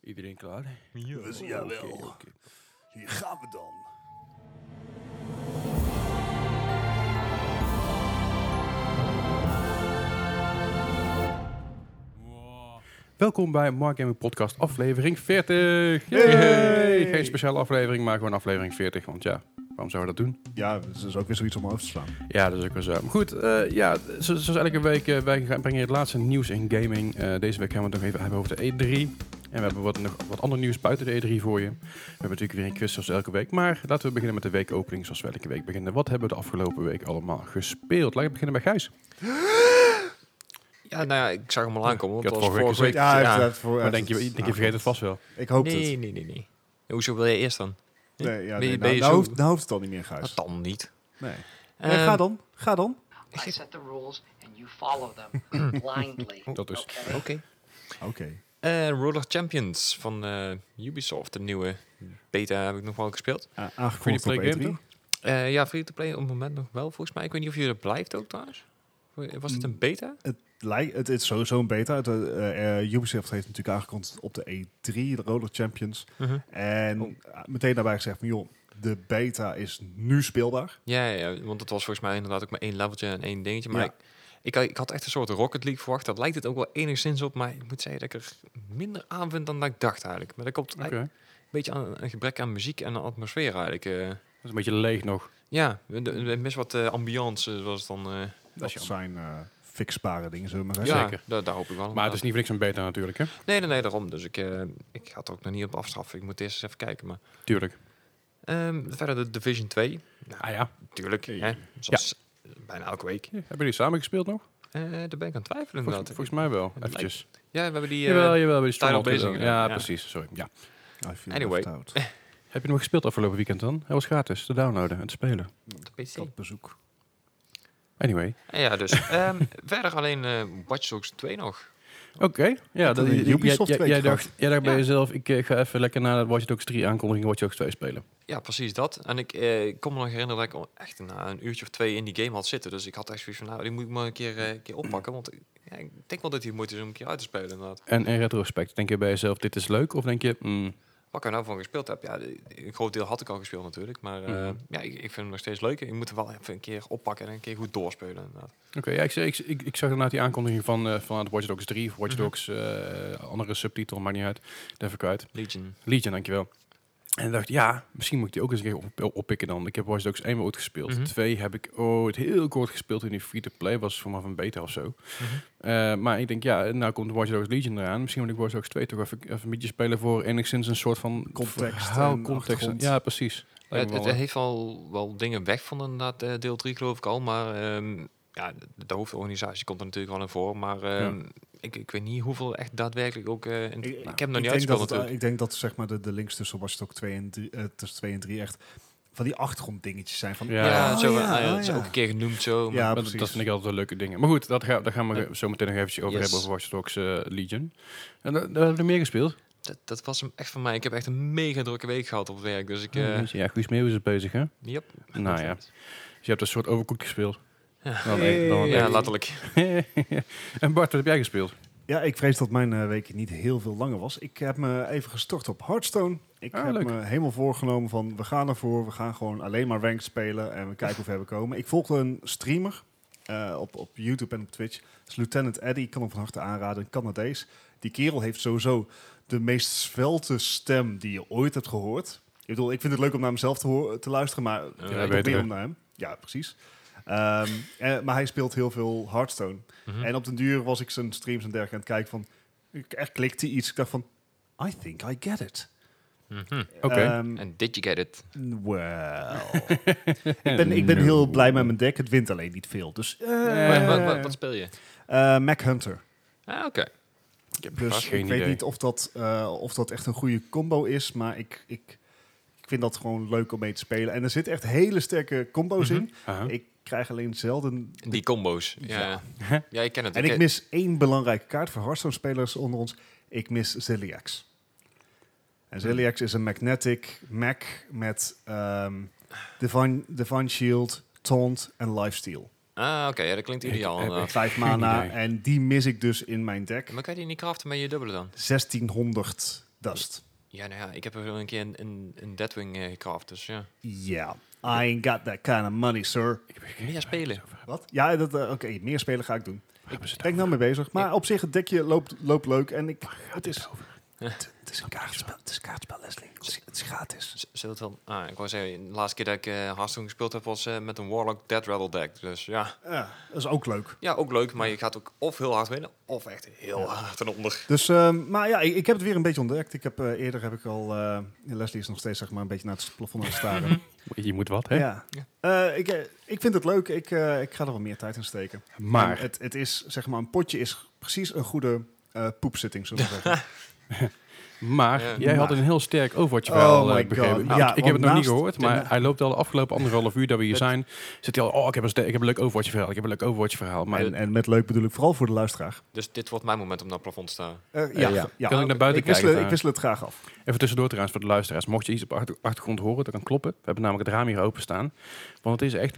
Iedereen klaar? Oh, Dus jawel. Hier gaan we dan. Welkom bij Mark Gaming Podcast, aflevering 40. Yay! Geen speciale aflevering, maar gewoon aflevering 40. Want ja, waarom zouden we dat doen? Ja, dus dat is ook weer zoiets om over te slaan. Ja, dat is ook wel zo. Maar goed, eh, ja, zo- zoals elke week, eh, wij gaan- brengen je het laatste nieuws in gaming. Eh, deze week gaan we het nog even hebben over de E3. En we hebben wat, nog wat ander nieuws buiten de E3 voor je. We hebben natuurlijk weer een quiz zoals elke week. Maar laten we beginnen met de weekopening zoals we elke week beginnen. Wat hebben we de afgelopen week allemaal gespeeld? Laten we beginnen bij Gijs. Ja, nou ja, ik zag hem al aankomen. Want Ik dat had was vorige vorige week week. Ja, ja. Dat voor, Maar denk je, denk je vergeet het vast wel. Ik hoop het. Nee, nee, nee, nee. Hoezo wil je eerst dan? Nee, ja, Ben nee, je- nou, ben je nou zo- hoeft, nou hoeft het al niet meer, Dat Gijs. dan niet. Nee. Ehm, nee. Eh, Ga dan. Ga dan. I set the rules and you follow them blindly. Dat is- okay? Oh, Oké. Oké. Ah, Eh, Roller Champions van eh, Ubisoft, de nieuwe beta heb ik nog wel gespeeld. A- Free Aangekondigd to op E play game E3. toch? Eh, ja, free to play op het moment nog wel, volgens mij. Ik weet niet of jullie dat blijft ook trouwens. Was het een beta? Het, lijkt, het is sowieso een beta. Het, eh, eh, Ubisoft heeft natuurlijk aangekondigd op de E3, de Roller Champions. Mhm. En Oh. eh, meteen daarbij gezegd van, joh, de beta is nu speelbaar. Ja, ja, ja, want het was volgens mij inderdaad ook maar één leveltje en één dingetje. Maar Ja. ik, ik, ik had echt een soort Rocket League verwacht. Dat lijkt het ook wel enigszins op. Maar ik moet zeggen dat ik er minder aan vind dan dat ik dacht eigenlijk. Maar dat komt Oké. eigenlijk een beetje aan een gebrek aan muziek en aan atmosfeer eigenlijk. eh. Dat is een beetje leeg nog. ja, we- de- we- best wat eh, ambiance eh, was het dan. eh. Dat jammer. zijn eh, fixbare dingen, zullen we maar zeggen. ja, zeker. da- daar hoop ik wel. Maar het inderdaad. is niet voor niks een beta natuurlijk, hè? Nee, nee, nee, daarom. Dus ik, eh, ik ga het er ook nog niet op afstraffen. Ik moet eerst eens even kijken. Maar, Tuurlijk. Ehm, verder de Division 2. Ah ja. Natuurlijk, hè, zoals bijna elke week. Ja, Hebben jullie samen gespeeld nog? Eh daar ben ik aan het twijfelen Volgens, inderdaad. volgens mij wel. Het lijkt- Eventjes. Ja, we hebben die... eh, jawel, jawel. Bij die Tidal Stormhawk. Blazing, ja, ja. precies. Sorry. Ja. I feel Anyway. left out. Heb je nog gespeeld afgelopen weekend dan? Hij was gratis te downloaden en te spelen. op de PC. Katbezoek. Anyway. Eh, Ja, dus. ehm, verder alleen eh, Watch Dogs 2 nog. Oké. Ja, had dat, een jij- Ubisoft jij, week jij gehad. dacht, jij dacht bij Ja. jezelf, ik eh, ga even lekker na de Watch Dogs 3 aankondiging Watch Dogs 2 spelen. Ja, precies dat. En ik eh, kon me nog herinneren dat ik al echt na een uurtje of twee in die game had zitten. Dus ik had echt zoiets van, nou, die moet ik maar een keer, eh, een keer oppakken. Want eh, ja, ik denk wel dat die moeite is om een keer uit te spelen inderdaad. En in retrospect, denk je bij jezelf, dit is leuk? Of denk je, mm, Wat ik er nou van gespeeld heb, ja, de- een groot deel had ik al gespeeld natuurlijk. Maar eh, Mhm. ja, ik, ik vind hem nog steeds leuk. Ik moet hem wel even een keer oppakken en een keer goed doorspelen inderdaad. oké, ja, ik, ik, ik, ik zag inderdaad die aankondiging van, eh van Watch Dogs 3 of Watch Dogs, eh, andere subtitel, maakt niet uit. Dat even kwijt. Legion. Liedje, dankjewel. En ik dacht, ja, misschien moet ik die ook eens een keer op, op- oppikken dan. Ik heb Watch Dogs 1 wel ooit gespeeld. Mhm. Twee heb ik ooit heel kort gespeeld in die free-to-play. Was vanaf een beta of zo. Mhm. Eh, maar ik denk, ja, nou komt Watch Dogs Legion eraan. Misschien moet ik Watch Dogs 2 toch even, even een beetje spelen voor enigszins een soort van Context verhaal, en context. achtergrond. Ja, precies. Lijkt me Het, wel, het hè. heeft al wel dingen weg van inderdaad eh, deel 3 geloof ik al. Maar ehm, ja, de, de hoofdorganisatie komt er natuurlijk wel in voor. Maar ehm, ik, ik weet niet hoeveel echt daadwerkelijk ook... eh, in- ik, heb hem nog niet denk dat uitgespeeld het, eh, natuurlijk. ik denk dat zeg maar, de, de links tussen Watch Dogs 2 en 3, eh, tussen 2 en 3 echt van die achtergronddingetjes zijn. Van, Ja. ja, Oh, zo, van, ja, ah, ja, oh, dat is ja. ook een keer genoemd zo. maar- Ja, dat, precies. dat vind ik altijd wel leuke dingen. Maar goed, dat ga, daar gaan we zo meteen nog eventjes over Yes. hebben over Watch Dogs eh, Legion. En daar daar hebben we meer gespeeld. dat, dat was hem echt van mij. Ik heb echt een mega drukke week gehad op het werk. Dus Oh, ik... eh Ja, Guus Meeuwis is bezig, hè? yep. Nou ja. Dus je hebt een soort overkoek gespeeld. Ja. Dan, dan- dan- Ja, letterlijk. en Bart, wat heb jij gespeeld? Ja, ik vrees dat mijn eh, week niet heel veel langer was. Ik heb me even gestort op Hearthstone. Ik Ah, heb leuk. me helemaal voorgenomen van we gaan ervoor. We gaan gewoon alleen maar ranked spelen en we kijken hoe ver we komen. Ik volgde een streamer eh, op, op YouTube en op Twitch. Dat is Lieutenant Eddy. Ik kan hem van harte aanraden. Een Canadees. Die kerel heeft sowieso de meest svelte stem die je ooit hebt gehoord. Ik bedoel, ik vind het leuk om naar mezelf te, hoor- te luisteren, maar Ja, ik beter, meer hè? om naar hem. Ja, precies. Ehm, eh, maar hij speelt heel veel Hearthstone. Mhm. En op den duur was ik zijn streams en dergelijke aan het kijken van... Ik echt klikte iets. Ik dacht van, I think I get it. Mhm. Oké. Ehm, En did you get it? well. ik ben, ik ben heel blij met mijn deck. Het wint alleen niet veel. Dus, eh, Wat- wat, wat, wat speel je? eh, Mac Hunter. Ah, oké. Ik heb Dus vast- ik geen weet idee. niet of dat, eh, of dat echt een goede combo is. Maar ik, ik, ik vind dat gewoon leuk om mee te spelen. En er zitten echt hele sterke combo's Mhm, in. Aha. Ik krijg alleen zelden Die combo's. Ja, ja. ik ken het. En ik mis één belangrijke kaart voor Hearthstone-spelers onder ons. Ik mis Zilliax. Mhm. En Zilliax is een magnetic mech met ehm Divine, Divine Shield, Taunt en Lifesteal. Ah, oké. ja, dat klinkt Ik- ideaal. ik- inderdaad. Vijf Ah, Geen mana idee. en die mis ik dus in mijn deck. Maar kan je die niet craften met je dubbele dan? 1600 Dust. Ja, nou ja, ik heb er wel een keer een, een, een Deadwing eh, gecraft, dus ja. Yeah, I ain't got that kind of money, sir. Ik heb Meer spelen. Wat? Ja, dat, eh, oké, meer spelen ga ik doen. Ik ben Ik ben ik nou mee bezig. Maar op zich, het dekje loopt, loopt leuk. En ik, het, is, het, is een kaartspel, het is kaartspel, Leslie. Het is gratis. Z- Zit het dan? Ah, ik wou zeggen, de laatste keer dat ik eh Hearthstone gespeeld heb was eh, met een Warlock Dead Rattle deck. Dus ja. Ja, dat is ook leuk. ja, ook leuk, maar je gaat ook of heel hard winnen, of echt heel hard ten onder. Dus, ehm, maar ja, ik, ik heb het weer een beetje ontdekt. Ik heb, eh, eerder heb ik al... eh, Leslie is nog steeds zeg maar, een beetje naar het plafond aan het staren. Je moet wat, Mhm. hè? ja. Eh, ik, eh, ik vind het leuk. Ik, eh, ik ga er wel meer tijd in steken. En Maar, Het, het is, zeg maar, een potje is precies een goede eh poepzitting, zullen we zeggen. maar Ja. jij had eh, Maar. een heel sterk overwatch Oh verhaal my eh, begrepen. God. Want Ja, ik want heb het nog niet naast- gehoord, maar na- hij loopt al de afgelopen anderhalf uur dat we hier Het- zijn. Zit hij al, oh, ik heb een, ster- ik heb een leuk overwatch verhaal, ik heb een leuk overwatch verhaal. Maar en, en met leuk bedoel ik vooral voor de luisteraar. Dus dit wordt mijn moment om naar het plafond te staan. Eh, Eh, ja, ja. ja. Kan ik naar buiten ik wissel, kijken, ik daar? wissel het graag af. Even tussendoor trouwens voor de luisteraars. Mocht je iets op achter- achtergrond horen, dat kan kloppen. We hebben namelijk het raam hier openstaan. Want het is echt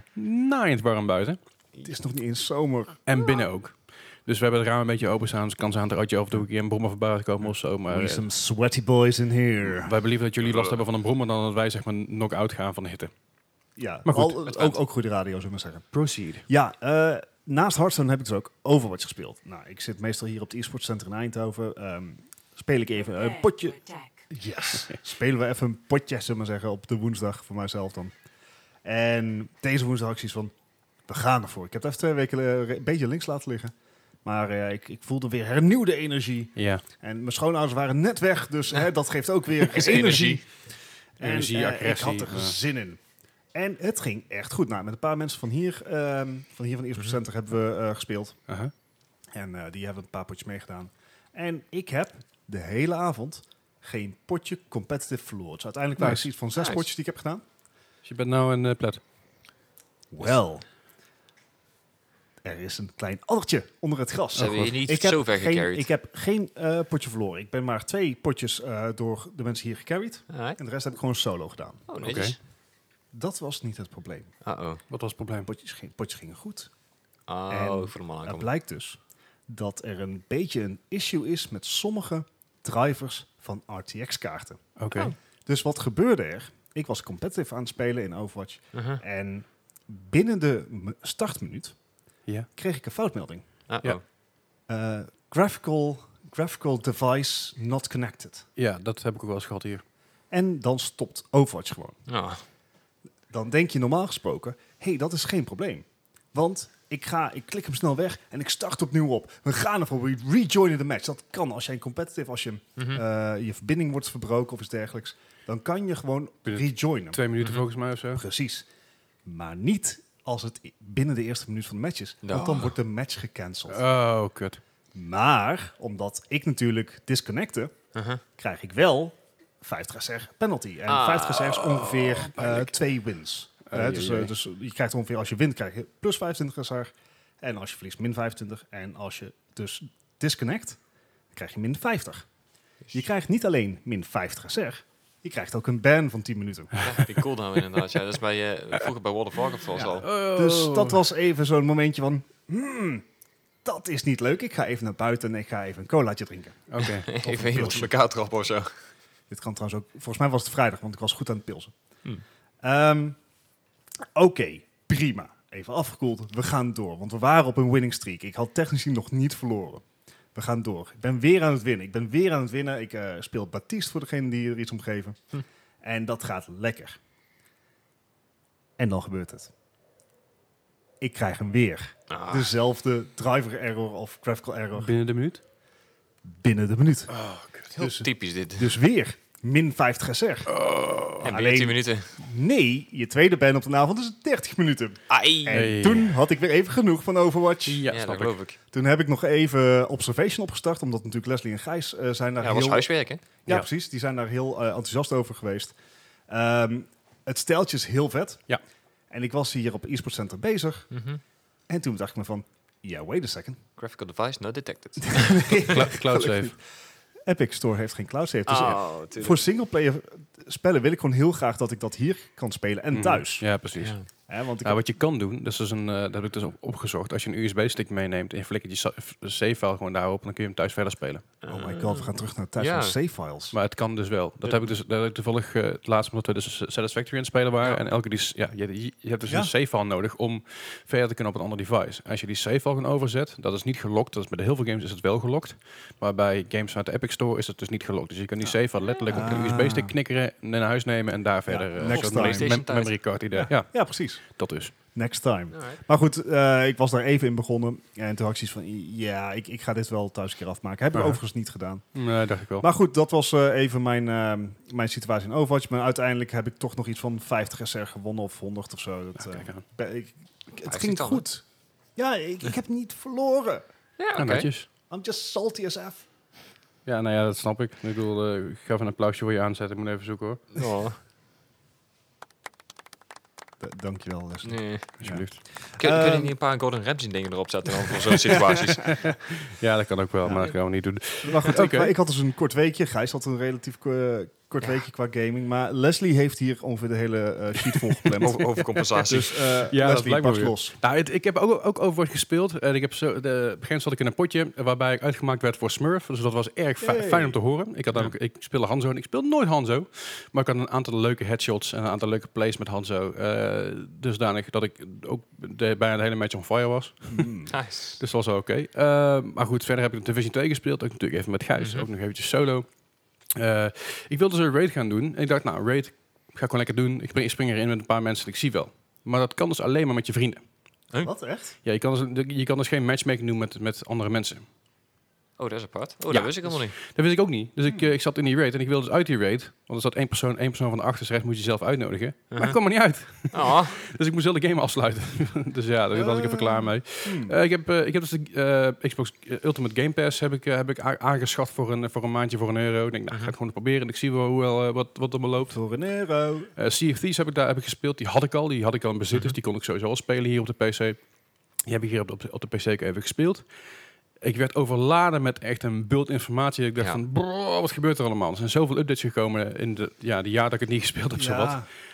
naaiend warm buiten. Het is nog niet eens zomer. En binnen ook. Dus we hebben het raam een beetje openstaan. Dus het kan zijn dat er uit je af en toe een keer een brommer voorbij komen of zo. Maar eh, wij sweaty boys in here. hebben liever dat jullie last hebben van een brommer dan dat wij zeg maar knock-out gaan van de hitte. Ja, Maar maar goed, al, het ook, uit. ook goede radio, zullen we maar zeggen. Proceed. Ja, eh, naast Hearthstone heb ik dus ook Overwatch gespeeld. Nou, ik zit meestal hier op het e-sport center in Eindhoven. Ehm, speel ik even een potje. Yes. Spelen we even een potje, zullen we maar zeggen, op de woensdag voor mijzelf dan. En deze woensdag had ik zoiets van, we gaan ervoor. Ik heb het even twee weken eh, re- een beetje links laten liggen. Maar eh, ik, ik voelde weer hernieuwde energie. Ja, En mijn schoonouders waren net weg, dus hè, dat geeft ook weer Is energie. energie. En, Energie, eh, agressie, Ik had er ja. zin in. En het ging echt goed. Nou, met een paar mensen van hier, ehm, van hier van de Eerste Center, hebben we eh, gespeeld. aha. En eh, die hebben een paar potjes meegedaan. En ik heb de hele avond geen potje competitive verloren. Dus uiteindelijk waren Nice. het iets van zes Nice. potjes die ik heb gedaan. Dus je bent nou een eh, plat. Wel. Er is een klein addertje onder het gras. Ze hebben je niet ik heb, zo ver geen, gecarried. ik heb geen eh, potje verloren. Ik ben maar twee potjes eh, door de mensen hier gecarried. Alright. En de rest heb ik gewoon solo gedaan. Oh, netjes. Dat was niet het probleem. Uh-oh. Wat was het probleem? Potjes, ging, potjes gingen goed. Oh, En ik voel hem al Het aankomen. blijkt dus dat er een beetje een issue is met sommige drivers van RTX-kaarten. Oké. Dus wat gebeurde er? Ik was competitive aan het spelen in Overwatch. Uh-huh. En binnen de m- startminuut Ja. kreeg ik een foutmelding. Uh-oh. Ja. Eh, graphical, graphical device not connected. ja, dat heb ik ook wel eens gehad hier. En dan stopt Overwatch gewoon. Oh. Dan denk je normaal gesproken, hé, hey, dat is geen probleem. Want ik, ga, ik klik hem snel weg en ik start opnieuw op. We gaan ervoor, we rejoinen de match. Dat kan als jij een competitive, als je, Mhm. eh, je verbinding wordt verbroken of iets dergelijks. Dan kan je gewoon Binnen rejoinen. Twee minuten volgens mij of zo. Precies. Maar niet als het i- binnen de eerste minuut van de match is. Ja. Want dan wordt de match gecanceld. Oh, kut. Maar, omdat ik natuurlijk disconnecte, Uh-huh. krijg ik wel 50 SR penalty. En Ah, 50 SR is ongeveer eh, twee wins. Eh, Ai, dus, ai, eh, ai. dus je krijgt ongeveer, als je wint, krijg je plus 25 SR. En als je verliest, min 25. En als je dus disconnect, dan krijg je min 50. Je krijgt niet alleen min 50 SR, je krijgt ook een ban van 10 minuten. Ja, die cooldown inderdaad. Ja, dat is bij, eh, vroeger bij World of Warcraft was al. Dus dat was even zo'n momentje van, hmm, dat is niet leuk. Ik ga even naar buiten en ik ga even een colaatje drinken. Oké. Even iemand in elkaar trappen of zo. Dit kan trouwens ook. Volgens mij was het vrijdag, want ik was goed aan het pilsen. Hmm. Ehm, Oké, prima. Even afgekoeld. We gaan door. Want we waren op een winning streak. Ik had technisch gezien nog niet verloren. We gaan door. Ik ben weer aan het winnen. Ik ben weer aan het winnen. Ik eh, speel Baptiste voor degene die er iets om geven. Hm. En dat gaat lekker. En dan gebeurt het. Ik krijg hem weer. Ah. Dezelfde driver error of graphical error Binnen de minuut? binnen de minuut. Oh, Heel Dus- typisch dit. Dus weer min 50 SR. en binnen alleen- 10 minuten. Nee, je tweede ban op de avond is 30 minuten. Ai! En Hey. toen had ik weer even genoeg van Overwatch. Ja, Ja, dat snap ik. geloof ik. Toen heb ik nog even Observation opgestart, omdat natuurlijk Leslie en Gijs eh, zijn daar Ja, dat was heel... huiswerk, hè? Ja, Ja. precies. Die zijn daar heel eh, enthousiast over geweest. Ehm, het steltje is heel vet. Ja. En ik was hier op e-sport center bezig. Mhm. En toen dacht ik me van, ja, wait a second. Graphical device not detected. Cla- Cloud save. Epic Store heeft geen cloud save. Dus eh, Oh, tuurlijk. voor singleplayer spellen wil ik gewoon heel graag dat ik dat hier kan spelen en Mhm. thuis. Ja, precies. Ja. Hè, want ik Nou, wat heb- je kan doen, dat, is dus een, eh, dat heb ik dus op, opgezocht. Als je een USB-stick meeneemt en je flikkert je sa- f- save-file gewoon daarop, dan kun je hem thuis verder spelen. oh my god, we gaan terug naar thuis Ja. van save-files. Maar het kan dus wel. Dat Ja. heb ik dus dat heb ik toevallig eh, het laatste, omdat we dus Satisfactory aan het spelen waren. Ja. En elke die, s- ja, je, je- je hebt dus Ja. een save-file nodig om verder te kunnen op een ander device. Als je die save-file gewoon overzet, dat is niet gelokt. Dat is, bij heel veel games is het wel gelokt. Maar bij games uit de Epic Store is dat dus niet gelokt. Dus je kan die save-file letterlijk op Ah. een USB-stick knikkeren, naar huis nemen en daar verder... eh, next zo'n time. mem- mem- PlayStation memory card idee. Ja. Ja, precies. dat is. Next time. Alright. Maar goed, eh, ik was daar even in begonnen. En toen had ik zoiets van, ja, ik, ik ga dit wel thuis een keer afmaken. Heb ik Aha. overigens niet gedaan. Nee, dacht ik wel. Maar goed, dat was eh, even mijn, eh, mijn situatie in Overwatch. Maar uiteindelijk heb ik toch nog iets van 50 SR gewonnen of 100 of zo. Dat, Ja, eh, kijk aan. ben- ik, ik- het 50 ging dan, goed. Ja, ik, ik heb niet verloren. Ja, Ja, oké. Ah, netjes. I'm just salty as F. Ja, nou ja, dat snap ik. Ik bedoel, eh, ik ga even een applausje voor je aanzetten. Ik moet even zoeken hoor. Oh, D- Dankjewel, Leslie. nee. Alsjeblieft. Kun, kun je Ehm. niet een paar Gordon Ramsay dingen erop zetten dan voor zo'n situaties? Ja, dat kan ook wel, maar dat gaan we niet doen. Maar goed, Oké. ik, maar ik had dus een kort weekje. Gijs had een relatief eh, kort Ja. weekje qua gaming. Maar Leslie heeft hier ongeveer de hele eh, sheet vol gepland. Over, overcompensatie. dus eh Ja, dat Leslie, blijkt pas wel weer. los. Nou, het- ik heb ook, ook Overwatch gespeeld. En ik heb zo, de, op een gegeven moment zat ik in een potje eh, waarbij ik uitgemaakt werd voor Smurf. Dus dat was erg fi- Yay. fijn om te horen. Ik, had namelijk, ik speelde Hanzo en ik speel nooit Hanzo. Maar ik had een aantal leuke headshots en een aantal leuke plays met Hanzo. Eh, dusdanig dat ik ook de, bijna de hele match on fire was. Mm. Dus Nice. dat was wel oké. Eh, maar goed, verder heb ik de Division 2 gespeeld. Ook natuurlijk even met Gijs. Mhm. Ook nog eventjes solo. Eh, ik wilde dus een raid gaan doen. En ik dacht, nou, raid ga ik gewoon lekker doen. Ik spring, ik spring erin met een paar mensen en ik zie wel. Maar dat kan dus alleen maar met je vrienden. Wat, echt? Ja, je, kan dus, je kan dus geen matchmaking doen met, met andere mensen. Oh, dat is apart. Oh, Ja. dat wist ik helemaal niet. Dat wist ik ook niet. Dus ik, eh, ik zat in die raid en ik wilde dus uit die raid. Want er zat één persoon, één persoon van de achterzijde moet je zelf uitnodigen. Maar ik kwam er niet uit. Oh, Dus ik moest heel de game afsluiten. dus ja, daar was ik even klaar mee. Hmm. Eh, ik, heb, eh, ik heb dus de eh, Xbox Ultimate Game Pass heb ik, eh, heb ik a- aangeschaft voor een, voor een maandje voor een euro. Ik denk, nou, ik ga het gewoon proberen. en Ik zie wel hoe, wel, eh, wat, wat er me loopt. Voor een euro. Eh Sea of Thieves heb ik daar heb ik gespeeld. Die had ik al. Die had ik al in bezit. Dus die kon ik sowieso al spelen hier op de PC. Die heb ik hier op de, op de, op de PC ook even gespeeld. Ik werd overladen met echt een bult informatie. Ik dacht Ja. van, brrr, wat gebeurt er allemaal? Er zijn zoveel updates gekomen in de, ja, de jaar dat ik het niet gespeeld heb, zowat.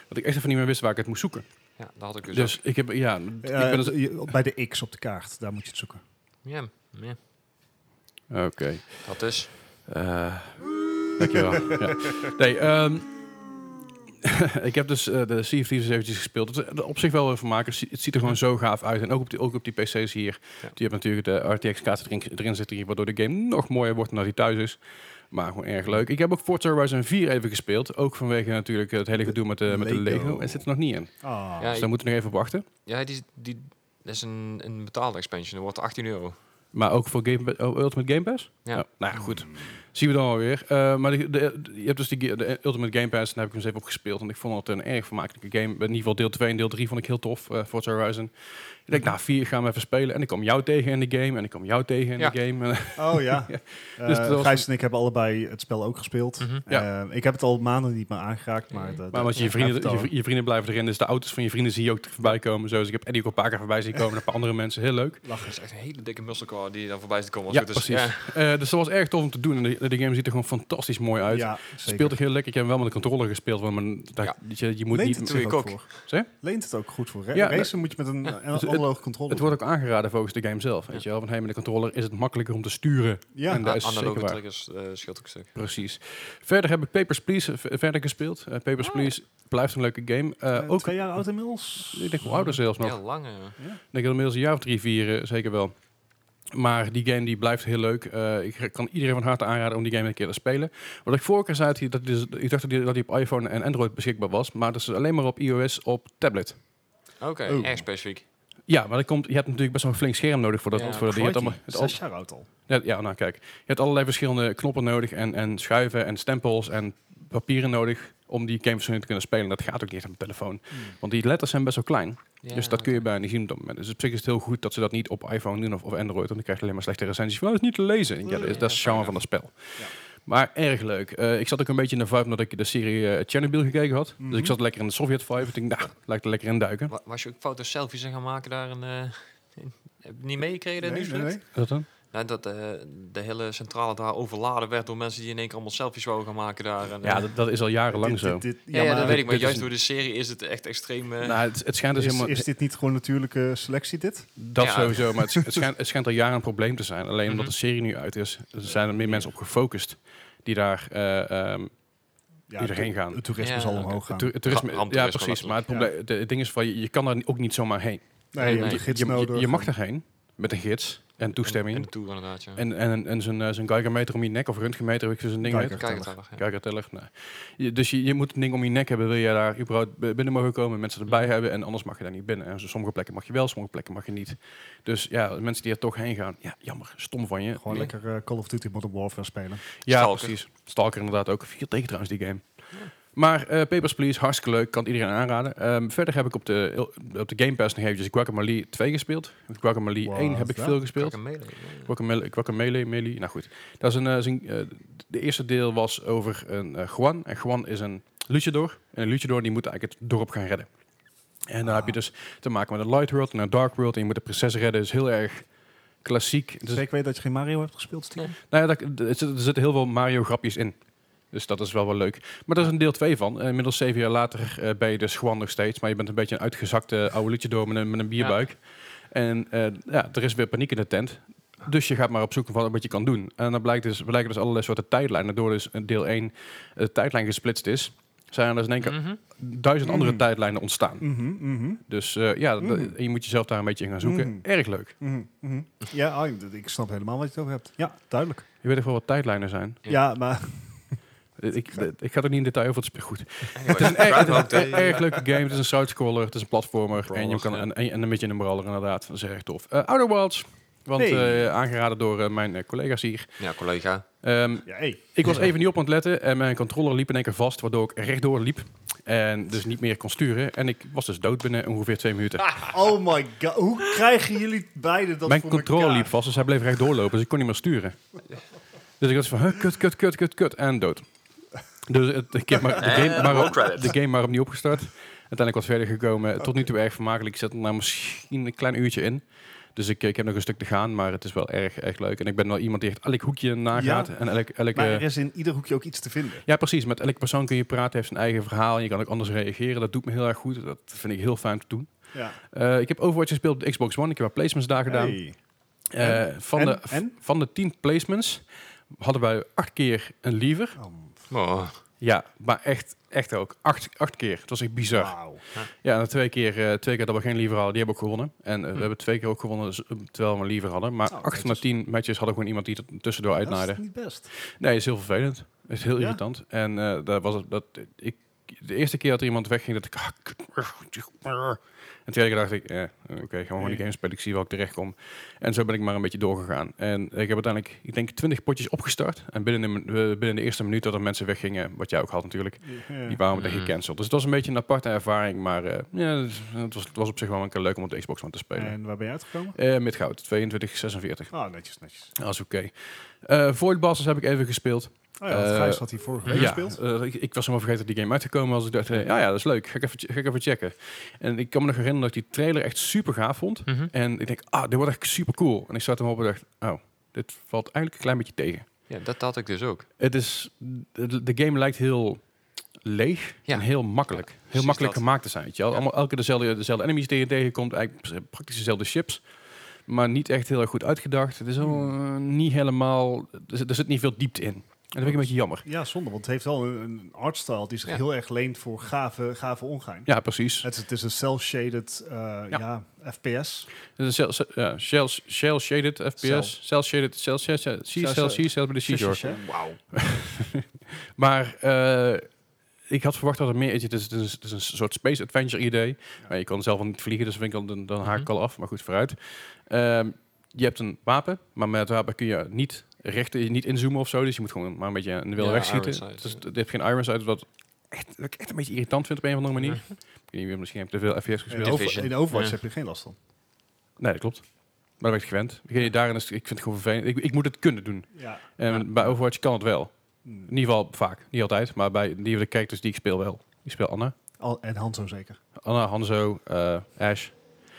Dat ik echt even niet meer wist waar ik het moest zoeken. ja, dat had ik dus. Dus, ik heb, ja, ik Eh, ben dus je- Bij de X op de kaart, daar moet je het zoeken. ook. Ja, ja. Oké. Dat is. Eh, dankjewel. ja. Nee, ehm, ik heb dus eh, de Sea of Thieves eventjes gespeeld. Het is eh, op zich wel een vermaker. Het ziet er gewoon zo gaaf uit. En ook op die, ook op die PC's hier. Ja. Die hebben natuurlijk de RTX-kaart erin, erin zitten, hier, waardoor de game nog mooier wordt nadat hij thuis is. Maar gewoon erg leuk. Ik heb ook Forza Horizon 4 even gespeeld. Ook vanwege natuurlijk het hele gedoe met de, met de Lego. Lego. En zit er nog niet in. Ah. Ja, Dus daar moeten we nog even op wachten. Ja, die, die dat is een, een betaalde expansion. Dat wordt 18 euro. Maar ook voor Game, oh, Ultimate Game Pass? Ja. Oh, nou ja, Mm. goed. Zien we dan alweer. Eh maar de, de- de- je hebt dus die, ge- de Ultimate Game Pass, daar heb ik hem eens even op gespeeld. En ik vond het een erg vermakelijke game. In ieder geval deel 2 en deel 3 vond ik heel tof, eh Forza Horizon. Ik denk, nou, 4 gaan we even spelen. En ik kwam jou tegen in de game. En ik kwam jou tegen in Ja. de game. En, Oh ja. Ja. Eh, Dus het was- Gijs en ik hebben allebei het spel ook gespeeld. Mhm. Ja. Eh, ik heb het al maanden niet meer aangeraakt. Maar, dat- maar want je dat- vrienden, dat- je, je vrienden blijven erin. Dus de auto's van je vrienden zie je ook voorbij komen. Zo. Dus ik heb Eddie ook een paar keer voorbij zien komen. En een paar andere mensen. Heel leuk. Dat is echt een hele dikke muscle car die dan voorbij is te komen. Als Ja, het goed is. precies. Ja. Eh, dus dat was erg tof om te doen. En de, de game ziet er gewoon fantastisch mooi uit. Ja, Speelt zeker. ook heel lekker. Ik heb hem wel met de controller gespeeld. Want mijn, dat- Ja. je, je moet Leent niet... het doe zich ik ook ook. voor. Zeg? Leent het ook goed voor. Ra Ja, dus racen moet je met een een het- analoge controle Het wordt ook aangeraden volgens de game zelf. Weet je wel? Van, hey, met de controller is het makkelijker om te sturen. Ja. en dat is A- zeker analoge waar. triggers eh, scheelt ook een stuk. Precies. Verder heb ik Papers, Please eh, v- verder gespeeld. Eh, Papers, Please blijft een leuke game. Eh, Eh, ook, Twee jaar oud inmiddels? ik denk wel ouder zelfs nog. Heel lang. eh. Ik denk inmiddels een jaar of drie, vier, eh, zeker wel. Maar die game die blijft heel leuk. Eh, ik kan iedereen van harte aanraden om die game een keer te spelen. Wat ik vorige keer zei, dat die- dat die dus- ik dacht dat die, dat die op iPhone en Android beschikbaar was. Maar dat is alleen maar op iOS op tablet. Oké, Oh. erg specifiek. Ja, maar dat komt, je hebt natuurlijk best wel een flink scherm nodig voor dat. Ja, voor dat je hebt allemaal, het, al- Zes jaar oud al. Ja, ja, nou kijk. Je hebt allerlei verschillende knoppen nodig en, en schuiven en stempels en papieren nodig om die games te kunnen spelen. Dat gaat ook niet echt op een telefoon. Hmm. Want die letters zijn best wel klein. Ja, dus dat kun je oké. bijna niet zien op dat moment. Dus op zich is het heel goed dat ze dat niet op iPhone doen of, of Android. Want dan krijg je alleen maar slechte recensies. Van, "Oh, dat is niet te lezen. Ja, dat is, dat is het charme van dat spel. Ja. Maar erg leuk. Eh, ik zat ook een beetje in de vibe omdat ik de serie eh Chernobyl gekeken had. Dus ik zat lekker in de Sovjet vibe. Ik dacht, nou, lijkt er lekker in duiken. Wa- was je ook foto's, selfies en gaan maken daar? Een, eh, in- heb je niet meegekregen? Nee, Nee, nee, nee. Wat dan? Nou, dat eh, de hele centrale daar overladen werd door mensen die in één keer allemaal selfies wouden gaan maken daar. En, Ja, eh, dat, dat is al jarenlang Dit- zo. dit- dit- ja, ja, dat maar weet ik. Maar dit is juist een- door de serie is het echt extreem. eh, Nou, het, het schijnt dus Is, helemaal... is dit niet gewoon natuurlijke selectie, dit? Dat Ja. sowieso, maar het, sch- het schijnt, het schijnt al jaren een probleem te zijn. Alleen omdat Mhm. de serie nu uit is, zijn er meer mensen op gefocust die daar eh, ehm, Ja, Iedereen gaan. Het toerisme Ja, zal oké. omhoog gaan. toer- toerisme. Ra- ramtoerisme ja, precies. Maar het, probleem, de- het ding is van je, je kan daar ni- ook niet zomaar heen. nee, je nee, hebt een nee. Je, gids je, nodig. je mag daarheen met een gids en toestemming. En En, de tour inderdaad, ja. en, en, zo'n, eh, zo'n geigermeter om je nek of röntgenmeter, weet ik zo'n ding. Geiger. heet. Kijk het wel, ja. Geigerteller. Nee. Je- Dus je, je moet een ding om je nek hebben, wil je daar überhaupt b- binnen mogen komen, mensen erbij hebben en anders mag je daar niet binnen. En zo- sommige plekken mag je wel, sommige plekken mag je niet. Dus ja, mensen die er toch heen gaan, ja, jammer, stom van je. Gewoon Nee. lekker eh, Call of Duty Modern Warfare spelen. Ja, Stalker. precies. Stalker inderdaad ook. Vier tegen trouwens die game. Maar eh, Papers, Please, hartstikke leuk. Kan het iedereen aanraden. Ehm, verder heb ik op de, op de Game Pass nog eventjes Guacamole 2 gespeeld. Guacamole Wat 1 heb ik is dat? veel gespeeld. Guacamele, ja. Guacamole, Guacamole, Melee. Nou goed. Dat is een, eh, is een, eh, de eerste deel was over een eh, Juan. En Juan is een luchador. En een luchador die moet eigenlijk het dorp gaan redden. En dan heb je dus te maken met een light world en een dark world. En je moet de prinses redden. Dus heel erg klassiek. Dus Zeker weten dat je geen Mario hebt gespeeld, Steve? nou ja, dat, er, zitten, er zitten heel veel Mario-grapjes in. Dus dat is wel wel leuk. Maar dat is een deel 2 van. Eh, Inmiddels zeven jaar later eh, ben je dus gewoon nog steeds. Maar je bent een beetje een uitgezakte oude liedje door met een, met een bierbuik. En eh, ja, er is weer paniek in de tent. Dus je gaat maar op zoek van wat je kan doen. En dan blijkt dus, blijken dus allerlei soorten tijdlijnen. Door dus in deel 1 de tijdlijn gesplitst is, zijn er dus in één keer Mhm. duizend andere Mm. tijdlijnen ontstaan. Mhm, mhm, Dus eh, ja, dat- Mm. je moet jezelf daar een beetje in gaan zoeken. Mm. Erg leuk. mhm, mhm. Ja, ah, ik- ik snap helemaal wat je het over hebt. Ja, duidelijk. Je weet toch wel wat tijdlijnen zijn? Ja. Ja, maar Ik, ik, ik ga er niet in detail over het spel. Goed, Anyway, eh, Het is een erg, Groundhog het is Day. een erg leuke game. Het is een side-scroller, het is een platformer. En, je Brawler, kan, ja. en, en een beetje een brawler inderdaad. Dat is erg tof. Eh, Outer Wilds. Want Hey. eh, aangeraden door eh, mijn eh, collega's hier. Ja, collega. Ehm, ja, hey. ik was even niet op aan het letten en mijn controller liep in één keer vast, waardoor ik rechtdoor liep. En dus niet meer kon sturen. En ik was dus dood binnen ongeveer twee minuten. Oh my god, hoe krijgen jullie beiden dat mijn voor controller elkaar? liep vast, dus hij bleef rechtdoor lopen. Dus ik kon niet meer sturen. Dus ik was van, huh, kut, kut, kut, kut, kut. En dood. Dus het, ik heb maar, de, game En roll maar, credits. de game maar opnieuw opgestart. Uiteindelijk wat verder gekomen. Tot nu toe erg vermakelijk. Ik zet er nou misschien een klein uurtje in. Dus ik, ik heb nog een stuk te gaan, maar het is wel erg, erg leuk. En ik ben wel iemand die echt elk hoekje nagaat. En elk, elk, Maar eh, er is in ieder hoekje ook iets te vinden. ja, precies. Met elke persoon kun je praten, heeft zijn eigen verhaal. En je kan ook anders reageren. Dat doet me heel erg goed. Dat vind ik heel fijn te doen. Ja. Eh, ik heb Overwatch gespeeld op de Xbox One. Ik heb wat placements daar gedaan. Hey. Eh, van, En? de, En? van de tien placements hadden wij acht keer een liever. Oh, Oh, Ja, maar echt, echt ook. Acht, acht keer. Het was echt bizar. wauw. Ja, en twee keer, eh, twee keer dat we geen liever hadden, die hebben ook gewonnen. En eh, we hebben twee keer ook gewonnen z- terwijl we een liever hadden. Maar acht Oh, van de Hm. netjes. tien matches hadden gewoon iemand die er tussendoor Dat uitnaaide. is niet best. Nee, is heel vervelend. Het is heel Ja. irritant. En eh dat was het- dat ik de eerste keer dat er iemand wegging, dat ik. ah, kut, brr, tjoe, brr. En de tweede keer dacht ik, eh, oké, gaan we gewoon die Nee. game spelen. Ik zie waar ik terecht kom. En zo ben ik maar een beetje doorgegaan. En ik heb uiteindelijk, ik denk, twintig potjes opgestart. En binnen de, min- eh, binnen de eerste minuut dat er mensen weggingen, wat jij ook had natuurlijk, die waren meteen Mhm. gecanceld. Dus het was een beetje een aparte ervaring. Maar eh, ja, het, was, het was op zich wel een keer leuk om op de Xbox One te spelen. En waar ben je uitgekomen? Eh met goud, 2246. Ah, netjes, netjes. Dat is oké. Eh Void Busters heb ik even gespeeld. Oh ja, want Eh, Gijs had hier vorige week Ja, gespeeld. eh, ik, ik was helemaal vergeten dat die game uitgekomen was. Ik dacht, eh, ja, ja, dat is leuk. Ga ik, even, che- ga ik even checken. En ik kan me nog herinneren dat ik die trailer echt super gaaf vond. mhm. En ik denk, ah, dit wordt echt super cool. En ik zat hem op en dacht, oh, dit valt eigenlijk een klein beetje tegen. ja, dat had ik dus ook. Het is, de, de game lijkt heel leeg Ja. en heel makkelijk. heel precies makkelijk dat. gemaakt te zijn. Weet je wel? Ja. Allemaal elke dezelfde, dezelfde enemies die je tegenkomt. Eigenlijk praktisch dezelfde chips. Maar niet echt heel erg goed uitgedacht. Het is allemaal, Hmm. eh, niet helemaal, er zit, er zit niet veel diepte in. En dat vind ik een beetje jammer. Ja, zonde, want het heeft wel een, een artstyle die zich Ja. heel erg leent voor gave, gave ongein. Ja, precies. Het, is- het is een cel-shaded eh, ja. FPS. Het is een cel- ja, shell- shell-shaded Cel. FPS. Cel-shaded, cel cel cel cel cel cel bij de seashore. Shh, shh, shh. Oh, Wauw. Maar eh, ik had verwacht dat er meer... Het is, het is, het is een soort space adventure idee. Maar je kan zelf wel niet vliegen, dus vind ik al, dan, dan haak ik al af. Maar goed, vooruit. Ehm, je hebt een wapen, maar met het wapen kun je niet recht, niet inzoomen of zo. Dus je moet gewoon maar een beetje aan de wil Ja, wegschieten. iron sight, Dus ja. je hebt geen iron sight, wat, echt, wat ik echt een beetje irritant vind op een of andere manier. Ik weet niet, misschien heb ik te veel FPS In, gespeeld. over, Dus Division. in Overwatch Ja. heb je geen last van. Nee, dat klopt. Maar dat ben ik gewend. Ik, weet niet, daarin is, ik vind het gewoon vervelend. Ik, ik moet het kunnen doen. Ja. En Ja. bij Overwatch kan het wel. Mm. In ieder geval vaak. Niet altijd. Maar bij die van de characters die ik speel wel. Ik speel Anna. Al, en Hanzo zeker. Anna, Hanzo, eh, Ash.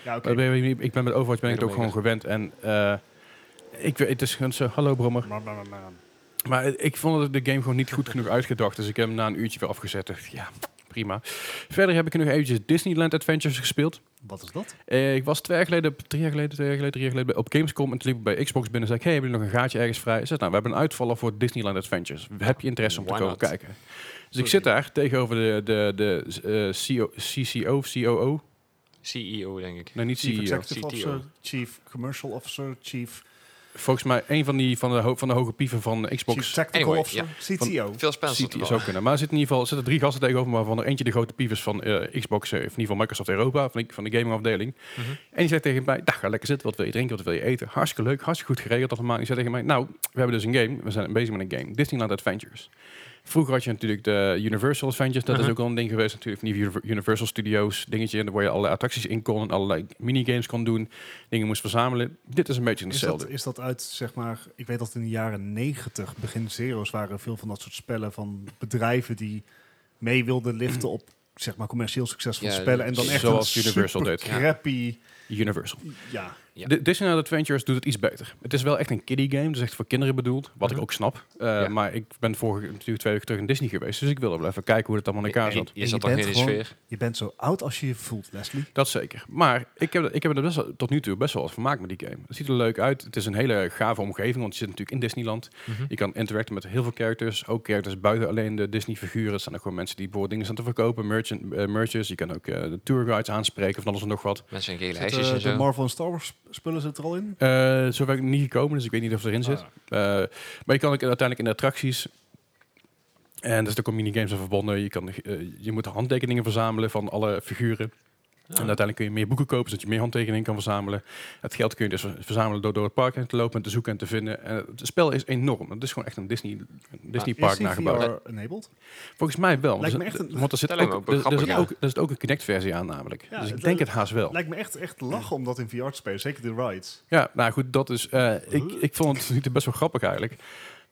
Ja, oké. Maar ben je- Ik ben met Overwatch ben ik het ook Widowmaker. gewoon gewend. En eh, Ik weet, het is gewoon zo, hallo Brommer. Maar, maar, maar, maar. Maar ik vond de game gewoon niet goed genoeg uitgedacht. Dus ik heb hem na een uurtje weer afgezet. Dacht, Ja, prima. Verder heb ik nog eventjes Disneyland Adventures gespeeld. Wat is dat? Eh, ik was twee jaar geleden, drie jaar geleden, twee jaar geleden, drie jaar geleden op Gamescom. En toen liep ik bij Xbox binnen en zei ik, hey, hebben jullie nog een gaatje ergens vrij? Ik Zei, nou, we hebben een uitvaller voor Disneyland Adventures. Heb je interesse om te Why komen not? kijken? Dus ik zit daar tegenover de, de, de eh, CO, CCO, COO. CEO, E denk ik. Nee, niet E Chief CEO. Executive CTO. Officer, Chief Commercial Officer, Chief, Volgens mij een van, die, van, de, ho- van de hoge pieven van Xbox. Chief Tactical Anyway, Officer, CTO. Veel Spencer. City te zou kunnen. Maar er zitten in ieder geval zitten drie gasten tegenover me, waarvan er eentje de grote pievers van eh, Xbox, eh, of in ieder geval Microsoft Europa, van, de- van de gamingafdeling. Mhm. En die zegt tegen mij, "Dag, ga lekker zitten, wat wil je drinken, wat wil je eten? Hartstikke leuk, hartstikke goed geregeld dat allemaal. En die zei tegen mij, nou, we hebben dus een game, we zijn bezig met een game, Disneyland Adventures. Vroeger had je natuurlijk de Universal Adventures, dat Mhm. is ook al een ding geweest natuurlijk, van die Univer- Universal Studios dingetje, en daar waar je allerlei attracties in kon en allerlei minigames kon doen, dingen moest verzamelen. Dit is een beetje Is dat, hetzelfde. is dat uit, zeg maar, ik weet dat het in de jaren negentig, begin zero's waren veel van dat soort spellen van bedrijven die mee wilden liften op, zeg maar, commercieel succesvolle Ja, spellen. En dan echt zoals een Universal super deed. Ja. crappy, Universal. ja. Ja. Di- Disneyland Adventures doet het iets beter. Het is wel echt een kiddie game, dus echt voor kinderen bedoeld, wat ik Mhm. ook snap. Eh, Ja. Maar ik ben vorige natuurlijk twee weken terug in Disney geweest, dus ik wilde wel even kijken hoe het allemaal in elkaar zat. Je je zat toch in bent die gewoon- sfeer. Je bent zo oud als je je voelt, Leslie. Dat zeker. Maar ik heb, ik heb er best wel, tot nu toe best wel wat van gemaakt met die game. Het ziet er leuk uit. Het is een hele gave omgeving, want je zit natuurlijk in Disneyland. Mhm. Je kan interacten met heel veel characters. Ook characters buiten alleen de Disney-figuren. Er zijn ook gewoon mensen die bijvoorbeeld dingen staan te verkopen, merchant, eh, merchers. Je kan ook eh, de tourguides aanspreken van alles en nog wat. Mensen in gele Zit, hesjes eh, en de zo. Marvel en Star Wars spullen zitten er al in. Eh zover ik niet gekomen, dus ik weet niet of het erin zit. Eh, Ah. maar je kan ook uiteindelijk in de attracties. En er zitten ook minigames aan verbonden. Je, kan, eh, je moet handtekeningen verzamelen van alle figuren. Ah. En uiteindelijk kun je meer boeken kopen, zodat je meer handtekeningen kan verzamelen. Het geld kun je dus ver- verzamelen door door het park heen te lopen en te zoeken en te vinden. En het spel is enorm. Het is gewoon echt een Disney, Ah, een Disney park is die nagebouwd. VR enabled? Volgens mij wel. Lijkt want me er- echt een- want er zit Dat lijkt me ook, ook wel er- er zit grappig, ook, er zit ook een Kinect-versie aan namelijk. Ja, dus ik het- denk het haast wel. Lijkt me echt, echt lachen om dat in VR te spelen. Zeker de rides. Ja, nou goed, dat is. eh, ik, ik vond het niet best wel grappig eigenlijk.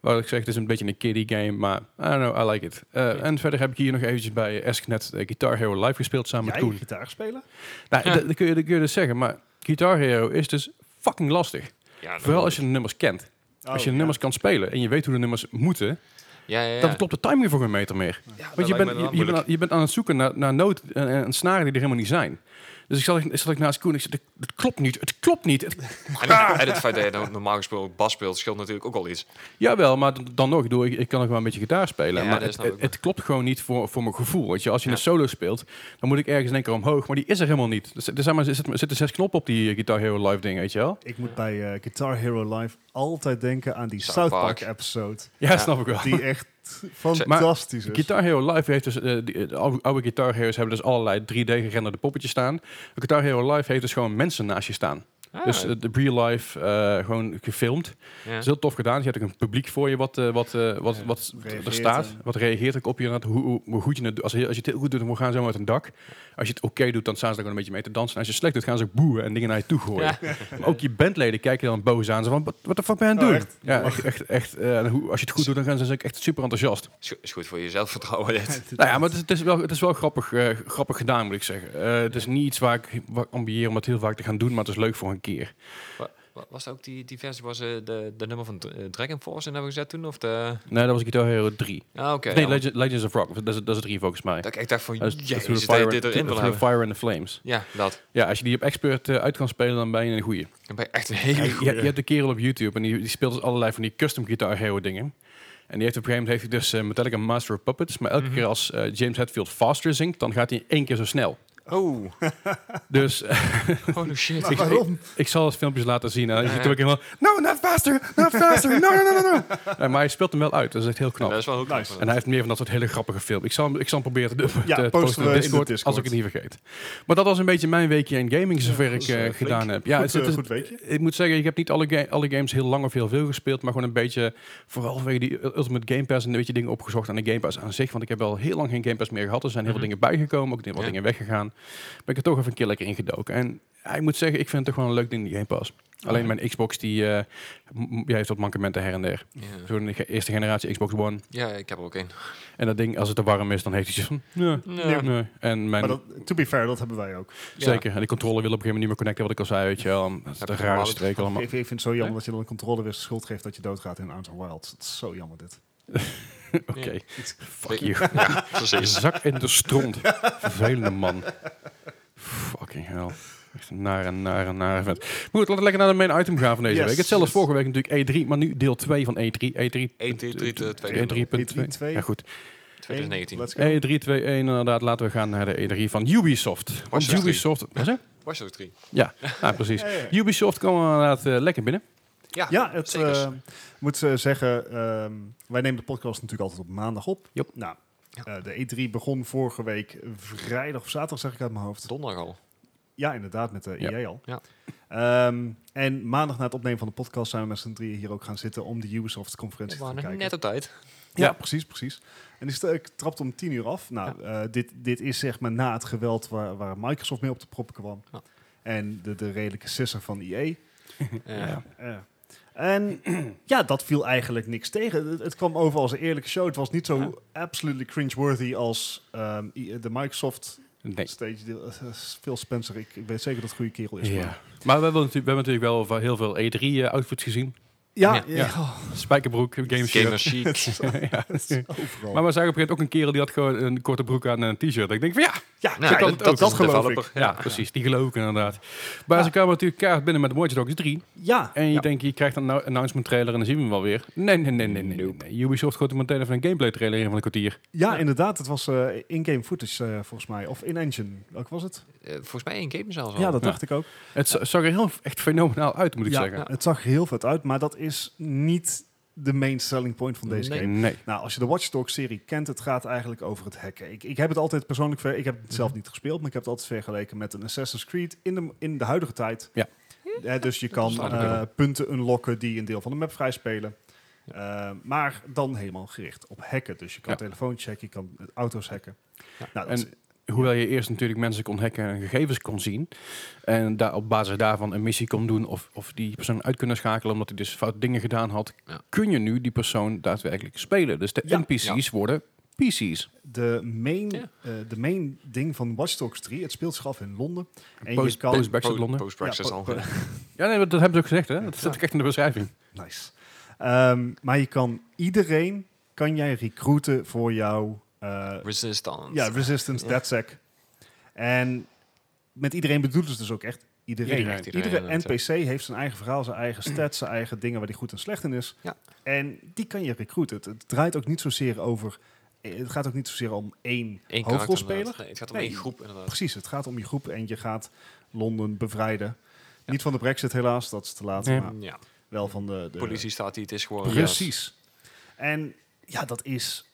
Wat ik zeg, het is een beetje een kiddie game, maar I don't know, I like it. Eh, En verder heb ik hier nog eventjes bij Esk net eh, Guitar Hero live gespeeld samen Jij met Koen. gitaar spelen? Nou, dat- dat kun, je, dat kun je dus zeggen, maar Guitar Hero is dus fucking lastig. Ja, dat- Vooral als je de nummers kent. Oh, als je de ja. nummers kan spelen en je weet hoe de nummers moeten, Ja, ja, ja. dan klopt de timing voor geen meter meer. Ja, dat Want je lijkt bent, me je, dan je bent aan, moeilijk. je bent aan het zoeken naar, naar noot en, en- en snaren die er helemaal niet zijn. Dus ik zat, ik zat ik naast Koen en ik zei, "Dit- dit klopt niet, het klopt niet, het En het- Ah. En het feit dat je nou normaal gesproken bas speelt, scheelt natuurlijk ook al iets. Jawel, maar d- dan nog, ik, bedoel, ik, ik kan nog wel een beetje gitaar spelen. Ja, maar dat het, snap ik het- wel. het klopt gewoon niet voor, voor mijn gevoel. Weet je, als je Ja. een solo speelt, dan moet ik ergens in één keer omhoog. Maar die is er helemaal niet. Er, z- er, zijn maar, er zitten- er zitten zes knoppen op die eh, Guitar Hero Live ding, weet je wel? Ik moet bij eh, Guitar Hero Live altijd denken aan die South South Park. Park episode. Ja, Ja. snap ik wel. Die echt fantastisch is. Guitar Hero Live heeft dus, eh, die- de oude, oude Guitar Hero's hebben dus allerlei 3D-gerenderde poppetjes staan. Guitar Hero Live heeft dus gewoon mensen naast je staan. Ah, Dus eh, de real life, eh, gewoon gefilmd. ja. Dat is heel tof gedaan. Dus je hebt ook een publiek voor je wat, eh, wat, eh, wat, Ja, wat er reageert staat. en- Wat reageert ook op je. inderdaad, Hoe, hoe- hoe goed je het doet. Als, je- als je het heel goed doet, dan gaan ze helemaal uit een dak. Als je het oké doet, dan staan ze er gewoon een beetje mee te dansen. En als je het slecht doet, gaan ze ook boeien en dingen naar je toe gooien. Maar ook je bandleden kijken je dan boos aan. Ze van, "Wat- wat de fuck ben je aan het Oh, doen? echt? Ja, echt, echt, echt, eh, en hoe- als je het goed doet, dan gaan ze dus ook echt super enthousiast. Is go- Is goed voor je zelfvertrouwen. dit. Nou ja, maar het is, het is wel, het is wel grappig, eh, grappig gedaan, moet ik zeggen. Eh, het is niet iets waar ik, waar ik ambieer om het heel vaak te gaan doen, maar het is leuk voor een keer. Wa- wa- Was dat ook die, die versie was ze de, de nummer van Dra- eh, Dragon Force in hebben gezet toen? Of de... Nee, dat was Guitar Hero 3. Ah, oké. nee, ja, Legend- Legends of Rock. Dat is, dat is het 3 volgens mij. dat ik echt dacht van, Ja, dat is- dat is through jezus, the dat je fire, dit and- erin wil through the hebben. fire and the Flames. Ja, dat. Ja, als je die op expert eh, uit kan spelen, dan ben je een goeie. Dan ben je echt een Je, hele je, goede. je hebt de kerel op YouTube en die, die speelt dus allerlei van die custom guitar hero dingen. En die heeft op een gegeven moment heeft hij dus eh, Metallica Master of Puppets. Maar Mhm. elke keer als eh, James Hetfield faster zingt, dan gaat hij één keer zo snel. Oh, Dus eh, holy Oh, shit. ik, waarom? ik, ik zal het filmpjes laten zien. En dan zit hij ook helemaal, no, not faster, not faster, no, no, no, no. no. Nee, maar hij speelt hem wel uit, dat is echt heel knap. Dat is wel heel knap. Nice. En hij heeft meer van dat soort hele grappige film. Ik zal, hem- ik zal hem proberen te, te Ja, te posten posten we op in de Discord, Discord. als ik het niet vergeet. Maar dat was een beetje mijn weekje in gaming, zover ik dat is, eh, eh, flink. gedaan heb. Ja, het, Goed, het eh, is- goed weekje. ik moet zeggen, ik heb niet alle, ga- alle games heel lang of heel veel gespeeld, maar gewoon een beetje, vooral vanwege die Ultimate Game Pass en een beetje dingen opgezocht aan de Game Pass aan zich. Want ik heb al heel lang geen Game Pass meer gehad. Er zijn heel Mhm. veel dingen bijgekomen, ook heel wat Ja. dingen weggegaan. Ben ik er toch even een keer lekker ingedoken. En ja, ik moet zeggen, ik vind het toch wel een leuk ding, die Game Pass. Alleen mijn Xbox, die, eh, m- die heeft wat mankementen her en der. Ja. Zo'n ge- eerste generatie Xbox One. ja, ik heb er ook één. En dat ding, als het te warm is, dan heeft hij zoiets van... Nee, eh, Ja. nee. En mijn, Maar dat, to be fair, dat hebben wij ook. zeker. En die controller wil op een gegeven moment niet meer connecten, wat ik al zei, weet je wel. Dat is Heb een ik rare normaal streek allemaal. Ik, ik vind het zo jammer dat je dan een controle weer de schuld geeft dat je doodgaat in Outer Wilds. Het is zo jammer dit. Oké. Fuck Ja. you. Ja, precies. Zak in de stront. Vervelende man. Fucking hell. Echt een nare, nare, nare vent. Maar goed, laten we lekker naar de main item gaan van deze Yes, week. Hetzelfde als yes. vorige week natuurlijk E3, maar nu deel 2 van E E3. E3. E E E3 E3.2. E3.2. Ja goed. E 2019. Let's go. E321 inderdaad. Laten we gaan naar de E3 van Ubisoft. Want Watch Dogs Ubisoft... Wat zeg? Was er ook 3? Ja, nou, precies. Ja, ja, ja. Ubisoft kwam inderdaad eh, lekker binnen. Ja, het Zeker. eh, moet eh, zeggen, ehm, wij nemen de podcast natuurlijk altijd op maandag op. Yep. Nou, Ja. eh, de E3 begon vorige week vrijdag of zaterdag, zeg ik uit mijn hoofd. donderdag al. Ja, inderdaad, met de Ja. EA al. Ja. Ehm, en maandag na het opnemen van de podcast zijn we met z'n drieën hier ook gaan zitten om de We Ubisoft-conferentie te waren kijken. net op tijd. Ja, Ja. precies, precies. En die st- trapt om tien uur af. Nou, eh, dit, dit is zeg maar na het geweld waar, waar Microsoft mee op de prop kwam. Ja. En de, de redelijke sisser van EA. Ja. Ja. Eh. En ja, dat viel eigenlijk niks tegen. Het, het kwam over als een eerlijke show. Het was niet zo absolutely cringeworthy als ehm, i- de Microsoft Nee. stage. Deel, Eh, Phil Spencer, ik, ik weet zeker dat het een goede kerel is. Ja. maar- Maar we hebben, natuurlijk, we hebben natuurlijk wel heel veel E E3-outfits gezien. Ja, Ja. ja, Ja. Spijkerbroek, gameshirt. Gamer Chic. ja. overal. Maar we zagen op een gegeven moment ook een kerel die had gewoon een korte broek aan en een t-shirt. Ik denk van ja, ja, Nou, zo kan dat- het ook. dat dat is een geloof ik. developer. ja, precies, die geloof ik inderdaad. Maar Ja. ze kwamen natuurlijk kaart binnen met Watch Dogs 3. Ja, En je ja. denkt, je krijgt een nou- announcement trailer en dan zien we hem wel weer. Nee, nee, nee, nee. nee, nee, nee. Ubisoft gooit er meteen even een gameplay trailer in van een kwartier. Ja, inderdaad. Het was eh, in-game footage eh, volgens mij. Of in-engine. Welk was het? Eh, volgens mij één game zelfs al. Ja, dat Oh, Ja. dacht ik ook. Het z- zag er heel echt fenomenaal uit, moet ik Ja, zeggen. ja. Het zag er heel vet uit, maar dat is niet de main selling point van deze Nee. game. Nee. Nou, als je de Watch Dogs serie kent, het gaat eigenlijk over het hacken. Ik, ik heb het altijd persoonlijk, ver, ik heb het zelf niet gespeeld, maar ik heb het altijd vergeleken met een Assassin's Creed in de, in de huidige tijd. Ja. Hè, dus je kan staat er eh, wel. punten unlocken die een deel van de map vrijspelen. Eh, maar dan helemaal gericht op hacken. Dus je kan Ja. telefoons hacken, je kan auto's hacken. Ja. Nou, dat En is- Hoewel je eerst natuurlijk mensen kon hacken en gegevens kon zien. En daar op basis daarvan een missie kon doen. Of, of die persoon uit kunnen schakelen omdat hij dus fout dingen gedaan had. Ja. Kun je nu die persoon daadwerkelijk spelen. Dus de Ja. NPC's worden PC's. De main, Ja. eh, de main ding van Watch Dogs 3, het speelt zich af in Londen. En Post- post- Brexit Po- Londen. Post-Brexit Ja, al. po- Ja, nee, dat hebben ze ook gezegd hè. Dat staat ook echt in de beschrijving. Nice. Ehm, maar je kan iedereen, kan jij recruiten voor jouw eh, Resistance. ja, Resistance, Ja. DedSec. En met iedereen bedoelen ze dus ook echt iedereen. Iedereen. Iedereen, Iedere inderdaad, NPC heeft zijn eigen verhaal, zijn eigen stats, zijn eigen dingen waar hij goed en slecht in is. Ja. En die kan je recruiten. Het, het draait ook niet zozeer over... eh, Het gaat ook niet zozeer om één, Eén karakter hoofdrolspeler. inderdaad. Nee, het gaat om Nee. één groep inderdaad. Precies, het gaat om je groep en je gaat Londen bevrijden. Niet van de brexit helaas, dat is te laat, Nee. maar Ja, wel van de... de politie staat hier, het is gewoon... Precies. En ja, dat is...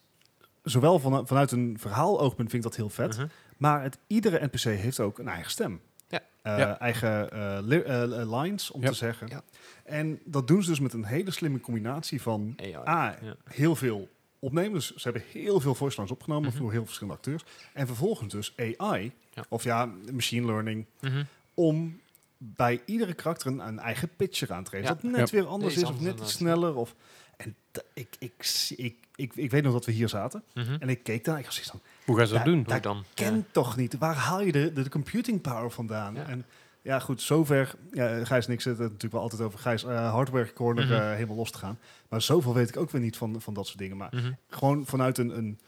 Zowel van, vanuit een verhaaloogpunt vind ik dat heel vet, Mhm. maar het, iedere NPC heeft ook een eigen stem. Ja. Eh, Ja. Eigen eh, li- eh, eh, lines, om Ja. te zeggen. Ja. En dat doen ze dus met een hele slimme combinatie van AI. A, Ja. heel veel opnemen. Dus ze hebben heel veel voice lines opgenomen Mhm. voor heel verschillende acteurs. En vervolgens dus AI, Ja. of ja, machine learning, Mhm. om bij iedere karakter een, een eigen pitcher aan te geven. Ja. Dat net Ja. weer anders Nee, is, of iets anders net iets inderdaad. sneller. Of, en da- ik, ik, zie- ik, ik, ik weet nog dat we hier zaten. Mhm. En ik keek daar en ik was zoiets van, Hoe gaan ze dat Ja, doen? Hoe dan? ken toch niet? Waar haal je de, de computing power vandaan? Ja. En ja, goed, zover. Ja, Gijs en ik zitten het natuurlijk wel altijd over Gijs eh, hardware corner Mhm. eh, helemaal los te gaan. Maar zoveel weet ik ook weer niet van, van dat soort dingen. Maar Ja. Mhm. gewoon vanuit een, een,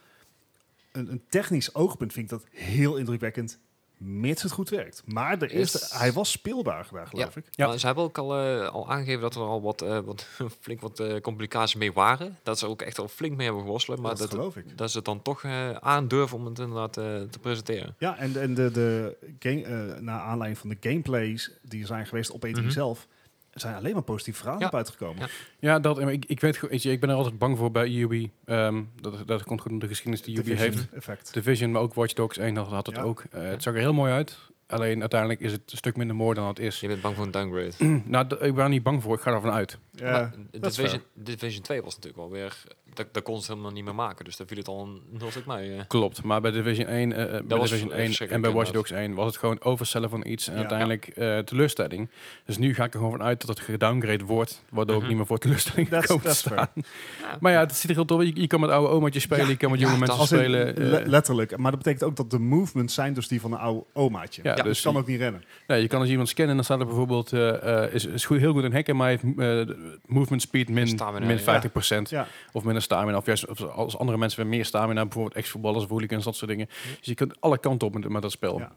een, een technisch oogpunt vind ik dat heel indrukwekkend. Mits het goed werkt. Maar de eerste, Yes. hij was speelbaar daar, geloof ik. Ja. Maar ze hebben ook al, eh, al aangegeven dat er al wat, eh, wat flink wat eh, complicaties mee waren. Dat ze ook echt al flink mee hebben geworsteld. Maar dat, dat, dat, geloof ik. ze het dan toch eh, aandurven om het inderdaad eh, te presenteren. Ja, en, en de, de game, eh, naar aanleiding van de gameplays die er zijn geweest op E3 Mhm. zelf, zijn alleen maar positieve verhalen Ja. op uitgekomen. Ja. Ja, dat, eh, ik, ik weet gewoon- weet je, ik ben er altijd bang voor bij Ubi. Ehm, dat, dat komt goed om de geschiedenis die Ubi Division heeft. effect. Division, maar ook Watch Dogs 1 had, had het Ja. ook. Eh, het zag er heel mooi uit. Alleen uiteindelijk is het een stuk minder mooi dan het is. Je bent bang voor een downgrade. nou, d- ik ben er niet bang voor. Ik ga ervan uit. Ja. Maar dat is Division, Division 2 was natuurlijk wel weer dat, dat kon ze helemaal niet meer maken. Dus daar viel het al een heel stuk mee. eh. Klopt, maar bij Division 1, eh, eh, bij was Division 1 en verschrikkelijk bij Watch inderdaad. Dogs 1 was het gewoon overcellen van iets en Ja. uiteindelijk eh, teleurstelling. Dus nu ga ik er gewoon van uit dat het gedowngrade wordt, waardoor ik Mhm. niet meer voor teleurstelling That's- komt te that's fair. staan. Maar ja, het ziet er heel tof uit. Je, je kan met oude omaatjes spelen, je kan met jonge Nou. ja, mensen dat Als in, spelen. eh, le- letterlijk. Maar dat betekent ook dat de movements zijn dus die van een oude omaatje. ja, Ja, Dus dus kan ook niet rennen. ja, je kan als iemand scannen en dan staat er bijvoorbeeld, eh, eh, is, is goed, heel goed in hacken, maar heeft eh, de- movement speed min, Stamina, min ja. 50%. Ja. Of minder stamina. Of juist of als andere mensen weer meer stamina, bijvoorbeeld ex-voetballers of hooligans, dat soort dingen. Dus je kunt alle kanten op met, met dat spel. Ja.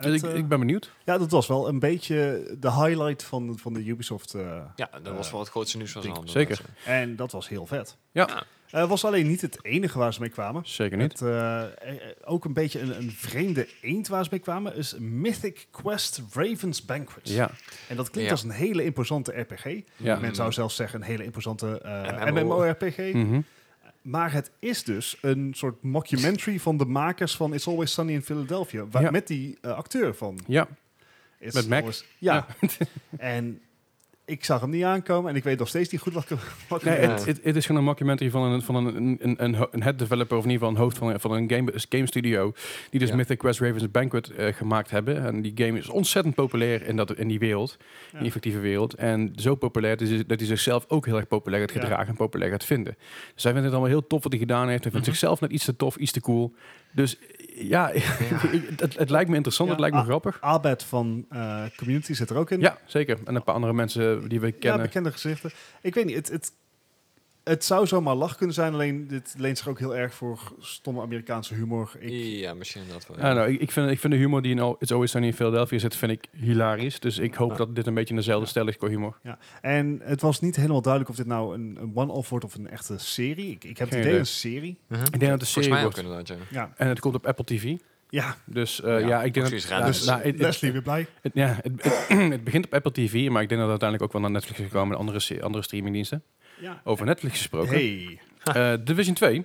Dus ik, Het, eh, ik ben benieuwd. ja, dat was wel een beetje de highlight van, van de Ubisoft. eh, Ja, dat was Eh, wel het grootste nieuws van zijn ding. handen. Zeker. Dat, eh, en dat was heel vet. Ja. Eh, was alleen niet het enige waar ze mee kwamen. Zeker niet. Het, eh, eh, ook een beetje een, een vreemde eend waar ze mee kwamen, is Mythic Quest Raven's Banquet. Ja, En dat klinkt Ja. als een hele imposante RPG. ja. Men zou zelfs zeggen een hele imposante eh, MMO. MMORPG. Mhm. Maar het is dus een soort mockumentary van de makers van It's Always Sunny in Philadelphia. Waar, Ja. Met die eh, acteur van Ja, It's Met Mac. Always- ja. en ik zag hem niet aankomen en ik weet nog steeds niet goed wat ik wat ik nee, moet. het, het, het is gewoon een documentary van een, van een, een, een, ho- een head developer, of in ieder geval een hoofd van een, van een game, game studio, die dus Ja. Mythic Quest Ravens Banquet eh, gemaakt hebben. En die game is ontzettend populair in, dat, in die wereld, in Ja. die fictieve wereld. En zo populair dat hij, dat hij zichzelf ook heel erg populair gaat Ja. gedragen en populair gaat vinden. Dus hij vindt het allemaal heel tof wat hij gedaan heeft. Hij vindt zichzelf net iets te tof, iets te cool. Dus ja, het, het lijkt me interessant, Ja. het lijkt me Ah. grappig. Abed van eh, Community zit er ook in. Ja, zeker. En een paar andere mensen die we Ja, kennen. bekende gezichten. Ik weet niet, het, het, het zou zomaar lach kunnen zijn, alleen dit leent zich ook heel erg voor stomme Amerikaanse humor. Ik, Ja, misschien dat wel. I don't know, Ah, nou, ik, ik, vind, ik vind de humor die in al It's Always Sunny in Philadelphia zit, vind ik hilarisch. Dus ik hoop Ja. dat dit een beetje in dezelfde stijl is qua humor. en het was niet helemaal duidelijk of dit nou een, een one-off wordt of een echte serie. Ik, ik heb het Geen idee idee. een serie. Mhm. Ik denk dat de Volgens serie mij ook wordt. inderdaad, ja. Ja, En het komt op Apple TV. ja. Dus eh, ja, Ja, ik denk dat... precies, raar. ja, dus nou, het- het- Leslie weer blij. het- ja, het, het begint op Apple TV, maar ik denk dat het uiteindelijk ook wel naar Netflix is gekomen en andere, se- andere streamingdiensten. Ja. Over Netflix gesproken. Hey. Eh, Division 2,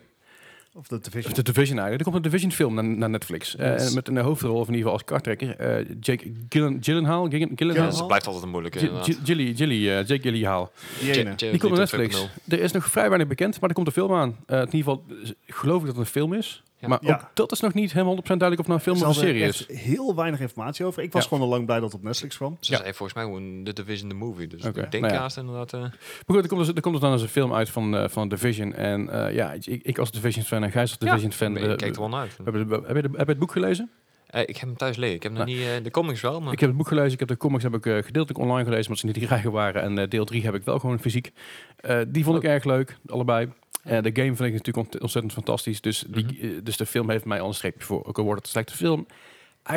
Of de of Division. de Division eigenlijk, er komt een Division film naar, naar Netflix. Eh, Yes. en met een hoofdrol, of in ieder geval als kartrekker, eh, Jake Gyllen, Gyllenhaal? Gyllen- Ja, Gyllenhaal? dat blijft altijd een moeilijke, Gy- inderdaad. Gy- Gilly, Gilly, eh, Jake Gyllenhaal. Die ene. Ch- Ch- Die komt op Ch- Netflix. 2.0. Er is nog vrij weinig bekend, maar er komt een film aan. Eh, in ieder geval eh, geloof ik dat het een film is. Ja. Maar Ja. ook dat is nog niet helemaal 100% duidelijk of het nou een film Ze of een hadden serie is. echt heel weinig informatie over. Ik was Ja. gewoon al lang blij dat het op Netflix kwam. Ze Ja. zei volgens mij gewoon The Division The Movie. Dus Oké, ik denk nou ja. haast inderdaad... eh, Maar goed, er komt dus, er komt dus dan eens een film uit van, eh van Division. En eh, ja, ik, ik als Division-fan en Gijs als Division-fan... ik eh, kijk er wel naar uit. heb, je de- heb, je de- heb je het boek gelezen? Eh, ik heb hem thuis liggen. Ik heb nog Nou. niet... eh, de comics wel, maar... Ik heb het boek gelezen, ik heb de comics heb ik, eh, gedeeltelijk online gelezen, omdat ze niet krijgen waren. En eh, deel 3 heb ik wel gewoon fysiek. Eh, die vond ik erg leuk, allebei. Eh, de game vind ik natuurlijk ont- ontzettend fantastisch. Dus, die, eh, dus de film heeft mij al een streepje voor. Ook al wordt het een slechte film.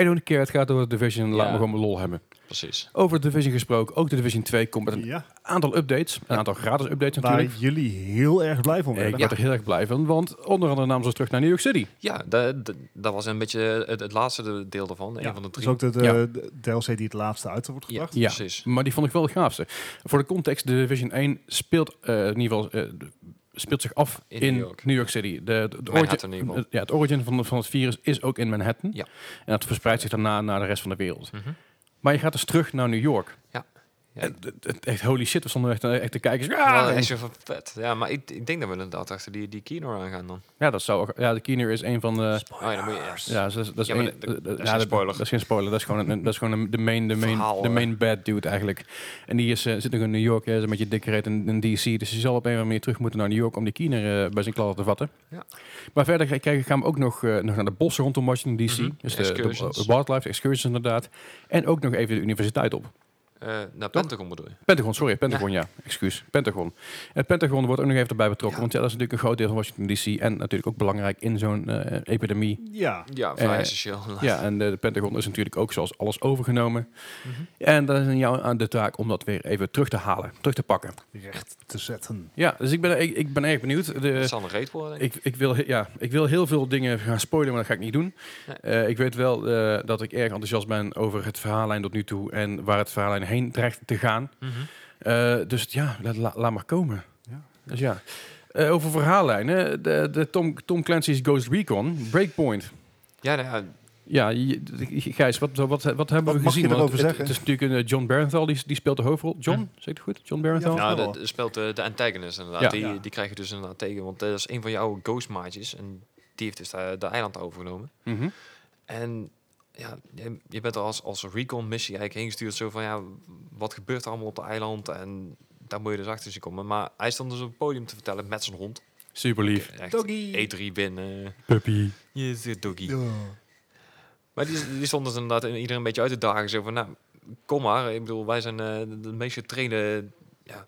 I don't care, het gaat over de Division. Laat Ja. me gewoon mijn lol hebben. Precies. Over de Division gesproken, ook de Division 2 komt met een Ja, aantal updates. Een aantal gratis updates waar natuurlijk. jullie heel erg blij van Eh, Ik werden. werd er heel erg blij van, want onder andere namen ze ons terug naar New York City. Ja, dat, dat- dat was een beetje het, het laatste deel daarvan. Ja, Een van de dat is drie. ook de, de, Ja. de DLC die het laatste uit wordt ja, gebracht. Ja. precies. Maar die vond ik wel het gaafste. Voor de context, de Division 1 speelt eh, in ieder geval... eh, de- speelt zich af in, New, York. City. De, de, de Manhattan in ieder geval. ja, het origin van, van het virus is ook in Manhattan. Ja. En dat verspreidt zich daarna naar de rest van de wereld. Mhm. Maar je gaat dus terug naar New York. Ja. Ja. En het- het- echt holy shit, we stonden echt, echt te kijken. Ja, Ah! dat is echt zo vet. Ja, maar ik, ik denk dat we inderdaad achter die, die Kino aan gaan dan. Ja, dat zou ook- ja, de Keener is een van de... Oh, ja, dan moet je eerst. Ja, dus dat is, dat is, Ja, maar één- dat- dat- eh, dat ja, is geen dat- spoiler. Dat is geen spoiler. Dat is gewoon, een, dat is gewoon een, de, main, de, main, Verhaal, de eh. main bad dude eigenlijk. En die is, eh, zit nog in New York, hè, is een beetje dikkerheid in, in DC. Dus je zal op een of andere manier terug moeten naar New York om die kiener eh, bij zijn kladden te vatten. Ja. Maar verder ga- krijgen, gaan we ook nog, eh, nog naar de bossen rondom Washington DC. Mhm. Dus de, Excursions. de wildlife excursions inderdaad. En ook nog even de universiteit op. Eh, naar Pentagon bedoel je? Pentagon, sorry, Pentagon, ja. Excuus, Pentagon. Het Pentagon wordt ook nog even erbij betrokken. Ja. Want ja, dat is natuurlijk een groot deel van Washington DC. En natuurlijk ook belangrijk in zo'n eh, epidemie. Ja, Ja, vrij Eh, essentieel. Ja, en eh, de, de Pentagon is natuurlijk ook zoals alles overgenomen. Mhm. En dan is aan jou aan de taak om dat weer even terug te halen, terug te pakken. recht te zetten. Ja, dus ik ben, ik, ik ben erg benieuwd. Het De, zal een reet worden. denk ik, ik, wil, he- ja, ik wil heel veel dingen gaan spoilen, maar dat ga ik niet doen. Nee. Eh, ik weet wel eh, dat ik erg enthousiast ben over het verhaallijn tot nu toe en waar het verhaallijn heen dreigt te gaan. ik. Mhm. Eh, dus ja, laat, la- laat maar komen. Ja. Dus ja. Eh, over verhaallijnen, de, de Tom, Tom Clancy's Ghost Recon, Breakpoint. Ja, nou ja, Ja, je- Gijs, wat, wat, wat hebben mag we je gezien? Want erover het, zeggen? Het is natuurlijk een eh, John Barenthal, die, die speelt de hoofdrol. John, zeg ik het goed? John Barenthal? Ja. Nou, wel. dat dat speelt de, de antagonist inderdaad. Ja. Die, Ja. die krijg je dus inderdaad tegen. Want dat is een van jouw ghostmaatjes. En die heeft dus de, de eiland overgenomen. Mhm. En ja, je, je bent er als, als recon missie eigenlijk heen gestuurd. Zo van ja, wat gebeurt er allemaal op de eiland? En daar moet je dus achter zien komen. Maar hij stond dus op het podium te vertellen met zijn hond. Super lief. Echt, E Doggy. E3 binnen. Puppy. Je zit doggy. Ja. Maar die, die stond dus inderdaad in- iedereen een beetje uit te dagen. Zo van, nou, kom maar. Ik bedoel, wij zijn eh, de, de meest getrainde ja,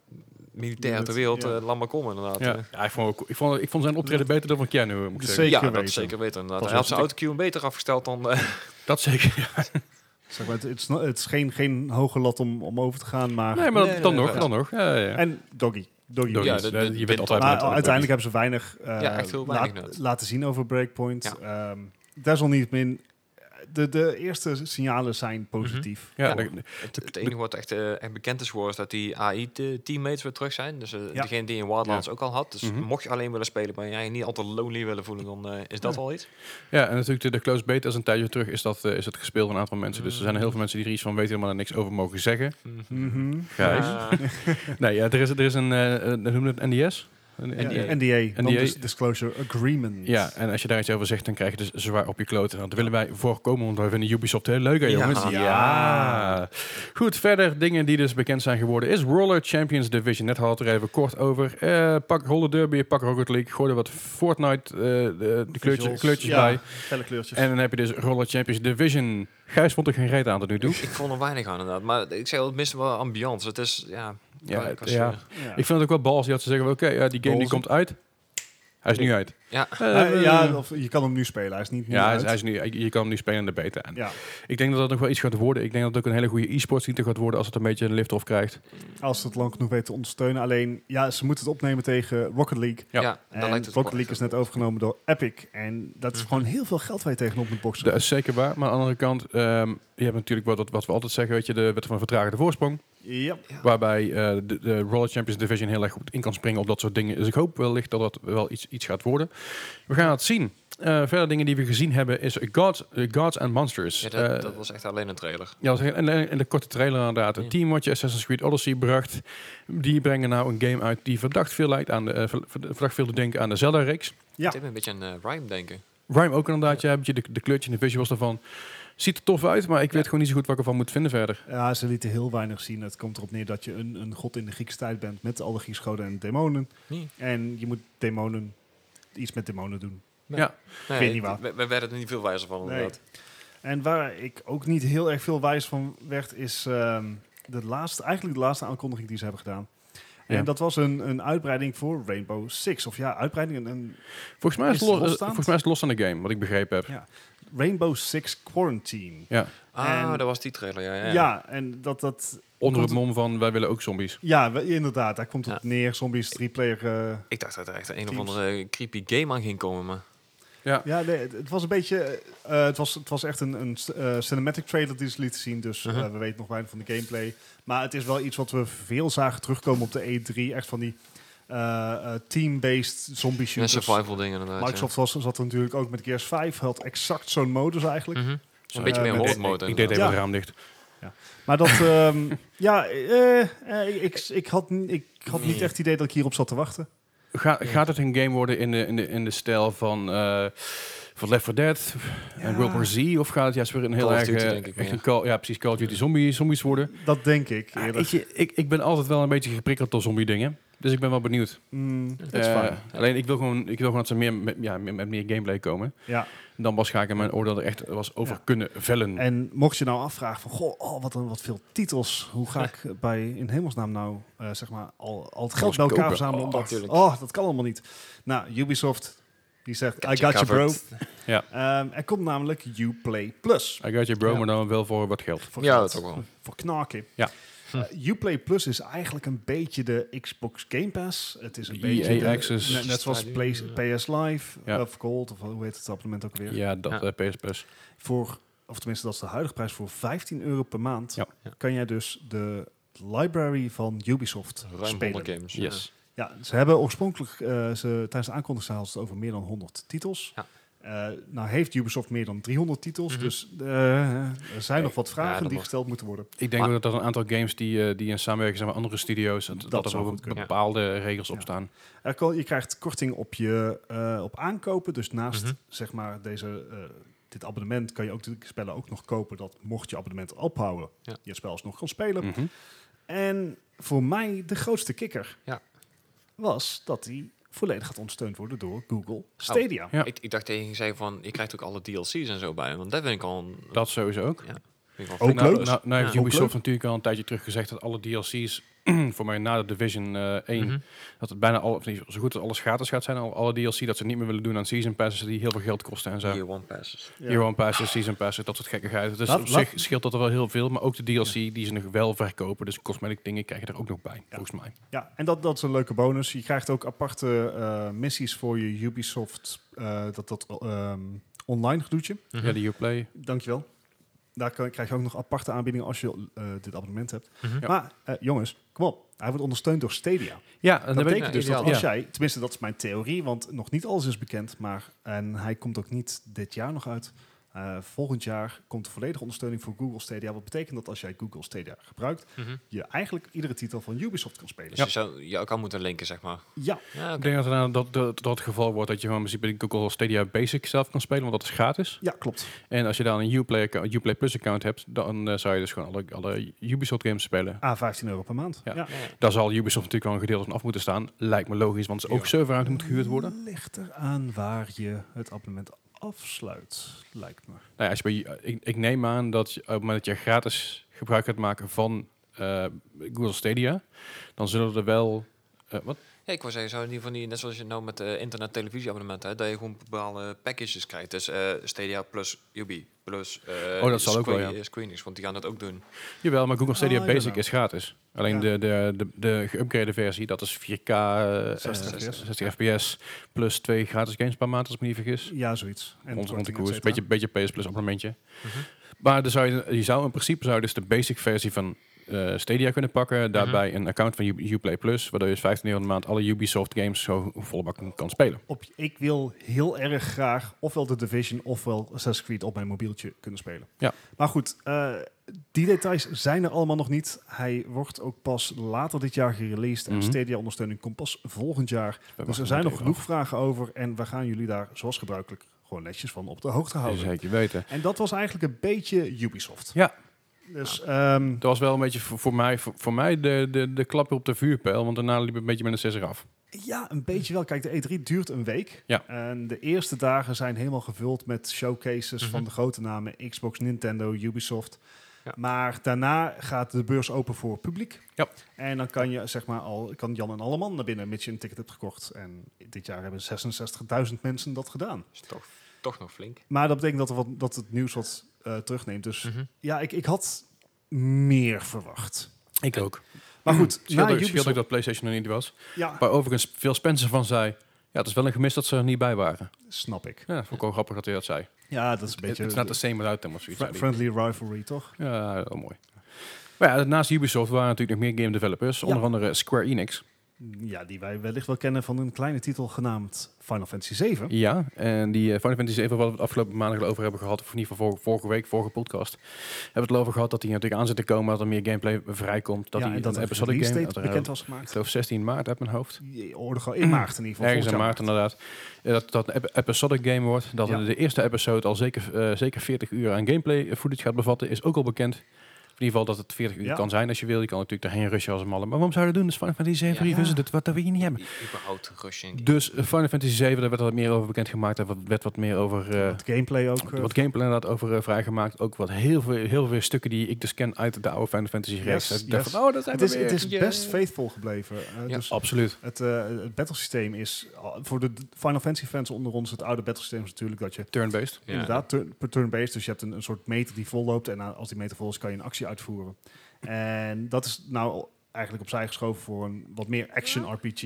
militairen Militair, ter wereld. ja. eh, laat maar komen, inderdaad. Ja, Eh, ja ik, vond, ook- ik, vond, ik vond zijn optreden beter dan van Keanu, moet ik zeggen. Zeker ja, dat weten. is zeker weten. Inderdaad. Was Hij had wel zijn autocue beter afgesteld dan... eh, Dat zeker. Zeg maar, het, het is, no- het is geen, geen hoge lat om, om over te gaan, maar... Nee, maar Nee, dan nee, nog, ja. dan nog. Ja, ja, ja. En Doggy. Doggy. Door Ja, iets. dat- Eh, dat- je bent bent altijd altijd- Maar uiteindelijk hebben ze weinig, eh, Ja, echt heel weinig laat- nut. laten zien over Breakpoint. Ja. Ehm, desalniettemin, de, de eerste signalen zijn positief. Ja, Ja. dat- het, het enige wat echt, eh, echt bekend is geworden is dat die AI-teammates weer terug zijn. Dus eh, Ja. degene die je in Wildlands ook al had. Dus Mhm. mocht je alleen willen spelen, maar jij je niet altijd lonely willen voelen, dan eh, is dat Ja. al iets. ja, en natuurlijk de, de close beta is een tijdje terug is dat, eh, is dat gespeeld door een aantal mensen. Dus er zijn heel veel mensen die er iets van weten, maar er niks over mogen zeggen. Mhm. Gijs. Eh, Nee, ja, er is, er is een, eh eh, noem het NDS? Een Ja, NDA. NDA, Non-dis- NDA. dus Disclosure Agreement. Ja, en als je daar iets over zegt, dan krijg je dus zwaar op je kloten. Want Dat willen wij voorkomen, want wij vinden Ubisoft heel leuk, hè, Ja. jongens. Ja. Goed, verder dingen die dus bekend zijn geworden is Roller Champions Division. Net hadden we er even kort over. Eh, pak Roller Derby, pak Rocket League. Gooi er wat Fortnite eh, de, de kleurtjes, Visuals. kleurtjes Ja, bij. Felle kleurtjes. En dan heb je dus Roller Champions Division. Gijs vond er geen reet aan tot nu toe. ik vond er weinig aan inderdaad. Maar ik zei al, het mist wel ambiance. Het is, ja... Ja, ik het- was, ja. eh, ja. Ik vind het ook wel bals. Je had ze zeggen, oké, ja, die game die Balls. komt uit. Hij is nu uit. ja. Eh, Eh, ja, of je kan hem nu spelen. Hij is niet Ja, niet hij is, uit. hij is nu, je kan hem nu spelen in de beta. En Ja, Ik denk dat dat nog wel iets gaat worden. Ik denk dat het ook een hele goede e-sports titel gaat worden als het een beetje een lift-off krijgt. als ze het lang genoeg weten te ondersteunen. Alleen, ja, ze moeten het opnemen tegen Rocket League. Ja. Ja, En dan lijkt het Rocket wel League is net overgenomen door Epic. En dat is gewoon heel veel geld waar je tegenop moet boksen. Dus Dat is zeker waar. Maar aan de andere kant, ehm, je hebt natuurlijk wat, wat we altijd zeggen, weet je, de wet van vertragende voorsprong. Ja. Waarbij eh, de, de Roller Champions Division heel erg goed in kan springen op dat soort dingen. Dus ik hoop wellicht dat dat wel iets, iets gaat worden. We gaan het zien. Eh, verder dingen die we gezien hebben is Gods, eh, Gods and Monsters. Ja, dat, Eh, dat was echt alleen een trailer. Ja, dat is heel- en en- en de korte trailer inderdaad. Het Ja. team wat je Assassin's Creed Odyssey bracht, die brengen nou een game uit die verdacht veel lijkt aan de, eh, ver- ver- verdacht veel doet denken aan de Zelda-reeks. Ja. Het deed me een beetje aan eh, Rhyme denken. Rhyme ook inderdaad, ja, een beetje de, de kleurtje en de visuals daarvan. Ziet er tof uit, maar ik weet gewoon niet zo goed wat ik ervan moet vinden verder. Ja, ze lieten heel weinig zien. Het komt erop neer dat je een, een god in de Griekse tijd bent met alle Griekse goden en demonen. Nee. En je moet demonen, iets met demonen doen. Nee, weet niet waar. We, we werden er niet veel wijzer van inderdaad. En waar ik ook niet heel erg veel wijs van werd, is ehm, de laatste, eigenlijk de laatste aankondiging die ze hebben gedaan. Ja. En dat was een, een uitbreiding voor Rainbow Six. Of ja, uitbreiding. Een, een Volgens mij is, Is het het los, eh, losstaand? volgens mij is het los aan de game, wat ik begrepen heb. Rainbow Six Quarantine. Ja. Ah, En- dat was die trailer, ja. Ja, ja. en dat, dat, Onder het Komt- mom van, wij willen ook zombies. ja we- inderdaad, daar komt het Ja. neer. Zombies, three-player. eh, Ik dacht dat er echt een Teams. of andere creepy game aan ging komen, maar... Ja, Ja, nee, het, het was een beetje. eh, het, was, het was echt een, een eh, cinematic trailer die ze lieten zien. Dus eh, Mhm. we weten nog weinig van de gameplay. Maar het is wel iets wat we veel zagen terugkomen op de E3. Echt van die eh, eh, team-based zombie Ja, shooters. survival dingen inderdaad. ja. Microsoft was, zat er natuurlijk ook met Gears 5. Had exact zo'n modus eigenlijk. Mhm. Zo, Een beetje eh, meer met- horror ik, mode. ik deed even Ja. het raam dicht. Maar dat. ehm, ja, eh, eh, ik, ik had, n- ik had niet Nee. echt het idee dat ik hierop zat te wachten. Ga, gaat het een game worden in de, in de, in de stijl van, eh, van Left 4 Dead en Ja. World War Z? Of gaat het juist weer een heel Call erg... of Duty, eh, denk ik echt meer. een call, ja, precies, Call of Duty zombie, zombies worden. Dat denk ik. Ah, eerder. weet je, ik, ik ben altijd wel een beetje geprikkeld door zombie dingen. Dus ik ben wel benieuwd. Mm, that's Eh, fine. alleen ik wil, gewoon, ik wil gewoon dat ze meer met, ja, met, met meer gameplay komen. Ja. Dan pas ga ik er mijn oordeel er echt was over Ja. kunnen vellen. En mocht je nou afvragen van, goh, oh, wat, een, wat veel titels. Hoe ga ik eh, bij, in hemelsnaam nou, eh, zeg maar, al, al het geld Alles bij elkaar kopen. verzamelen? Oh, omdat, natuurlijk. oh, dat kan allemaal niet. Nou, Ubisoft, die zegt, Got I you got you bro. Ja. Ehm, er komt namelijk Uplay Plus. I got you bro, Ja. maar dan wel voor wat geld. Voor Ja, geld. dat ook wel. Voor knaken. Ja. Eh, Uplay Plus is eigenlijk een beetje de Xbox Game Pass. Het is een EA beetje de- E Access. net, net zoals Play- PS Live eh, Ja. of Gold of hoe heet het abonnement ook weer. Ja, dat Ja. eh, PS Plus. voor, of tenminste dat is de huidige prijs, voor 15 euro per maand Ja. Ja. kan jij dus de library van Ubisoft Ruim spelen. 100 games. Yes. Ja, ze hebben oorspronkelijk, eh, ze, tijdens de aankondiging hadden ze het over meer dan 100 titels. Ja. Eh, nou heeft Ubisoft meer dan 300 titels, Mhm. dus eh, er zijn nog wat vragen dat die wordt- gesteld moeten worden. Ik denk Maar- ook dat er een aantal games die, eh, die in samenwerking zijn met andere studio's, dat, dat, Dat er zou ook goed kunnen. bepaalde regels Ja. op staan. Er kan- je krijgt korting op, je, eh, op aankopen, dus naast Mhm. zeg maar deze, eh, dit abonnement kan je ook de spellen ook nog kopen, dat mocht je abonnement ophouden, Ja. je het spel alsnog kan spelen. Mhm. En voor mij de grootste kikker Ja. was dat die volledig gaat ondersteund worden door Google Stadia. Ja. Ik, ik dacht tegen je zei van, je krijgt ook alle DLC's en zo bij. Want dat vind ik al... een- Dat sowieso ook. vind ik Ook vet. nou, leuk. Nou, nou heeft Ja. Ook Ubisoft leuk. natuurlijk al een tijdje terug gezegd dat alle DLC's voor mij na de Division eh 1, Mhm. dat het bijna al, of niet, zo goed als alles gratis gaat zijn, al- alle DLC dat ze niet meer willen doen aan season passes die heel veel geld kosten en zo. Year One passes. Ja. Year One passes, season passes, dat soort gekkigheid. Dus Laat- op laat- zich scheelt dat er wel heel veel, maar ook de DLC die ze nog wel verkopen, dus cosmetic dingen krijgen er ook nog bij, volgens mij. Ja, en dat, dat is een leuke bonus. Je krijgt ook aparte eh, missies voor je Ubisoft, eh, dat, dat ehm, online gedoetje. Ja, de Uplay. Dankjewel. Daar kan- krijg je ook nog aparte aanbiedingen als je eh, dit abonnement hebt. Mhm. Ja. Maar eh, jongens, kom op. Hij wordt ondersteund door Stadia. Ja, en Dat dan ben ik- betekent dus ideaal. dat als Ja. jij, tenminste dat is mijn theorie, want nog niet alles is bekend, maar en hij komt ook niet dit jaar nog uit. Eh, volgend jaar komt de volledige ondersteuning voor Google Stadia. Wat betekent dat als jij Google Stadia gebruikt, Mhm. je eigenlijk iedere titel van Ubisoft kan spelen. Dus je zou je ook al moeten linken, zeg maar. ja. Ja, Ik oké. denk dat, het, dat, dat dat het geval wordt dat je gewoon in principe Google Stadia Basic zelf kan spelen, want dat is gratis. ja, klopt. En als je dan een Uplay, acco- Uplay Plus account hebt, dan eh, zou je dus gewoon alle, alle Ubisoft games spelen. Ah, 15 euro per maand. Ja. Ja. Ja. Daar zal Ubisoft natuurlijk wel een gedeelte van af moeten staan. Lijkt me logisch, want ze ook Ja. server moet gehuurd worden. Ligt eraan waar je het abonnement afsluit, lijkt me. Nou ja, als je bij, ik, ik neem aan dat je, op het moment dat je gratis gebruik gaat maken van eh, Google Stadia, dan zullen er wel... eh, wat? Ja, ik wou zeggen, zou niet van die, net zoals je nou met eh internet televisieabonnementen, hebt, dat je gewoon bepaalde packages krijgt. Dus eh Stadia plus UB plus eh Oh, dat zal ook wel, Square- ja. eh, Square Enix, want die gaan dat ook doen. Jawel, maar Google Stadia Ah, ik Basic ben is gratis. Alleen Ja. de, de, de, de geüpgrade versie, dat is 4K, eh, 60 eh, FPS. 60 fps, plus twee gratis games per maand, als ik me niet vergis. Ja, zoiets. En rond, rond de korting, koers. et Beetje, cetera. beetje PS Plus abonnementje. Mhm. Maar dan zou je, je zou in principe zou je dus de basic versie van eh, Stadia kunnen Mhm. pakken. Daarbij een account van U- Uplay Plus. Waardoor je dus 15 euro in de maand alle Ubisoft games zo volle bak kan spelen. Op, ik wil heel erg graag ofwel The Division ofwel Assassin's Creed op mijn mobieltje kunnen spelen. Ja. Maar goed, eh, die details zijn er allemaal nog niet. Hij wordt ook pas later dit jaar gereleased Mhm. en Stadia-ondersteuning komt pas volgend jaar. We dus wachten er zijn het nog even genoeg vragen over en we gaan jullie daar zoals gebruikelijk gewoon netjes van op de hoogte af. houden. Zeker weten. En dat was eigenlijk een beetje Ubisoft. Ja. Dus ehm, Dat was wel een beetje voor, voor mij, voor, voor mij de, de, de klap op de vuurpijl. Want daarna liep het een beetje met een 6 eraf. Ja, een beetje wel. Kijk, de E3 duurt een week. Ja. En de eerste dagen zijn helemaal gevuld met showcases van de grote namen. Xbox, Nintendo, Ubisoft. Ja. Maar daarna gaat de beurs open voor publiek. Ja. En dan kan je, zeg maar, al, kan Jan en Alleman naar binnen, mits je een ticket hebt gekocht. En dit jaar hebben 66.000 mensen dat gedaan. Is toch, toch nog flink. Maar dat betekent dat, er wat, dat het nieuws wat eh, terugneemt. Dus Mhm. ja, ik, ik had meer verwacht. Ik ook. Maar goed, Scheelde na ook- scheelde ook Ubisoft... dat PlayStation er niet was. Ja, Waar overigens veel Spencer van zei... Ja, het is wel een gemis dat ze er niet bij waren. snap ik. Ja, vond ik wel grappig dat hij dat zei. Ja, dat is een beetje... It's not the same without them of zoiets. fri- zei hij. friendly rivalry, toch? Ja, heel mooi. Maar ja, naast Ubisoft waren natuurlijk nog meer game developers. Onder andere Square Enix. Ja, die wij wellicht wel kennen van een kleine titel genaamd Final Fantasy VII. Ja, en die eh, Final Fantasy 7, waar we het afgelopen maandag al over hebben gehad, of in ieder geval vor- vorige week, vorige podcast, hebben we het al over gehad dat hij natuurlijk aan zit te komen, dat er meer gameplay vrijkomt. Dat ja, hij en dat een er episodic release game, date dat er, eh, bekend was ik gemaakt. geloof 16 maart uit mijn hoofd. Je hoorde gewoon in maart in ieder geval. Ergens in maart volgend jaar inderdaad. Eh, Dat dat een ep- episodic game wordt. Dat Ja. de eerste episode al zeker, eh, zeker 40 uur aan gameplay eh, footage gaat bevatten, is ook al bekend. In ieder geval dat het 40 uur Ja. kan zijn als je wil. Je kan natuurlijk daarheen rushen als een malle. Maar waarom zou je dat doen? Dat is Final Fantasy 7 Ja. Revisited. Wat dat wil je niet hebben. I- überhaupt rushing. Dus eh, Final Fantasy 7, daar werd wat meer over bekendgemaakt. Daar werd wat meer over... eh, Het gameplay ook. eh, wat gameplay inderdaad over eh, vrijgemaakt. Ook wat heel veel, heel veel stukken die ik dus ken uit de oude Final Fantasy reeks. Yes, Ik dacht yes. van, oh, dat zijn het we is, weer. het is Yay. best faithful gebleven. eh, Ja. dus Absoluut. het, eh, het battlesysteem is, al- voor de d- Final Fantasy fans onder ons, het oude battlesysteem is natuurlijk dat je Turn-based. Ja. inderdaad turn, per turn-based, dus je hebt een, een soort meter die vol loopt en eh, als die meter vol is kan je een actie uitvoeren. En dat is nou eigenlijk opzij geschoven voor een wat meer action RPG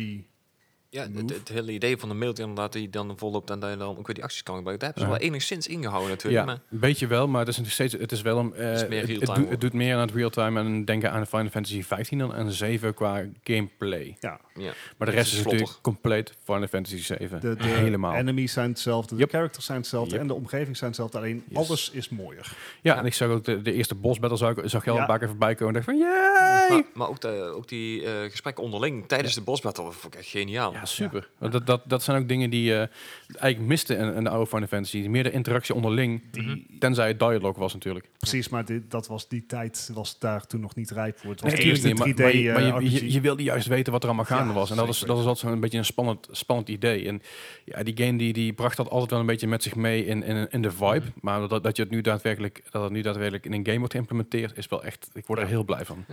Ja, move. het, het hele idee van de mail inderdaad, die dan volop en dat je dan ook weer die acties kan gebruiken. Daar hebben ze Ja. wel enigszins ingehouden natuurlijk. Ja, Maar een beetje wel, maar het is nog steeds, het is wel een, eh, is het- meer het, real-time doet- het worden. doet meer aan het real-time en denken aan Final Fantasy 15 dan aan 7 qua gameplay. Ja, ja, Maar de Het rest is is natuurlijk vlotter. compleet Final Fantasy 7. de, de Eh, Helemaal. enemies zijn hetzelfde, de Yep. characters zijn hetzelfde Yep. en de omgeving zijn hetzelfde. Alleen Yes. alles is mooier. Ja, en ik zag ook de, de eerste boss battle zag, ik- zag je al Ja. een paar keer voorbij komen. En dacht van, yay! maar, maar ook, de, ook die eh, gesprekken onderling tijdens de bosbattle vond ik echt geniaal. Ja, super. Want Dat, dat, dat zijn ook dingen die eh eigenlijk misten in, in de oude Final Fantasy. Meer de interactie onderling, Mhm. tenzij het dialoog was natuurlijk. Precies, maar dit, dat was die tijd was daar toen nog niet rijp voor. Het was Nee, eerst een 3D tuurlijk niet, maar, maar je, eh, maar je, RPG. je, je wilde juist weten wat er allemaal gaande Ja, was. En dat is, zeker. dat is altijd zo'n beetje een spannend, spannend idee. En ja, die game die, die bracht dat altijd wel een beetje met zich mee in, in, in de vibe. Mm. Maar dat, dat, je het nu daadwerkelijk, dat het nu daadwerkelijk in een game wordt geïmplementeerd, is wel echt... Ik word er heel blij van.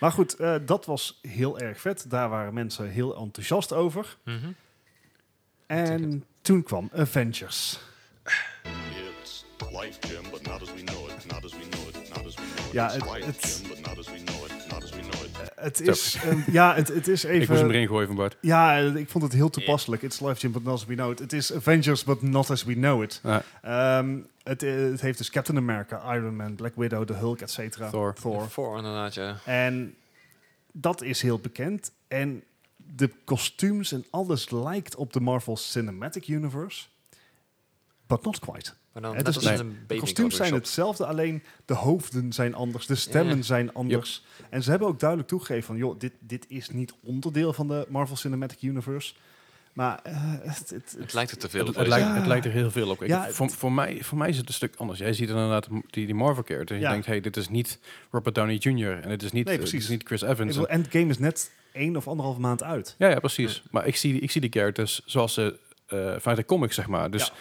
Maar goed, eh, dat was heel erg vet. Daar waren mensen heel enthousiast over. Mhm. En toen kwam Avengers. It's life, Jim, but not as we know it, not as we know it, not as we know it. Ja, it's het- life, het- Jim, but not as we know it, not as we know it. Het is, eh, ja, het, het is even... Ik moest hem erin gooien van Bart. Ja, eh, ik vond het heel toepasselijk. It's Life Jim, but not as we know it. Het is Avengers, but not as we know it. Ja. Ehm, het, eh, het heeft dus Captain America, Iron Man, Black Widow, The Hulk, et cetera. Thor. Ja, Voor inderdaad, ja. En dat is heel bekend. En de kostuums en alles lijkt op de Marvel Cinematic Universe. But not quite. Maar dan, Het net is als nee. in Oh, een baby De kostuums zijn Photoshop. hetzelfde, alleen de hoofden zijn anders, de stemmen Ja. zijn anders. En ze hebben ook duidelijk toegegeven van, joh, dit, dit is niet onderdeel van de Marvel Cinematic Universe. Maar eh, het, het, Het lijkt er te veel Het, op. het, deze. lijkt, het lijkt er heel veel op. Ik, Ja, voor, het- voor, mij, voor mij is het een stuk anders. Jij ziet inderdaad die, die Marvel-character. En je Ja. denkt, hey, dit is niet Robert Downey Jr. En dit is niet, Nee, eh, dit precies. is niet Chris ik Evans. bedoel, Endgame is net één of anderhalf maand uit. Ja, ja precies. Maar ik zie, ik zie die characters zoals ze eh, vanuit de comics, zeg maar. Dus Ja.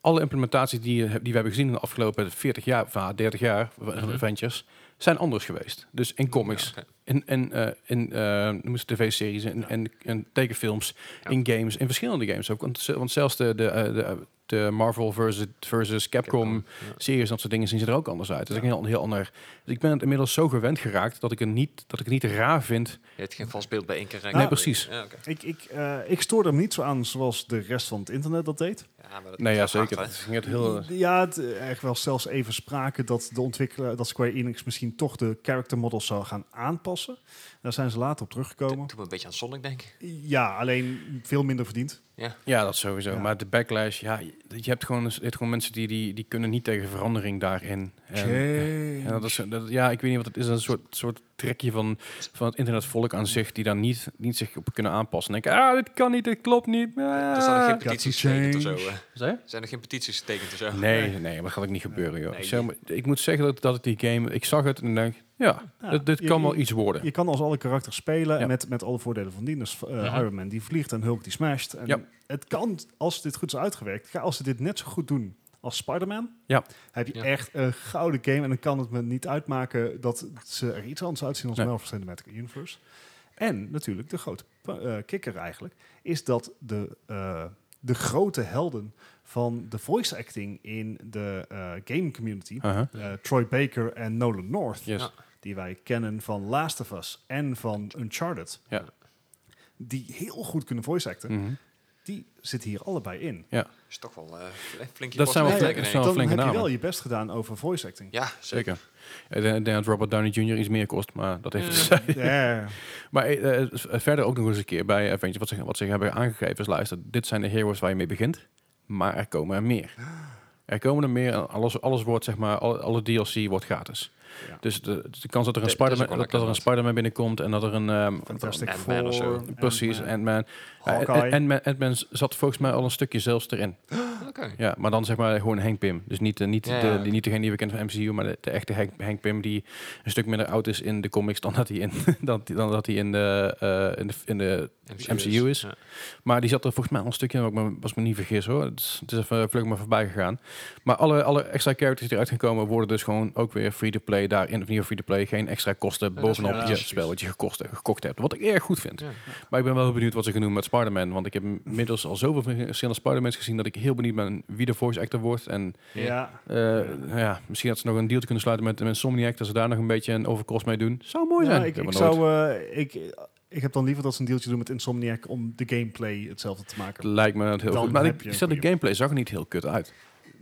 alle implementaties die, je hebt- die we hebben gezien in de afgelopen 40 jaar, of, ah, 30 jaar van van Avengers, zijn anders geweest. Dus in comics, Mhm. oké. in, in, eh, in eh, noem ze tv-series, in, en en tekenfilms, Ja. in games, in verschillende games ook. Want, ze- want zelfs de, de, eh, de, de Marvel versus, versus Capcom ja. series en dat soort dingen zien ze er ook anders uit. Dus is ik een heel, heel ander. Dus ik ben het inmiddels zo gewend geraakt dat ik het niet, dat ik het niet raar vind. Je hebt geen vast beeld bij één keer nee, rekken. precies. Ja, oké. Ik, ik, eh, ik stoorde hem niet zo aan zoals de rest van het internet dat deed. Ja, maar dat Nee, is ja, wel hard, zeker. hè. Het ging het heel, Ja, het, eh, er was zelfs even sprake dat de ontwikkelaar, dat Square Enix misschien toch de character models zou gaan aanpassen. Daar zijn ze later op teruggekomen. Toen we een beetje aan Sonic denken. Ah, Ja, alleen veel minder verdiend. Ja, dat sowieso. Ja. Maar de backlash, ja, je je hebt gewoon, je hebt gewoon mensen die, die, die kunnen niet tegen verandering daarin. En, en dat is, dat, ja, ik weet niet wat het is. Dat is een soort, soort trekje van, van het internetvolk aan zich, die daar niet, niet zich op kunnen aanpassen. En denken, ah, dit kan niet, dit klopt niet. Er zijn nog geen Ah. to petities getekend of zo. change. eh. Zei? Er zijn nog geen petities getekend of zo. Nee, nee, maar dat gaat ook niet gebeuren, joh. Nee, Zeg maar, ik moet zeggen dat, dat ik die game, ik zag het en denk, ja, Ja, dit, dit je- kan je- wel iets worden. Je kan als alle karakters spelen Ja. Mhm. met, met alle voordelen van dien. Dus eh, Ja. Iron Man die vliegt en Hulk die smasht. En Ja. Het kan, als dit goed is uitgewerkt, ga- als ze dit net zo goed doen als Spider-Man, Ja. heb je Ja. echt een gouden game. En dan kan het me niet uitmaken dat ze er iets anders uitzien als Nee. Marvel Cinematic Universe. En natuurlijk de grote pa- eh, kikker eigenlijk, is dat de, eh, de grote helden van de voice acting in de eh, game community, Uh-huh. eh, Troy Baker en Nolan North, Yes. Ja. die wij kennen van Last of Us en van Uncharted, Ja. die heel goed kunnen voice acten, Mhm. die zitten hier allebei in. is toch wel eh, fl- flinkje Dat zijn wel flinke- kosten tekenen, dat zijn wel dan heb flinke je wel namen. je best gedaan over voice acting. Ja, zeker. Zeker. Mm. Ik denk dat Robert Downey Jr. iets meer kost, maar dat heeft het Ja. Maar eh, eh, verder ook nog eens een keer bij Avengers, wat ze, wat ze hebben aangegeven is, luister, dit zijn de heroes waar je mee begint, maar er komen er meer. Er komen er meer en alles, alles wordt, zeg maar, alle, alle DLC wordt gratis. Ja. Dus de, de kans dat er een Dat- dat is ook wel Spider-Man dat, lekker, er een inderdaad. Spider-Man binnenkomt en dat er een... ehm, Fantastic Ant-Man Four. eh, of zo. Ant-Man, precies, Ant-Man. Ja, Hawkeye. en Ant-Man Ant-Man zat volgens mij al een stukje zelfs erin. Oké. Ja, maar dan zeg maar gewoon Hank Pym. Dus niet, eh, niet, Ja, de, ja. die, niet degene die we kennen van MCU, maar de, de echte Hank, Hank Pym die een stuk minder oud is in de comics dan dat hij in, dan, dan dat hij in, de, eh, in, de, in de MCU is. Ja. Maar die zat er volgens mij al een stukje, in, maar ik me- als ik me niet vergis hoor. Het is, het is even vlug maar voorbij gegaan. Maar alle, alle extra characters die eruit gaan komen, worden dus gewoon ook weer free-to-play daarin. Of niet free-to-play, geen extra kosten dat is bovenop wel- je ja, precies. spel wat je gekost, gekocht hebt. Wat ik erg goed vind. Ja. Maar ik ben wel heel benieuwd wat ze gaan doen met Spider-Man. Want ik heb inmiddels al zoveel verschillende Spider-Mans gezien dat ik heel benieuwd ben wie de voice actor wordt. En Ja. eh, nou ja, misschien dat ze nog een deal te kunnen sluiten met, met Somniac, dat ze daar nog een beetje een overkost mee doen. Zou mooi Ja, zijn. ik, Weet ik maar nooit. zou, eh, ik, ik heb dan liever dat ze een deeltje doen met Insomniac om de gameplay hetzelfde te Het maken. lijkt me dat heel eh, Dan goed. Maar heb ik je een stel, de goeie. gameplay zag er niet heel kut uit.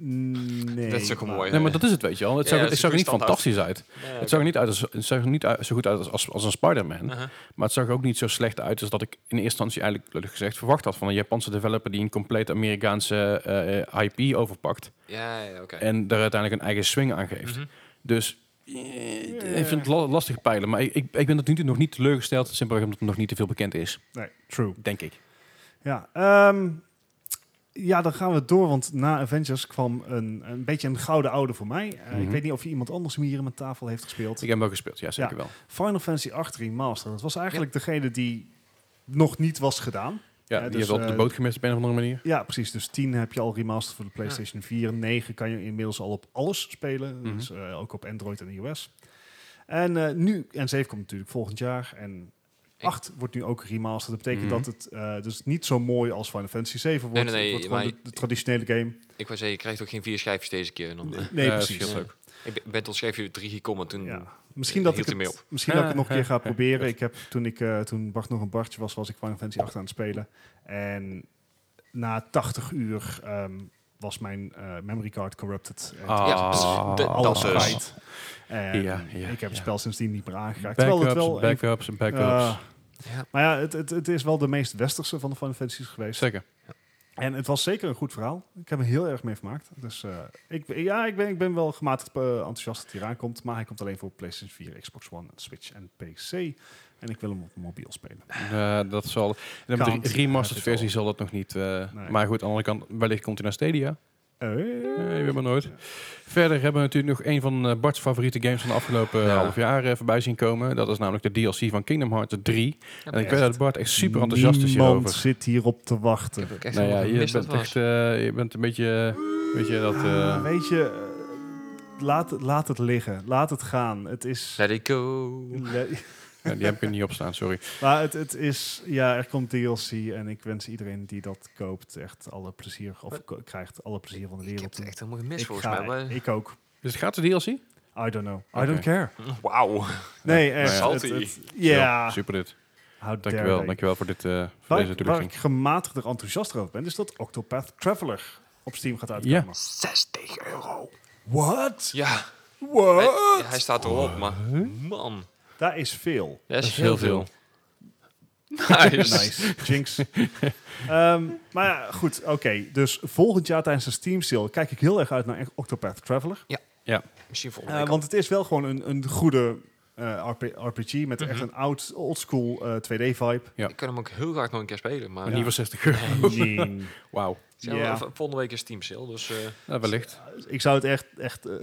Nee. Dat is ook een maar- mooie. Nee, maar dat is het, weet je wel. Het Ja, zag, ja, het ze zag er doen niet standaard. fantastisch uit. Ja, oké. Het zag er niet, uit als, het zag er niet uit, zo goed uit als, als, als een Spider-Man. Aha. Maar het zag er ook niet zo slecht uit als dat ik in eerste instantie eigenlijk eerlijk gezegd verwacht had van een Japanse developer die een compleet Amerikaanse eh, eh, IP overpakt Ja, ja, oké. en daar uiteindelijk een eigen swing aan geeft. Mhm. Dus eh, ik vind het la- lastig peilen, maar ik, ik ik ben tot nu toe nog niet teleurgesteld, simpelweg omdat het nog niet te veel bekend is, Nee, true. denk ik. Ja, ehm, ja, dan gaan we door, want na Avengers kwam een, een beetje een gouden oude voor mij. Eh, Ik Mhm. weet niet of je iemand anders hem hier aan mijn tafel heeft gespeeld. Ik heb hem wel gespeeld, ja zeker Ja. wel. Final Fantasy 8 Remastered. Dat was eigenlijk degene die nog niet was gedaan. Ja, Ja, die dus, heeft wel eh, de boot gemist op een of andere manier. Ja, precies. Dus 10 heb je al remastered voor de PlayStation 4. 9 kan je inmiddels al op alles spelen. Mhm. Dus eh, ook op Android en iOS. En eh, nu, en 7 komt natuurlijk volgend jaar. En 8 wordt nu ook remastered. Dat betekent Mhm. dat het eh, dus niet zo mooi als Final Fantasy 7 wordt. Nee, nee, nee, het wordt gewoon maar- de, de traditionele game. Ik wou zeggen, je krijgt ook geen vier schijfjes deze keer. En dan, eh, Nee, Eh, precies. scheelt ook. ik ben- ben tot schijfje drie gekomen toen. Ja. Misschien dat, ik Hield het, hij mee misschien dat ik het nog een keer ga proberen. Ik heb, toen, ik, eh, toen Bart nog een Bartje was, was ik Final Fantasy 8 aan het spelen. En na 80 uur ehm, was mijn eh, memory card corrupted. En Ah, Ja, dus Ah, de- alles dat is. kwijt. En Ja, ja, ik heb het ja. spel sindsdien niet meer aangeraakt. Terwijl het Backups, wel een- backups en backups. Ah, Ja. maar ja, het, het, het is wel de meest westerse van de Final Fantasy's geweest. Zeker. En het was zeker een goed verhaal. Ik heb er heel erg mee vermaakt. Dus eh, ik, ja, ik ben, ik ben wel gematigd eh, enthousiast dat hij eraan komt. Maar hij komt alleen voor PlayStation 4, Xbox One, Switch en PC. En ik wil hem op mobiel spelen. Eh, dat zal. En met Kant. de remastered Ja, dit versie zal dat nog niet. eh, Nee. Maar goed, aan de andere kant, wellicht komt hij naar Stadia. Eh, Eh, je weet maar nooit. Verder hebben we natuurlijk nog een van eh, Bart's favoriete games van de afgelopen eh, Ja. half jaar eh, voorbij zien komen. Dat is namelijk de DLC van Kingdom Hearts 3. en ik echt. weet dat Bart echt super enthousiast is Niemand hierover. zit hierop te wachten. Ik heb ook echt Nou ja, helemaal je gemist dat bent, was. echt, eh, je bent een beetje, eh, weet je, dat... eh, Ah, weet je, eh, laat, het- laat het liggen. Laat het gaan. Het is... Let it go. Le- ja, die heb ik er niet op staan, sorry. Maar het, het is, ja, er komt DLC en ik wens iedereen die dat koopt echt alle plezier, of ko- krijgt alle plezier van de Ik heb wereld. het echt helemaal gemist Ik volgens ga- mij. maar- ik ook. Dus het gaat de DLC? I don't know. Oké. I don't care. eh, Wauw. Nee, echt. nou ja. het- het- Zo, Ja. Super dit. How dare Dankjewel, they. dankjewel voor, dit, eh, voor Waar, deze ik- waar ik toelichting. gematigder enthousiaster over ben, is dat Octopath Traveler op Steam gaat uitkomen. Ja. 60 euro. What? Ja, hij, What? hij staat erop, maar man. Daar is veel. Dat is heel veel. Nice. Nice. Jinx. Ehm, maar ja, goed, oké. Dus volgend jaar tijdens de Steam sale kijk ik heel erg uit naar Octopath Traveler. Misschien Eh, volgende week al. want het is wel gewoon een, een goede eh, RP RPG met Mhm. echt een oud, oldschool eh 2D-vibe. ja. Ik kan hem ook heel graag nog een keer spelen, maar... Maar niet voor 60 euro. Wauw. Ja, Ja. maar v- eh, Volgende week is Team Sale, dus eh, Nou, wellicht. Ik zou het echt, echt eh,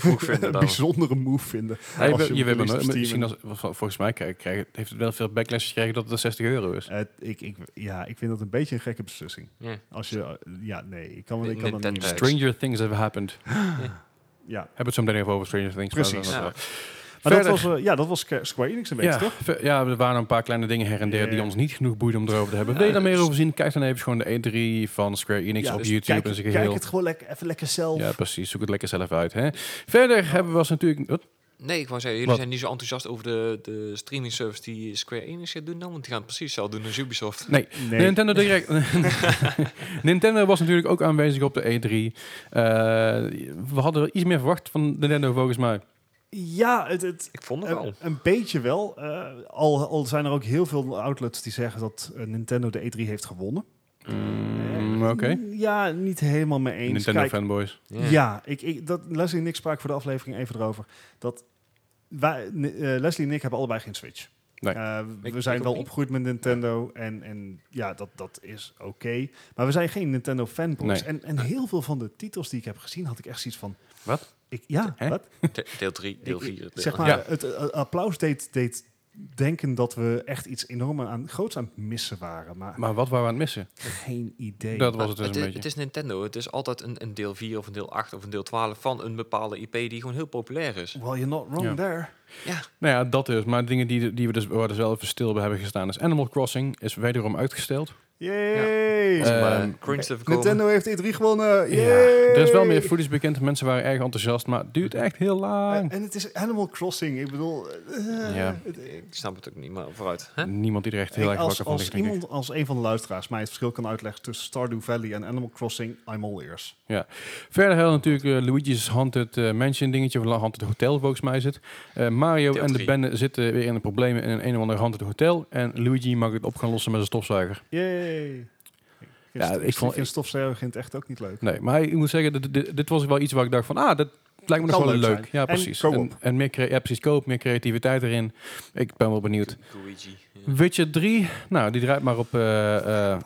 vroeg vinden een dan. bijzondere move vinden. Hij als wil- hem je weet maar released op nooit. Steam. Misschien als, vol- volgens mij krijg, krijg, heeft het wel veel backlash gekregen dat het 60 euro is. Eh, ik, ik, ja, ik vind dat een beetje een gekke beslissing. Ja. Als je, eh, ja, nee, ik kan, ik kan dat Nintendo. niet. Thanks. Stranger things have happened. Ja, Hebben we het zo meteen even over Stranger Things. maar Precies. dat- eh, Ja. maar dat Verder. was, eh, ja, dat was Squ- Square Enix een beetje, Ja, toch? ver- ja, er waren een paar kleine dingen her en der die Ja. dus- ons niet genoeg boeiden om erover te hebben. Wil je daar meer over zien? Kijk dan even gewoon de E3 van Square Enix Ja, op dus YouTube kijk, in zijn kijk geheel. het gewoon lekker, even lekker zelf. Ja, precies. Zoek het lekker zelf uit. Hè. Verder hebben we was natuurlijk... Wat? Nee, ik wou zeggen, jullie Wat? zijn niet zo enthousiast over de, de streaming service die Square Enix gaat doen dan, want die gaan het precies hetzelfde doen als Ubisoft. Nee, Nee. Nintendo Direct. Nintendo was natuurlijk ook aanwezig op de E3. Eh, we hadden wel iets meer verwacht van Nintendo volgens mij. Ja, het, het, Ik vond het een, wel. een beetje wel. Eh, al, al zijn er ook heel veel outlets die zeggen dat eh, Nintendo de E3 heeft gewonnen. Mm, Oké. Ja, niet helemaal mee eens. Nintendo Kijk, fanboys. Ja. Ja, ik, ik, dat, Leslie en ik spraken voor de aflevering even erover. Dat wij, N- eh, Leslie en ik hebben allebei geen Switch. Nee. Eh, we Ik- ik zijn ook wel niet. opgegroeid met Nintendo en, en ja, dat, dat is oké. Maar we zijn geen Nintendo fanboys. Nee. En, en heel veel van de titels die ik heb gezien, had ik echt zoiets van... Wat? Ik, ja, Hè? wat? De- Deel 3, deel Ik- 4. Zeg maar, Ja. het eh, applaus deed, deed denken dat we echt iets enorm aan, groots aan het missen waren. Maar, Maar wat waren we aan het missen? geen idee. Dat was het dus het, een is- beetje. het is Nintendo. Het is altijd een, een deel 4 of een deel 8 of een deel 12 van een bepaalde IP die gewoon heel populair is. Well, you're not wrong Ja. there. Ja, Nou ja, dat dus. Maar dingen die, die we dus waar we dus wel even stil bij hebben gestaan is Animal Crossing is wederom uitgesteld. Yay! Ja. Eh, maar Ehm, een crunch te verkopen. Nintendo heeft E3 gewonnen. Ja, Yay! er is wel meer footage bekend. Mensen waren erg enthousiast, maar het duurt echt heel lang. En, en het is Animal Crossing. Ik bedoel, eh, Ja. het- Ik snap het ook niet, maar vooruit. Hè? Niemand die er echt heel ik- erg als, wakker van als ligt, denk ik. iemand, als een van de luisteraars mij het verschil kan uitleggen tussen Stardew Valley en Animal Crossing, I'm all ears. Verder hadden we natuurlijk eh, Luigi's Haunted eh, Mansion dingetje, of La- Haunted Hotel volgens mij zit. Eh, Mario Deel en de drie. bende zitten weer in de problemen in een, een of ander Haunted Hotel. En Luigi mag het op gaan lossen met zijn stofzuiger. Yay! Ja, ik ik vond- vond vind stofzuiger in het echt ook niet leuk. Nee, maar ik moet zeggen, dit, dit, dit was wel iets waar ik dacht van, ah, dat lijkt me nog Kan wel leuk. leuk Ja, zijn. En precies. co-op. en, en meer, crea- ja, precies, koop, meer creativiteit erin. Ik ben wel benieuwd. Luigi. ja. Witcher 3, nou, die draait maar op eh, eh,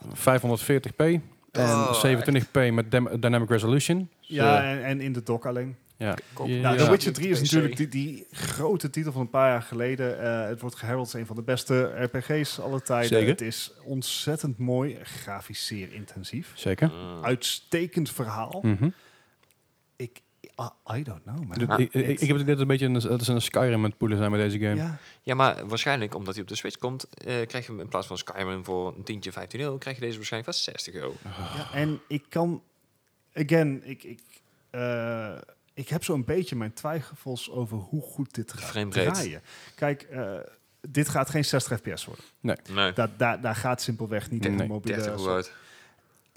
540p. En Oh, 27p met dam- Dynamic Resolution. Dus, Ja, eh, en, en in de dock alleen. ja. Koop. Ja, Nou, ja. The Witcher 3 is PC. natuurlijk die, die grote titel van een paar jaar geleden. Eh, het wordt geherald als een van de beste RPG's aller tijden. Zeker. Het is ontzettend mooi, grafisch zeer intensief. Zeker. Mm. Uitstekend verhaal. Mhm. Ik, ah, I, I don't know, man. Dit- ik, ik, ik heb het idee dat het een beetje een, dat is een Skyrim met poelen zijn bij deze game. Ja. Ja, maar waarschijnlijk omdat hij op de Switch komt, eh, krijg je hem in plaats van Skyrim voor een tientje, 15 euro, krijg je deze waarschijnlijk wel 60 euro. Ja, en ik kan, again, ik, ik, eh, ik heb zo'n beetje mijn twijfels over hoe goed dit gaat framerate. draaien. Kijk, eh, dit gaat geen 60 fps worden. Nee, Daar, daar, daar gaat simpelweg niet in Nee. de mobiele... 30 euro uit.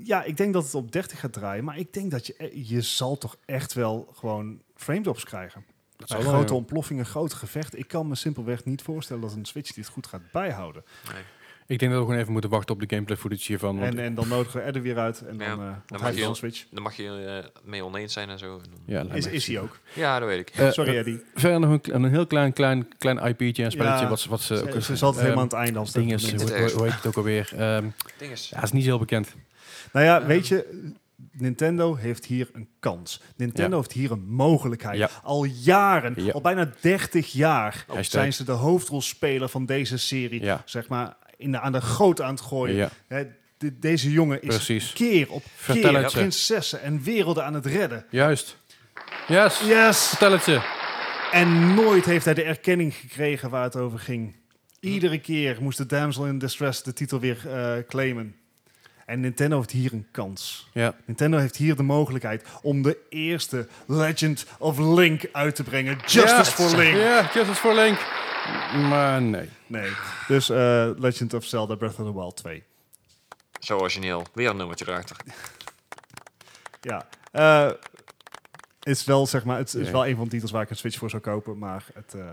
Ja, ik denk dat het op 30 gaat draaien, maar ik denk dat je, eh, je zal toch echt wel gewoon frame drops krijgen. Dat Bij zou wel, grote ja. ontploffingen, grote gevechten. Ik kan me simpelweg niet voorstellen dat een Switch dit goed gaat bijhouden. Ik denk dat we gewoon even moeten wachten op de gameplay footage hiervan. Want En, en dan nodigen we Ed er weer uit en Ja, dan, eh mag want hij je- heeft een Switch. Dan mag je eh, mee oneens zijn en zo. ja, lijkt eh, Is, me is hij echt- ook. Ja, dat weet ik. Eh, Sorry eh, Eddie. verder nog een, kle- een heel klein, klein, klein IP'tje en spelletje. Ja, Wat, ze- wat ze ook Ze, ze eens- is altijd ehm, helemaal aan het einde als het ding even is, niet- hoe, hoe- hoe heet het ook alweer? Ehm Ding is, ja, het is niet zo heel bekend. Nou Eh, ja, weet je, Nintendo heeft hier een kans. Nintendo heeft hier een mogelijkheid. Ja. Al jaren, Ja. al bijna 30 jaar Hashtag. zijn ze de hoofdrolspeler van deze serie. Ja. Zeg maar in de, aan de goot aan het gooien. Ja, Hè, de- deze jongen is Precies. keer op Vertel keer het ze. prinsessen en werelden aan het redden. juist. Yes, Yes! vertel het ze. En nooit heeft hij de erkenning gekregen waar het over ging. Iedere keer moest de damsel in distress de titel weer eh, claimen. En Nintendo heeft hier een kans. Ja, Nintendo heeft hier de mogelijkheid om de eerste Legend of Link uit te brengen. Justice Ja. for Link. Ja, Justice for Link. Maar nee. Nee, dus eh, Legend of Zelda Breath of the Wild 2. zo origineel. Weer een nummertje erachter. Ja, eh, is wel zeg maar, het is Ja. wel een van de titels waar ik een Switch voor zou kopen, maar het, eh,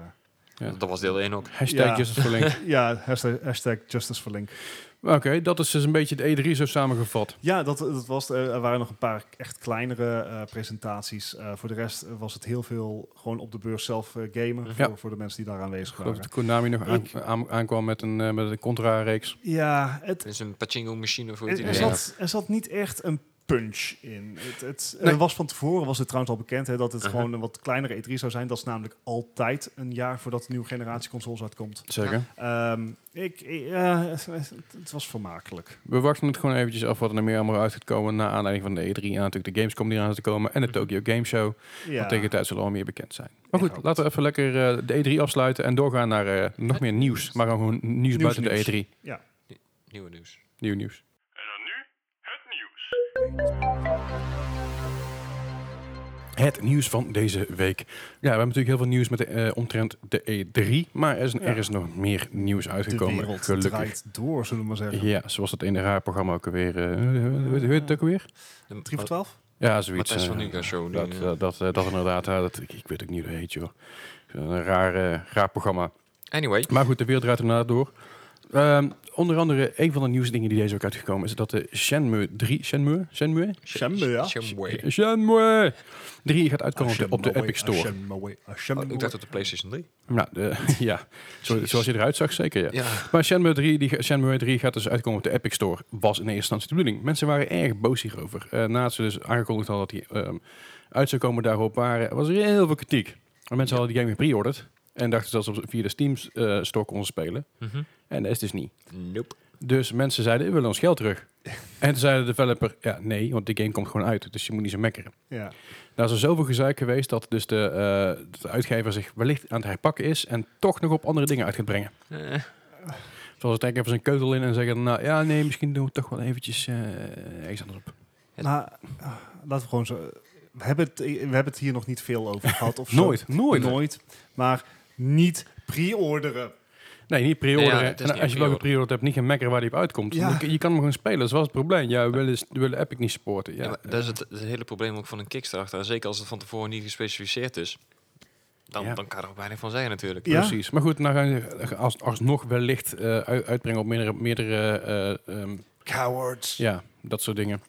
Ja. Dat was deel 1 ook. Hashtag Ja. Justice for Link. ja, hashtag, hashtag Justice for Link. Oké, dat is dus een beetje de E3 zo samengevat. Ja, dat, dat was. het. er waren nog een paar echt kleinere eh, presentaties. Eh, voor de rest eh, was het heel veel gewoon op de beurs zelf eh, gamen. Mhm. Ja. Voor, voor de mensen die daar aanwezig Ik geloof waren. dat Konami nog aan- Ik- aan- aankwam met een, eh, met een contra-reeks. Ja, het, Er is een pachinko machine voor er, je er Ja. zat, er zat niet echt een punch in. Het, het, er Nee. was van tevoren was het trouwens al bekend hè, dat het Uh-huh. gewoon een wat kleinere E3 zou zijn. Dat is namelijk altijd een jaar voordat de nieuwe generatie consoles uitkomt. Zeker. Ehm, ik, ja, het, het was vermakelijk. We wachten het gewoon eventjes af wat er nog meer allemaal uit gaat komen. Naar aanleiding van de E3 en natuurlijk de Gamescom die eraan zit te komen. En Mhm. de Tokyo Game Show. Ja. Want tegen de tijd zullen we al meer bekend zijn. Maar Ja, goed, goed. laten we even lekker eh, de E3 afsluiten. En doorgaan naar eh, nog meer nieuws. Maar gewoon nieuws, buiten nieuws. de E3. Nieuwe nieuws. Nieuw nieuws. En dan nu het nieuws. Het nieuws van deze week. Ja, we hebben natuurlijk heel veel nieuws met de, eh, omtrent de E3. Maar er is, Ja. er is nog meer nieuws De uitgekomen. wereld gelukkig. draait door, zullen we maar zeggen. Ja, zoals dat ene raar programma ook alweer. eh, hoe heet- hoe heet het ook alweer? De, 3 voor 12? Ja, zoiets. Matthijs eh, van Nieuwkerk show. Dat, die, eh, dat, dat, eh, dat inderdaad. ja, dat, ik, ik weet ook niet hoe het heet, joh. Een raar, eh, raar programma. Anyway, Maar goed, de wereld draait inderdaad door. Ehm, onder andere, een van de nieuwsdingen die deze week uitgekomen is dat de Shenmue 3... Shenmue? Shenmue? Shenmue, ja. Shenmue. Shenmue 3 gaat uitkomen op de, op de Epic Store. Oh, ik dacht op de PlayStation 3. Nou, de- ja. Zo, zoals je eruit zag, zeker, ja. Ja. Maar Shenmue 3, die, Shenmue 3 gaat dus uitkomen op de Epic Store. Was in eerste instantie de bedoeling. Mensen waren erg boos hierover. Eh nadat ze dus aangekondigd hadden dat die ehm, uit zou komen daarop waren, was er heel veel kritiek. En mensen hadden die game gepre-orderd. En dachten dat ze op- via de Steam eh, Store konden spelen. Mhm. En dat is dus niet. Nope. Dus mensen zeiden, we willen ons geld terug. en toen zei de developer, ja nee, want die game komt gewoon uit. Dus je moet niet zo mekkeren. Ja. Nou is er zoveel gezeik geweest dat dus de, eh, de uitgever zich wellicht aan het herpakken is. En toch nog op andere dingen uit gaat brengen. Zoals het even zijn keutel in en zeggen, nou ja, nee, misschien doen we toch wel eventjes eh iets anders op. Ja. Nou, ah, laten we gewoon zo... We hebben, het, we hebben het hier nog niet veel over gehad. Of zo. Nooit, nooit. Nooit. Maar niet pre-orderen. Nee, niet pre-orderen. Nee, ja, het is En niet als je wel pre-orderen. gepreorderd hebt, niet geen mekker waar die op uitkomt. Ja. Je, je kan hem gewoon spelen, dat was het probleem. Ja, we willen, we willen Epic niet supporten. Ja, Ja, maar dat is het, het hele probleem ook van een Kickstarter. En zeker als het van tevoren niet gespecificeerd is, dan, Ja. dan kan er ook weinig van zijn natuurlijk. Ja. Precies. Maar goed, nou gaan ze als, alsnog wellicht eh, uit- uitbrengen op meerdere, meerdere eh, ehm, Cowards. ja, dat soort dingen.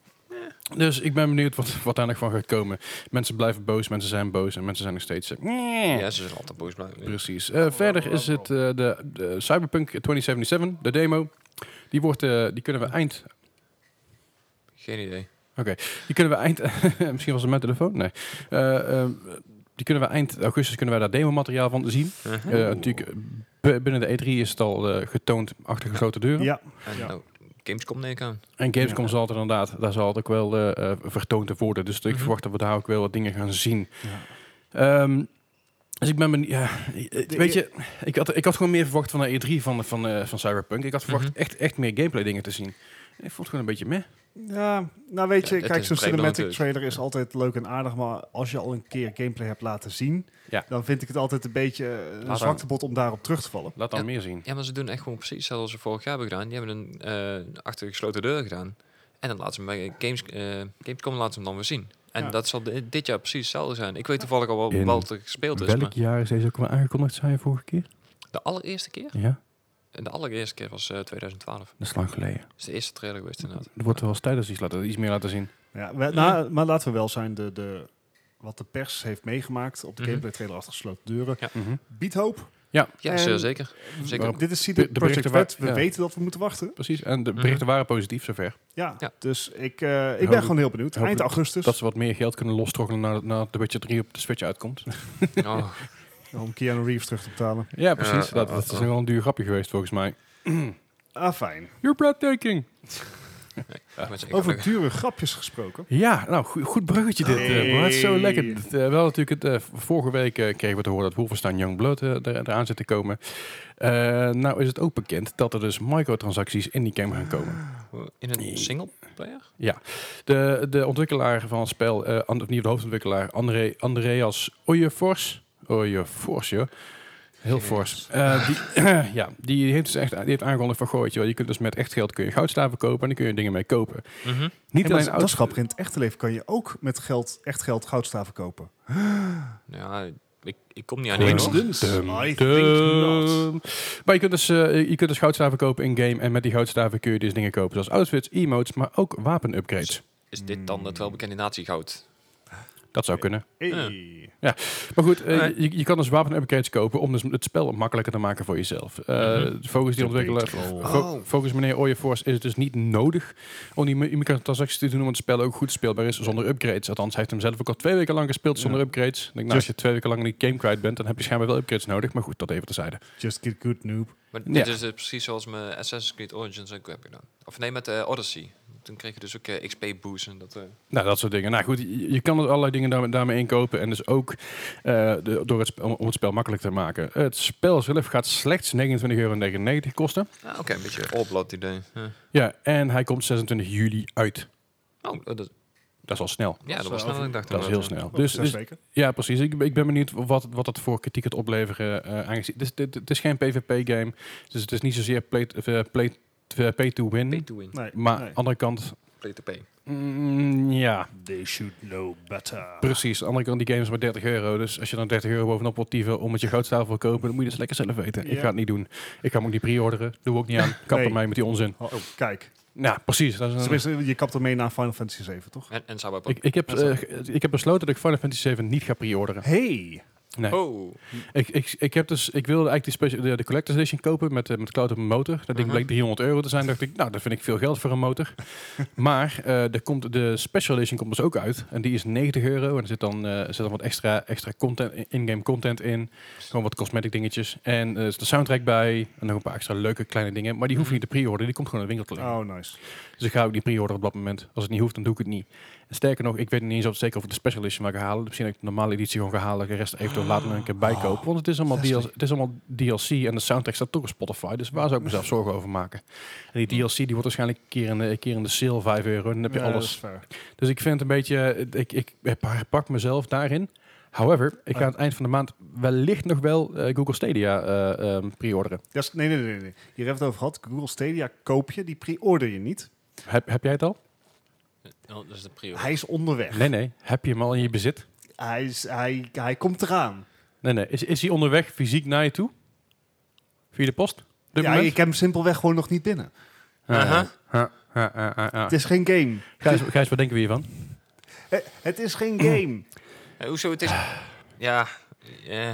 Dus ik ben benieuwd wat, wat daar nog van gaat komen. Mensen blijven boos, mensen zijn boos en mensen zijn nog steeds... eh, nee. Ja, ze zullen altijd boos blijven. Precies. Eh, verder is het eh, de, de Cyberpunk 2077, de demo. Die, wordt, eh, die kunnen we eind... Geen idee. Die kunnen we eind... misschien was het mijn telefoon? Nee. Eh, eh, die kunnen we eind augustus kunnen wij daar demomateriaal van zien. Uh-huh. Eh, natuurlijk, eh, b- binnen de E3 is het al eh, getoond achter gesloten deuren. Ja, En Ja. nou, Gamescom neem ik aan. En Gamescom Ja. zal het inderdaad, daar zal het ook wel eh, eh, vertoond worden. Dus ik Mhm. verwacht dat we daar ook wel wat dingen gaan zien. Ja. Ehm, dus ik ben benieuwd. Ja, eh, De weet je, ik had, ik had gewoon meer verwacht van de E3 van, van, eh, van Cyberpunk. Ik had verwacht Mhm. echt, echt meer gameplay dingen te zien. En Ik vond het gewoon een beetje meh. Ja, nou weet je, Ja, het kijk, is zo'n een dus. trailer cinematic natuurlijk. trailer is altijd leuk en aardig, maar als je al een keer gameplay hebt laten zien, Ja. dan vind ik het altijd een beetje eh, een Laat zwaktebod om daarop terug te vallen. Laat dan Ja. meer zien. Ja, maar ze doen echt gewoon precies hetzelfde als ze vorig jaar hebben gedaan. Die hebben een eh, achter gesloten deur gedaan. En dan laten ze hem bij Games, eh, Gamescom laten ze hem dan weer zien. En Ja. dat zal di- dit jaar precies hetzelfde zijn. Ik weet toevallig al wel In wat er gespeeld is. Maar jaar is deze ook wel aangekondigd, zei je vorige keer? de allereerste keer? Ja, De allereerste keer was eh, 2012. dat is lang geleden. Dat is de eerste trailer geweest inderdaad. Er wordt wel eens tijdens iets, laten, iets meer laten zien. Ja, we- nou, maar laten we wel zijn, de, de, wat de pers heeft meegemaakt op de Mhm. gameplay trailer achter gesloten deuren, Mhm. biedt hoop. Ja, En- Eh, zeer zeker. Zeker. Dit is CD De- de Project berichten wa- Red, we ja. weten dat we moeten wachten. Precies, en de Mhm. berichten waren positief zover. Ja, Ja. dus ik, eh, ik ben Hopen- gewoon heel benieuwd. hopen Eind augustus, Dat ze wat meer geld kunnen lostrokkelen nadat na de Witcher 3 op de Switch uitkomt. Oh, om Keanu Reeves terug te betalen. Ja, precies. Ja, dat, ja, dat is ja. nogal een duur grapje geweest volgens mij. Ah, fijn. You're breathtaking. ik ben zeker Over gelukkig. dure grapjes gesproken. Ja, nou, goed, goed bruggetje dit. eh, maar het is zo Hey. lekker. Dit, eh, we hadden natuurlijk het, eh, v- vorige week eh, kregen we te horen dat Wolfenstein Youngblood eh, er, eraan zit te komen. Eh, nou is het ook bekend dat er dus microtransacties in die game gaan komen. In Nee. een single player? De, de ontwikkelaar van het spel, eh, and- of niet de hoofdontwikkelaar, André, Andreas Oijefors. Oijefors, joh. Heel Jezus. fors. Eh, die, ja, die heeft dus echt die heeft aangekondigd van, goh, weet je wel, je kunt dus met echt geld kun je goudstaven kopen en dan kun je dingen mee kopen. Mhm. Niet Hey, maar alleen dat is- dat is oud- grappig. In het echte leven kan je ook met geld, echt geld goudstaven kopen. Nou Ja, ik, ik kom niet aan één hoor. Coincidence? I Dum. Maar je kunt, dus, eh, je kunt dus goudstaven kopen in-game. En met die goudstaven kun je dus dingen kopen zoals outfits, emotes, maar ook wapen-upgrades. Is dit dan het Hmm. welbekende natiegoud? Dat zou kunnen. Hey. Maar goed, eh, Nee. je, je kan dus wapen-upgrades kopen om dus het spel makkelijker te maken voor jezelf. Eh Volgens die ontwikkelaar, vo- Oh. volgens meneer Ooyenfors is het dus niet nodig om die mi- microtransacties te doen, omdat het spel ook goed speelbaar is zonder upgrades. Althans, hij heeft hem zelf ook al twee weken lang gespeeld zonder upgrades. Ik Denk, nou, als je twee weken lang die game kwijt bent, dan heb je schijnbaar wel upgrades nodig. Maar goed, dat even terzijde. Just get good, noob. Oh, Maar Ja. dit is eh, precies zoals mijn Assassin's Creed Origins ook heb gedaan. Of nee, met eh, Odyssey. Toen kreeg je dus ook eh, XP boost en dat... eh, Nou, dat soort dingen. Nou goed, je, je kan er allerlei dingen daarmee, daarmee inkopen. En dus ook eh, de- door het spel, om het spel makkelijk te maken. Het spel zelf gaat slechts 29,99 euro kosten. ah, Oké, een beetje all-blood idee. Ja. Ja, en hij komt 26 juli uit. Oh, dat, Dat is al snel. ja, dat eh, is was wel sneller dan ik dacht. Dat is heel inderdaad, ja. snel. Dus, Dus, dus- ja, precies. Ik, ben- ik ben benieuwd wat, wat dat voor kritiek gaat opleveren. eh aangezien, het, is, dit- het is geen PvP-game. Dus het is niet zozeer play, eh, play, eh, pay to win. Pay to win. nee, maar Oh. aan nee. de andere kant, Play to pay. mm, ja. They should know better. Precies, aan de andere kant, die game is maar 30 euro. Dus als je dan 30 euro bovenop wilt dieven om met je goudstaaf wil kopen, dan moet je dat lekker zelf weten. Ik Ja. ga het niet doen. Ik ga hem ook niet pre-orderen. Doe ook niet aan. Kap Nee. er mij met die onzin. Oh, oh, kijk. Nou, precies. Dat is een- Tenminste, je kapt ermee na Final Fantasy 7, toch? En, en Cyberpunk. ik, ik, heb, eh, ik heb besloten dat ik Final Fantasy 7 niet ga pre-orderen. Hey. Nee. Oh, Ik, ik, ik, heb dus, ik wilde eigenlijk die specia- de, de Collector's Edition kopen met, eh, met Cloud op mijn motor. Dat ding Mhm. bleek 300 euro te zijn. dacht ik, nou, dat vind ik veel geld voor een motor. maar eh, er komt, de Special Edition komt dus ook uit. En die is 90 euro. En er zit dan, eh, er zit dan wat extra, extra content, in-game content in. Gewoon wat cosmetic dingetjes. En eh, er zit de soundtrack bij. En nog een paar extra leuke kleine dingen. Maar die hoef je niet te pre-orderen. Die komt gewoon in de winkel te liggen. Oh, nice. Dus ik ga ook niet pre-orderen op dat moment. Als het niet hoeft, dan doe ik het niet. Het Sterker nog, ik weet niet eens of het zeker of ik de special edition ga halen. Misschien dat ik de normale editie gewoon ga halen. en De rest eventueel later nog een keer bijkopen. Want het is, allemaal DLC, het is allemaal DLC en de soundtrack staat toch op Spotify. Dus waar zou ik mezelf zorgen over maken? En die DLC die wordt waarschijnlijk een keer in de, een keer in de sale 5 euro. En dan heb je Ja, dat is alles. fair. Dus ik vind het een beetje... Ik, ik heb- pak mezelf daarin. However, ik ga aan het eind van de maand wellicht nog wel eh, Google Stadia eh, ehm, pre-orderen. Ja, s- nee, nee, nee, nee. nee. Hier hebben we het over gehad. Google Stadia koop je, die pre-order je niet. Heb, heb jij het al? Oh, dat is de prio. Hij is onderweg. Nee, nee. Heb je hem al in je bezit? Hij, is, hij, hij komt eraan. Nee, nee. Is, is hij onderweg fysiek naar je toe? Via de post? Op dit Ja, moment? ik heb hem simpelweg gewoon nog niet binnen. Aha. Ah, ah, ah, ah, ah. Het is geen game. Gijs, Gijs, wat denken we hiervan? Eh, Het Mm. is geen game. Eh, hoezo? Het is... Ja. eh,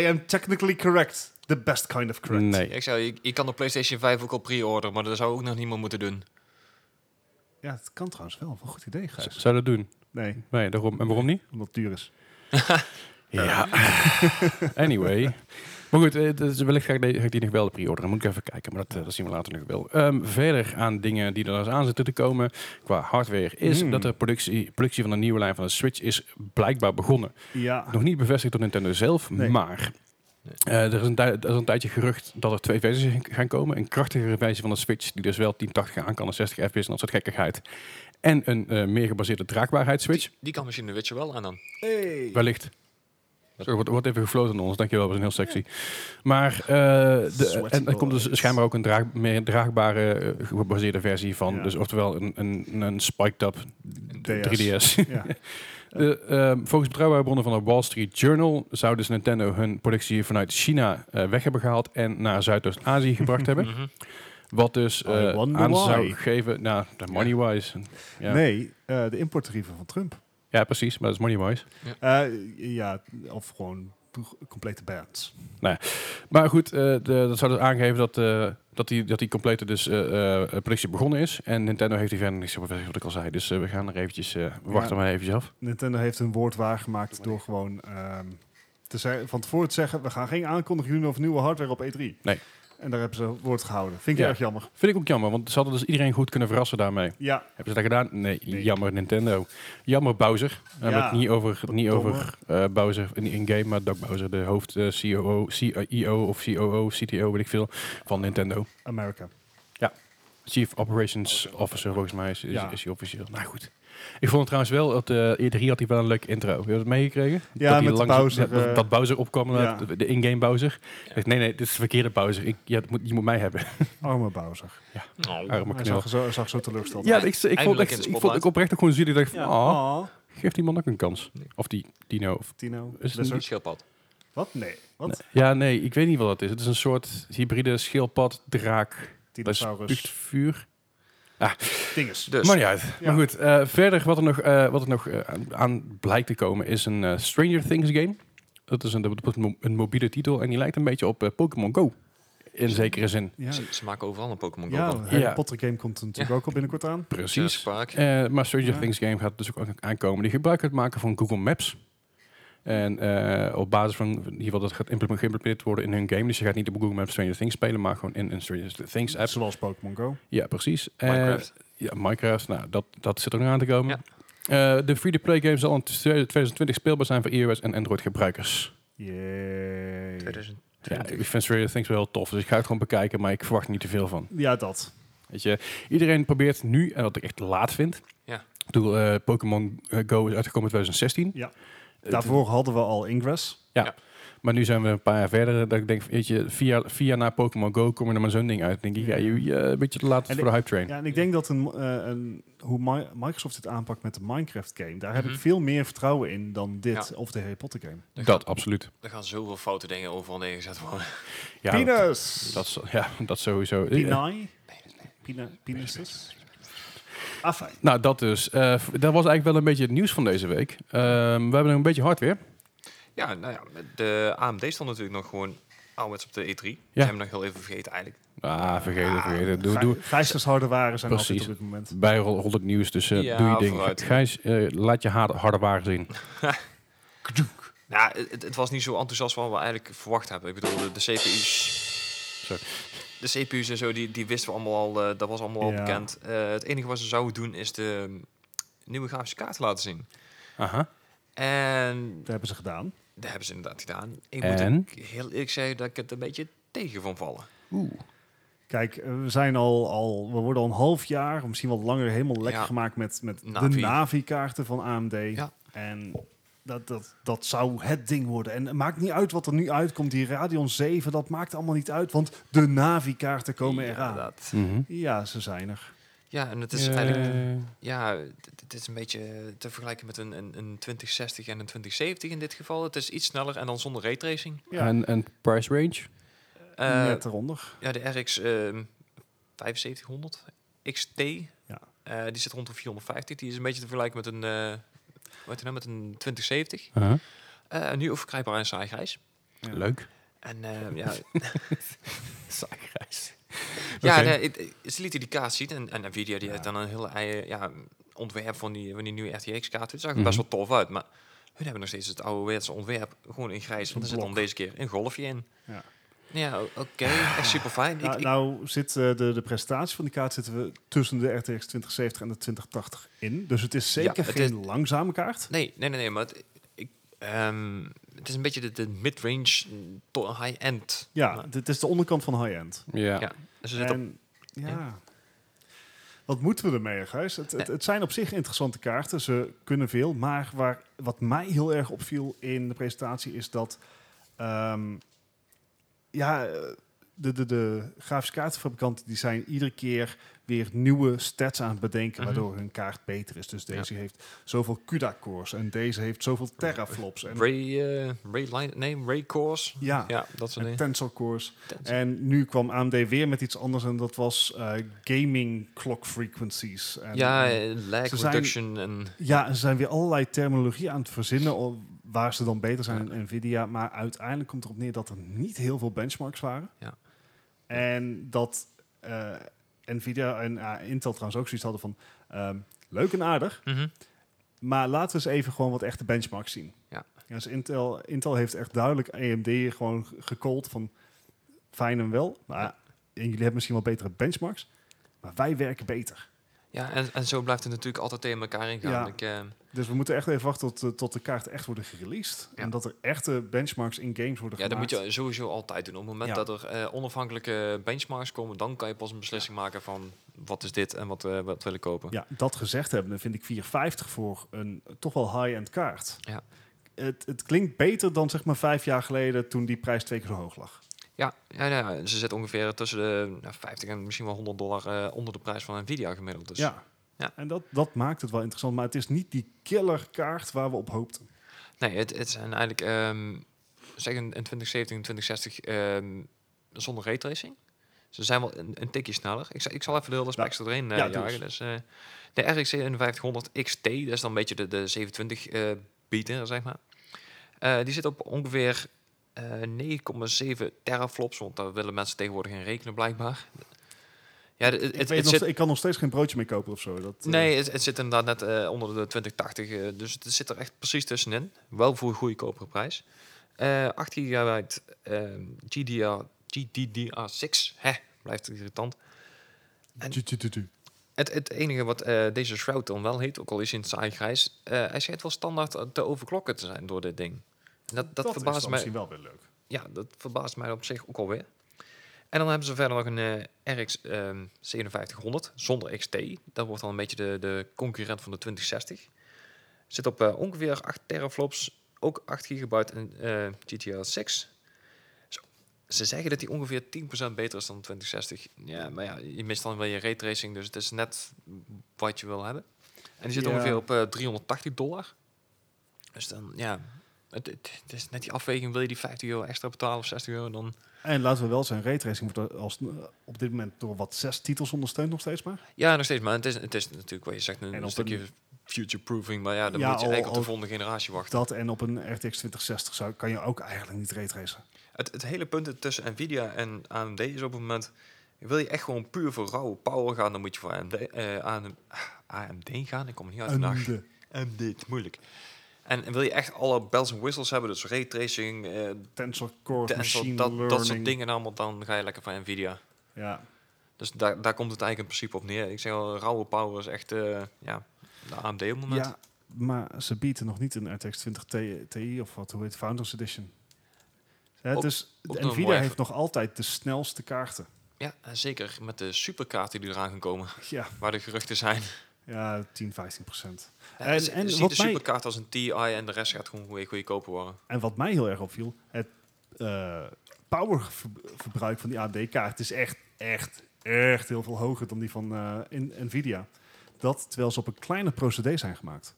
I am technically correct. The best kind of correct. Nee. ik zou, je, je kan de PlayStation 5 ook al pre-orderen, maar dat zou ook nog niemand moeten doen. Ja, het kan trouwens wel. Wat een goed idee, Z- Gijs. Zou dat doen? Nee, Nee, daarom. En waarom niet? omdat het duur is. Ja. anyway. Maar goed, eh, dus wellicht ga ik, de- ga ik die nog wel pre-orderen. Moet ik even kijken, maar dat, eh, dat zien we later nog wel. Ehm, verder aan dingen die er aan zitten te komen qua hardware... is Hmm. dat de productie, productie van de nieuwe lijn van de Switch is blijkbaar begonnen. Ja. Nog niet bevestigd door Nintendo zelf, Nee. maar... eh, er, is een tij- er is een tijdje gerucht dat er twee versies gaan komen. Een krachtigere versie van de Switch, die dus wel 1080 aan kan en 60 fps en dat soort gekkigheid. En een eh, meer gebaseerde draagbaarheid Switch. Die, die kan misschien de Witcher wel aan dan. Hey. Wellicht. Zo, wordt, wordt even gefloten aan ons. Dankjewel, we zijn heel sexy. Maar eh, de, Sweaty en er komt dus balls. schijnbaar ook een draag, meer draagbare eh, gebaseerde versie van. Ja. Dus oftewel een, een, een spiked up DS. 3DS. Ja. De, ehm, volgens betrouwbare bronnen van de Wall Street Journal zou dus Nintendo hun productie vanuit China eh, weg hebben gehaald en naar Zuidoost-Azië gebracht hebben. Mhm. Wat dus eh, I Oh, wonder aan why. zou geven, nou, de money-wise. Ja. Nee, eh, de importtarieven van Trump. ja, precies, maar dat is money-wise. Eh, ja, of gewoon complete bands. Maar goed, eh, de- dat zou dus aangeven dat, eh, dat, die, dat die complete dus, eh, eh, productie begonnen is. En Nintendo heeft hier verder niks over gezegd, wat ik al zei. Dus eh, we gaan er eventjes, eh, we wachten maar eventjes af. Nintendo heeft hun woord waargemaakt door gewoon ehm, te zeggen, van tevoren te zeggen... we gaan geen aankondiging doen over nieuwe hardware op E3. Nee. En daar hebben ze woord gehouden. Vind ik Ja. erg jammer. Vind ik ook jammer, want ze hadden dus iedereen goed kunnen verrassen daarmee. Ja, Hebben ze dat gedaan? Nee, Nee. jammer Nintendo. Jammer Bowser. We hebben Ja. het niet over, niet Domme. over eh, Bowser in, in game, maar Doc Bowser, de hoofd eh, COO, CEO of COO, CTO, weet ik veel, van Nintendo. America. Chief Operations Officer, volgens mij is, is, Ja. is hij officieel. Nou goed. Ik vond het trouwens wel, dat eh E3 had hij wel een leuke intro. Heb je dat meegekregen? Ja, dat met de Bowser, Dat, eh, dat Bowser opkwam, eh, ja. de, de in-game Bowser. Hij zegt, nee, nee, dit is de verkeerde Bowser. Ik, ja, dat moet, je moet mij hebben. Arme Bowser. Oh. Arme Hij knul. zag, zo, zag zo teleurgesteld. Ja, ik, ik, vond Eindelijk echt, in de ik vond spotlight. ik oprecht ook gewoon zielig. Ik dacht van, Ja. ah, Ah. geef die man ook een kans. Of die Dino. Of, Tino. Is het Lizard. niet- Schildpad. Wat? Nee. Wat? ja, nee, ik weet niet wat dat is. Het is een soort hybride schildpad, draak, dat spuugt Dinosaurus. vuur. Dinges. Dus. Maar niet uit. Ja. Maar goed, eh, verder wat er nog, eh, wat er nog eh, aan- aan blijkt te komen is een eh, Stranger Things game. Dat is een, dat wordt mo- een mobiele titel en die lijkt een beetje op eh, Pokémon Go. In zekere zin. Ja, Ze, ze maken overal een Pokémon Go ja van. de Harry Ja. Potter game komt er natuurlijk ook al binnenkort aan. Precies. Park. Eh, maar Stranger Ja. Things game gaat dus ook aankomen. Die gebruik gaat maken van Google Maps. En eh, op basis van in ieder geval dat gaat impleme- geïmplementeerd worden in hun game. Dus je gaat niet op Google Maps Stranger Things spelen, maar gewoon in een Stranger Things app. Zoals Pokémon Go. Ja, precies. Eh, Minecraft. ja, Minecraft, nou, dat, dat zit er nog aan te komen. Eh, de free-to-play game zal in 2020 speelbaar zijn voor iOS en Android gebruikers. Yay. 2000. Ja, ik vind Stranger Things wel heel tof, dus ik ga het gewoon bekijken, maar ik verwacht niet te veel van. Ja, dat. Weet je, iedereen probeert nu, en wat ik echt laat vind, Ja. ik bedoel, eh, Pokémon eh, Go is uitgekomen in 2016, Daarvoor hadden we al Ingress. maar nu zijn we een paar jaar verder, eh, dat ik denk, weet je, via, via na Pokémon Go kom je er maar zo'n ding uit. Dan denk ik, ja, je, je, een beetje te laat En voor de hype train. Ja, en ik denk dat een, eh, een, hoe Mi- Microsoft dit aanpakt met de Minecraft game, daar heb ik Mhm. veel meer vertrouwen in dan dit of de Harry Potter game. Er dat, absoluut. Er gaan zoveel foute dingen overal neergezet worden. Ja, dat, Penis! dat, is- ja, dat sowieso. Eh, Pinai? Pina- Penises? Ah, fijn. Nou, dat dus. Eh, v- dat was eigenlijk wel een beetje het nieuws van deze week. Ehm, we hebben nog een beetje hardware. Ja, nou ja, de AMD stond natuurlijk nog gewoon ouderwets op de E3. Die Ja. hebben we nog heel even vergeten eigenlijk. Ah, vergeet het, vergeet het. Doe, Gij- doe. Gijsters harde waren zijn Precies. altijd op dit moment. Bij rol rol het nieuws, dus eh, Ja, doe je ding. vooruit. Gijs, eh, laat je haar- harde waar zien. Nou, het, het was niet zo enthousiast wat we eigenlijk verwacht hebben. Ik bedoel, de, de CPU's... Sorry. De CPU's en zo, die, die wisten we allemaal al. eh, dat was allemaal al Ja. bekend. Eh, het enige wat ze zouden doen is de, nieuwe grafische kaart laten zien. Aha. En Dat hebben ze gedaan. dat hebben ze inderdaad gedaan. Ik En? moet ook heel eerlijk zeggen dat ik het een beetje tegen van vallen. Oeh. Kijk, eh, we zijn al, al, we worden al een half jaar, of misschien wel langer, helemaal lekker Ja. gemaakt met, met de Navi. Navi-kaarten van AMD. Ja. En dat, dat, dat zou het ding worden. En het maakt niet uit wat er nu uitkomt. Die Radeon 7, dat maakt allemaal niet uit, want de Navi-kaarten komen Ja, eraan. dat- Mhm. Ja, ze zijn er. Ja, en het is Eh, eigenlijk... Ja, het- het is een beetje te vergelijken met een, een, een 2060 en een 2070 in dit geval. Het is iets sneller en dan zonder raytracing. Ja. en, en price range? Eh, Net eronder. Ja, de RX ehm 7500 XT. Ja. Eh, die zit rond de 450. Die is een beetje te vergelijken met een, eh wat nou, met een 2070. Aha. Eh, nu ook verkrijgbaar in saai grijs. Ja. Leuk. En eh, ja, Zakreis. ja Oké. de, het- het- ze lieten die kaart zien. En, en Nvidia die Ja. heeft dan een heel eigen ja, ontwerp van die, van die nieuwe RTX-kaart. Het zag er Mhm. best wel tof uit. Maar hun hebben nog steeds het ouderwetse ontwerp. Gewoon in grijs. En Zo'n er zit dan blok. deze keer een golfje in. Ja. Ja, o- oké. Echt super fijn. Nou, nou zit eh, de, de presentatie van die kaart zitten we tussen de RTX 2070 en de 2080 in. Dus het is zeker Ja, het geen langzame kaart. Nee, nee, nee, nee, maar het, ik, ehm, het is een beetje de, de mid-range tot high-end. Ja, Maar- Nou, dit is de onderkant van high-end. Ja. ja. Dus er zit op, En, ja. Wat moeten we ermee, Gijs? Het, het, het zijn op zich interessante kaarten. Ze kunnen veel. Maar waar, wat mij heel erg opviel in de presentatie is dat... ehm, ja, eh, de, de, de grafische kaartenfabrikanten die zijn iedere keer weer nieuwe stats aan het bedenken... Mhm. waardoor hun kaart beter is. Dus deze heeft zoveel CUDA-cores en deze heeft zoveel teraflops. En, Ray, eh, Ray Line, nee, Ray Cores. ja, Ja, dat soort en dingen. tensor-cores. Tent. En nu kwam AMD weer met iets anders en dat was eh, gaming clock frequencies. En, Ja, en- eh, lag ze zijn- reduction en... ja, en ze zijn weer allerlei terminologie aan het verzinnen o- waar ze dan beter zijn in Nvidia. Maar uiteindelijk komt erop neer dat er niet heel veel benchmarks waren. Ja. En dat eh, Nvidia en ah, Intel trouwens ook zoiets hadden van ehm, leuk en aardig, Mhm. maar laten we eens even gewoon wat echte benchmarks zien. Ja. dus Intel, Intel heeft echt duidelijk AMD gewoon ge- gecallt van fijn en wel. Maar Ja. en jullie hebben misschien wel betere benchmarks, maar wij werken beter. Ja, en, en zo blijft het natuurlijk altijd tegen elkaar ingaan. Ja. Ik, eh, Dus we moeten echt even wachten tot, eh, tot de kaarten echt worden gereleased. Ja. En dat er echte benchmarks in games worden ja, dat moet gemaakt. je sowieso altijd doen. Op het moment Ja. dat er eh, onafhankelijke benchmarks komen, dan kan je pas een beslissing maken van wat is dit en wat, eh, wat wil ik kopen. Ja, dat gezegd hebben, dan vind ik 450 voor een toch wel high-end kaart. Ja. Het, het klinkt beter dan zeg maar vijf jaar geleden toen die prijs twee keer zo hoog lag. Ja, ja, ja, ze zit ongeveer tussen de nou, 50 en misschien wel 100 dollar eh, onder de prijs van Nvidia gemiddeld. Dus ja. ja. En dat, dat maakt het wel interessant, maar het is niet die killer kaart waar we op hoopten. nee, het, het zijn eigenlijk ehm, zeg een, een 2070 en 2060 ehm, zonder raytracing. Ze zijn wel een, een tikje sneller. Ik, zal- ik zal even de hele specs erin eh, Ja, doe jagen. Dus, eh, de RX 5100 XT, dat is dan een beetje de, de 720 eh beater, zeg maar. Eh, die zit op ongeveer eh 9,7 teraflops, want daar willen mensen tegenwoordig in rekenen blijkbaar. Ja, het, het, ik, het weet nog zit- ste- ik kan nog steeds geen broodje meer kopen of zo. Dat, eh, Nee, het, het zit inderdaad net eh, onder de 2080. eh, dus het zit er echt precies tussenin. Wel voor een goedkopere prijs. Eh 8 gigabyte ehm, GDR, GDDR6. Hè, blijft het irritant. en- tu- tu- tu- tu. Het, het enige wat eh, deze Shroud dan wel heet, ook al is hij in het saai grijs... eh, hij schijnt wel standaard eh, te overklokken te zijn door dit ding. En dat, dat, is verbaast dan mij misschien wel weer leuk. ja, dat verbaast mij op zich ook alweer. En dan hebben ze verder nog een eh, RX ehm 5700 zonder XT. Dat wordt dan een beetje de, de concurrent van de 2060. Zit op eh, ongeveer 8 teraflops, ook 8 gigabyte in eh GTR 6. Zo. Ze zeggen dat die ongeveer 10% beter is dan de 2060. Ja, maar ja, je mist dan wel je raytracing, dus het is net wat je wil hebben. En die zit Ja. ongeveer op eh, 380 dollar. Dus dan, ja, het, het, het is net die afweging, wil je die 50 euro extra betalen of 60 euro dan? En laten we wel zijn, raytracing wordt als, op dit moment door wat zes titels ondersteund nog steeds maar. Ja, nog steeds, maar het is, het is natuurlijk wat je zegt, een, En een op stukje future-proofing, maar ja, dan Ja, moet je al- eigenlijk op al- de volgende generatie wachten. Dat en op een RTX 2060 zou, kan je ook eigenlijk niet raytracen. Het, het hele punt tussen Nvidia en AMD is op het moment, wil je echt gewoon puur voor rauwe power gaan, dan moet je voor AMD, eh, AM AMD gaan, ik kom er niet uit vandaag. de, AMD, het is moeilijk. En en wil je echt alle bells en whistles hebben, dus raytracing, eh tensor cores, tensor, machine dat, learning. dat soort dingen allemaal, dan ga je lekker voor Nvidia. Ja. Dus daar, daar komt het eigenlijk in principe op neer. Ik zeg al, rauwe power is echt eh, ja, De AMD op het moment. Ja, maar ze bieden nog niet een RTX 20 Ti- Ti of wat hoe heet Founders Edition. Hè, Ook- dus ook nog Nvidia mooi heeft even. nog altijd de snelste kaarten. Ja, en zeker met de superkaarten die eraan gaan komen, Ja, waar de geruchten zijn. ja 10, 15 procent. Ja, En- zie- en zie wat de mij- superkaart als een TI en de rest gaat gewoon goeie- goedkoper worden. En wat mij heel erg opviel, het eh, powerverbruik van die AMD-kaart is echt, echt, echt heel veel hoger dan die van eh, in, Nvidia. Dat terwijl ze op een kleine procedé zijn gemaakt.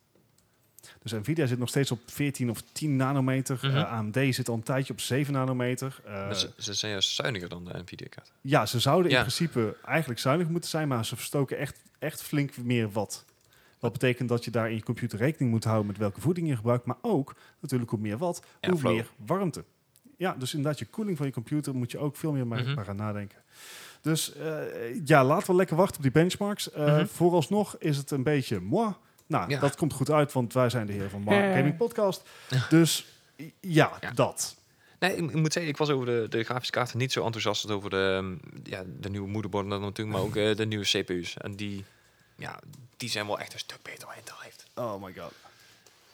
Dus Nvidia zit nog steeds op 14 of 10 nanometer. Mhm. Eh, AMD zit al een tijdje op 7 nanometer. Eh, Maar ze, ze zijn juist zuiniger dan de Nvidia-kaart. Ja, ze zouden Ja. in principe eigenlijk zuinig moeten zijn, maar ze verstoken echt, echt flink meer wat. Wat betekent dat je daar in je computer rekening moet houden met welke voeding je gebruikt, maar ook natuurlijk hoe meer wat, Ja, hoe flow. meer warmte. Ja, dus inderdaad, je koeling van je computer moet je ook veel meer maar Mhm. maar gaan nadenken. Dus eh, ja, laten we lekker wachten op die benchmarks. Eh, Mhm. Vooralsnog is het een beetje moi. Nou, Ja. dat komt goed uit, want wij zijn de heer van Mark Eh. Gaming Podcast. Dus ja, Ja. dat. Nee, ik, ik moet zeggen, ik was over de, de grafische kaarten niet zo enthousiast als over de, ehm, ja, de nieuwe moederborden dan natuurlijk, maar ook eh, de nieuwe CPU's. En die, ja, die zijn wel echt een stuk beter dan Intel heeft. Oh my god.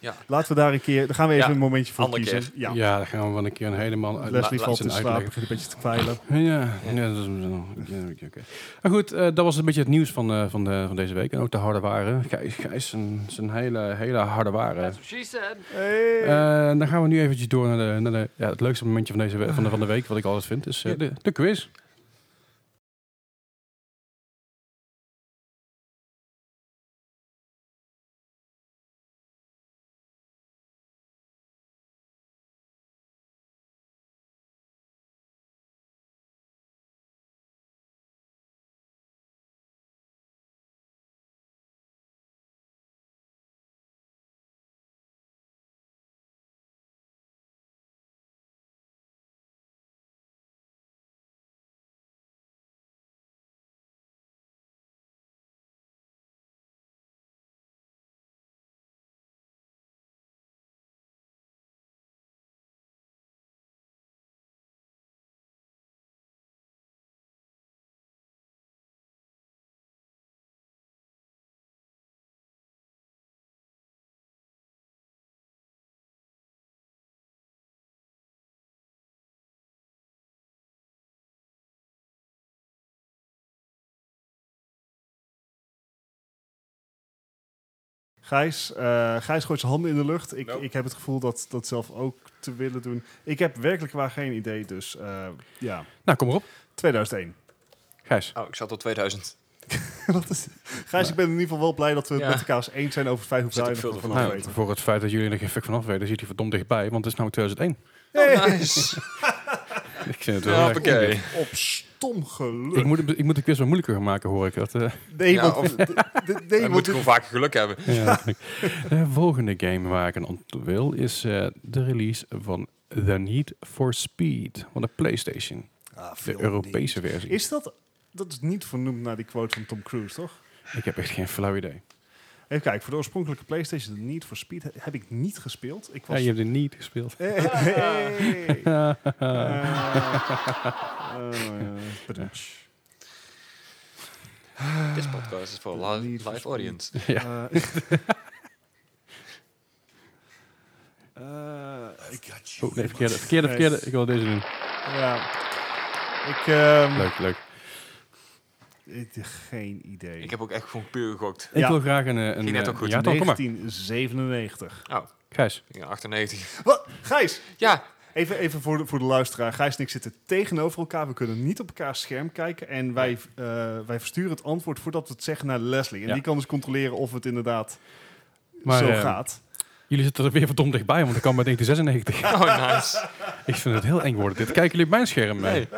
Ja. Laten we daar een keer, daar gaan we even Ja, een momentje voor andere kiezen. Ja. Ja. daar gaan we wel een keer een helemaal uit. Leslie la- valt laat in zijn slaap, uitleg. begint een beetje te kwijlen. Ja, ja. dat is ja, oké, oké. Maar goed, eh, dat was een beetje het nieuws van, eh, van, de, van deze week. En ook de harde waren. Gijs, Gijs zijn, zijn hele, hele harde waren. That's what she said. Eh, dan gaan we nu eventjes door naar, de, naar de, ja, het leukste momentje van, deze we- van, de, van de week, wat ik altijd vind, is eh, de, de quiz. Gijs, eh, Gijs gooit zijn handen in de lucht. Ik, ik heb het gevoel dat dat zelf ook te willen doen. Ik heb werkelijk waar geen idee, dus eh, ja. Nou, kom erop. 2001. Gijs. Oh, ik zat tot 2000. dat is, Gijs, ik ben in ieder geval wel blij dat we het Ja. met elkaar eens eens zijn over het feit hoeveel Zit jij ook veel ervan ervan af Nou, weet. voor het feit dat jullie er geen fuck vanaf weten, zit hij verdomd dichtbij, want het is namelijk 2001. Oh, nice. Ik vind het wel ja, erg. oké. Op stom Ik geluk. moet, hem- ik moet de quiz wat moeilijker gaan maken, hoor ik. Dat, eh, Nee, Ja, want- of- d- d- nee, Dan want moet gewoon vaker geluk hebben. ja, dat vind ik. de volgende game waar ik aan ont- wil is eh, de release van The Need for Speed van de PlayStation. Ah, veel De Europese versie. Is dat... Dat is niet vernoemd naar die quote van Tom Cruise, toch? Ik heb echt geen flauw idee. Even kijken, voor de oorspronkelijke PlayStation de Need for Speed he- heb ik niet gespeeld. Ik Ja, was... je hebt er niet gespeeld. Oh, Hey, hey. Eh, eh, bedankt. Dit podcast is voor Ah, li- niet live verstaan. audience. Eh, eh, ik, Oh, nee, verkeerde, verkeerde, verkeerde. Ik wil deze doen. ja. Ik, ehm, Leuk, leuk. ik geen idee. Ik heb ook echt gewoon puur gegokt. Ik Ja. wil graag een, eh, een, Ging net ook eh, goed. jaartal. Kom maar. 1997. Oh, Gijs. ik ben 98. Wat? Gijs, Ja, even, even voor, de, voor de luisteraar. Gijs en ik zitten tegenover elkaar. We kunnen niet op elkaar scherm kijken. En wij, eh, wij versturen het antwoord voordat we het zeggen naar Leslie. En Ja. die kan dus controleren of het inderdaad Maar, zo eh, gaat. Jullie zitten er weer verdomd dichtbij, want ik kwam bij 1996. oh nice. ik vind het heel eng worden. Dit kijken jullie op mijn scherm mee.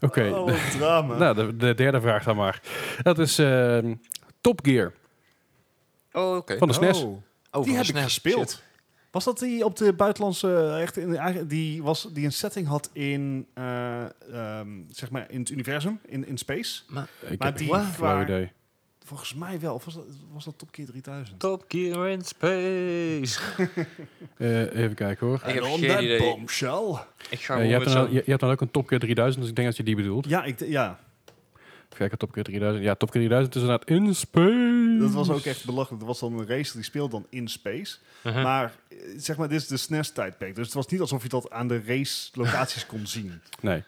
Oké, Oh, de- wat drama. nou, de, de derde vraag dan maar. Dat is ehm, Top Gear Oh, oké. van de SNES. Oh. Oh, Die van heb de ik SNES. gespeeld. Shit. Was dat die op de buitenlandse, eh, echt in, de eigen- die, was, die een setting had in, eh, ehm, zeg maar in het universum, in, in space? Ik Maar heb die geen flauw waar- idee. Volgens mij wel. Of was dat, was dat Top Gear 3000? Top Gear in Space. Eh, even kijken hoor. Ik heb And geen idee. bombshell. Ik ga Eh, gewoon je, hebt met dan, zo'n... je, je hebt dan ook een Top Gear 3000, dus ik denk dat je die bedoelt. Ja, ik, d- ja. Kijk, Top Gear 3000. Ja, Top Gear 3000 is inderdaad in space. Dat was ook echt belachelijk. Dat was dan een race die speelde dan in space. Mhm. Maar eh, zeg maar, dit is de SNES-tijdperk. Dus het was niet alsof je dat aan de race-locaties kon zien. Nee.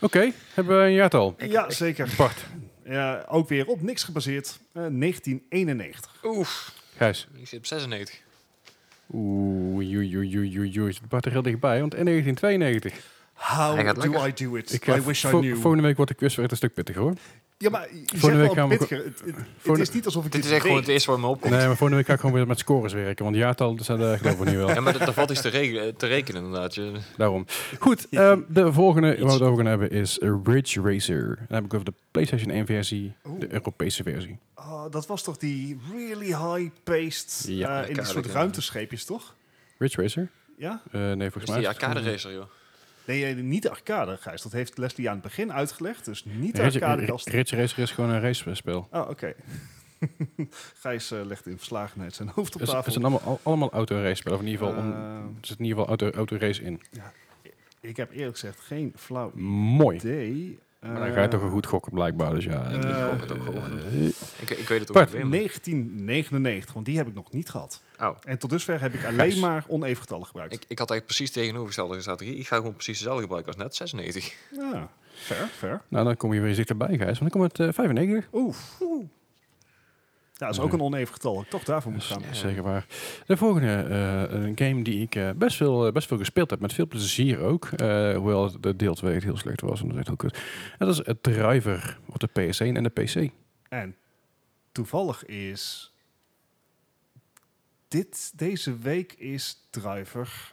Oké, hebben we een jaartal. Ja, zeker. Bart, Ja, ook weer op niks gebaseerd. Eh, 1991. Oef, Gijs. ik zit op 96. Oeh, oei, oei, oei, oei, oei. Zit Bart er heel dichtbij, want in 1992. How Hij gaat do lekker. I do it? Ik, I eh, wish I vo- knew. Volgende week wordt de quiz weer echt een stuk pittiger, hoor. ja, maar je zegt volgende week wel gaan we- pittiger. Het, het- het volgende- is niet alsof ik dit, Dit is echt gewoon het weet. eerste waar me opkomt. Nee, maar volgende week ga ik gewoon weer met scores werken, want jaartal zijn eh geloof ik niet wel. Ja, maar dat- daar valt iets te, reg- te rekenen inderdaad. Je, Daarom. Goed, ehm, de volgende waar we het over gaan hebben is Ridge Racer. En dan heb ik over de PlayStation 1 versie, de Europese versie. Oh, dat was toch die really high-paced Ja, eh, in die arcade, soort ja. ruimtescheepjes, toch? Ridge Racer? Ja? Eh, nee, is volgens mij. die is het- arcade racer, joh. Nee, eh, niet de arcade, Gijs. Dat heeft Leslie aan het begin uitgelegd. Dus niet de Ridge, arcade Ridge- Ridge Racer is gewoon een race-spel. Oh, oké. Gijs eh, legt in verslagenheid zijn hoofd op Het is- tafel. het zijn allemaal, al- allemaal auto-race-spellen, of in ieder geval, om- Ehm. er zit in ieder geval auto- auto-race in. Ik heb eerlijk gezegd geen flauw Mooi. idee. Maar dan ga je toch een goed gokken blijkbaar, dus ja. Eh, eh, Ik, ook gewoon. ik, ik weet het ook Bart, niet meer. maar- 1999, want die heb ik nog niet gehad. Au. En tot dusver heb ik Gijs. alleen maar oneven getallen gebruikt. Ik, ik had eigenlijk precies tegenovergestelde strategie. Ik ga gewoon precies dezelfde gebruiken als net, 96. Ja, fair, fair. Nou, dan kom je weer eens dichterbij, Gijs. Want dan komt het eh 95. Oef. Ja, dat is ook een oneven getal. Ik toch daarvoor moet gaan. Dat is zeker waar. De volgende, eh, een game die ik eh, best, veel, eh, best veel gespeeld heb. Met veel plezier ook. eh, hoewel de deel 2 echt heel slecht was. En dat is echt heel kut. En dat is het Driver op de PS1 en de PC. En toevallig is... Dit, deze week is Driver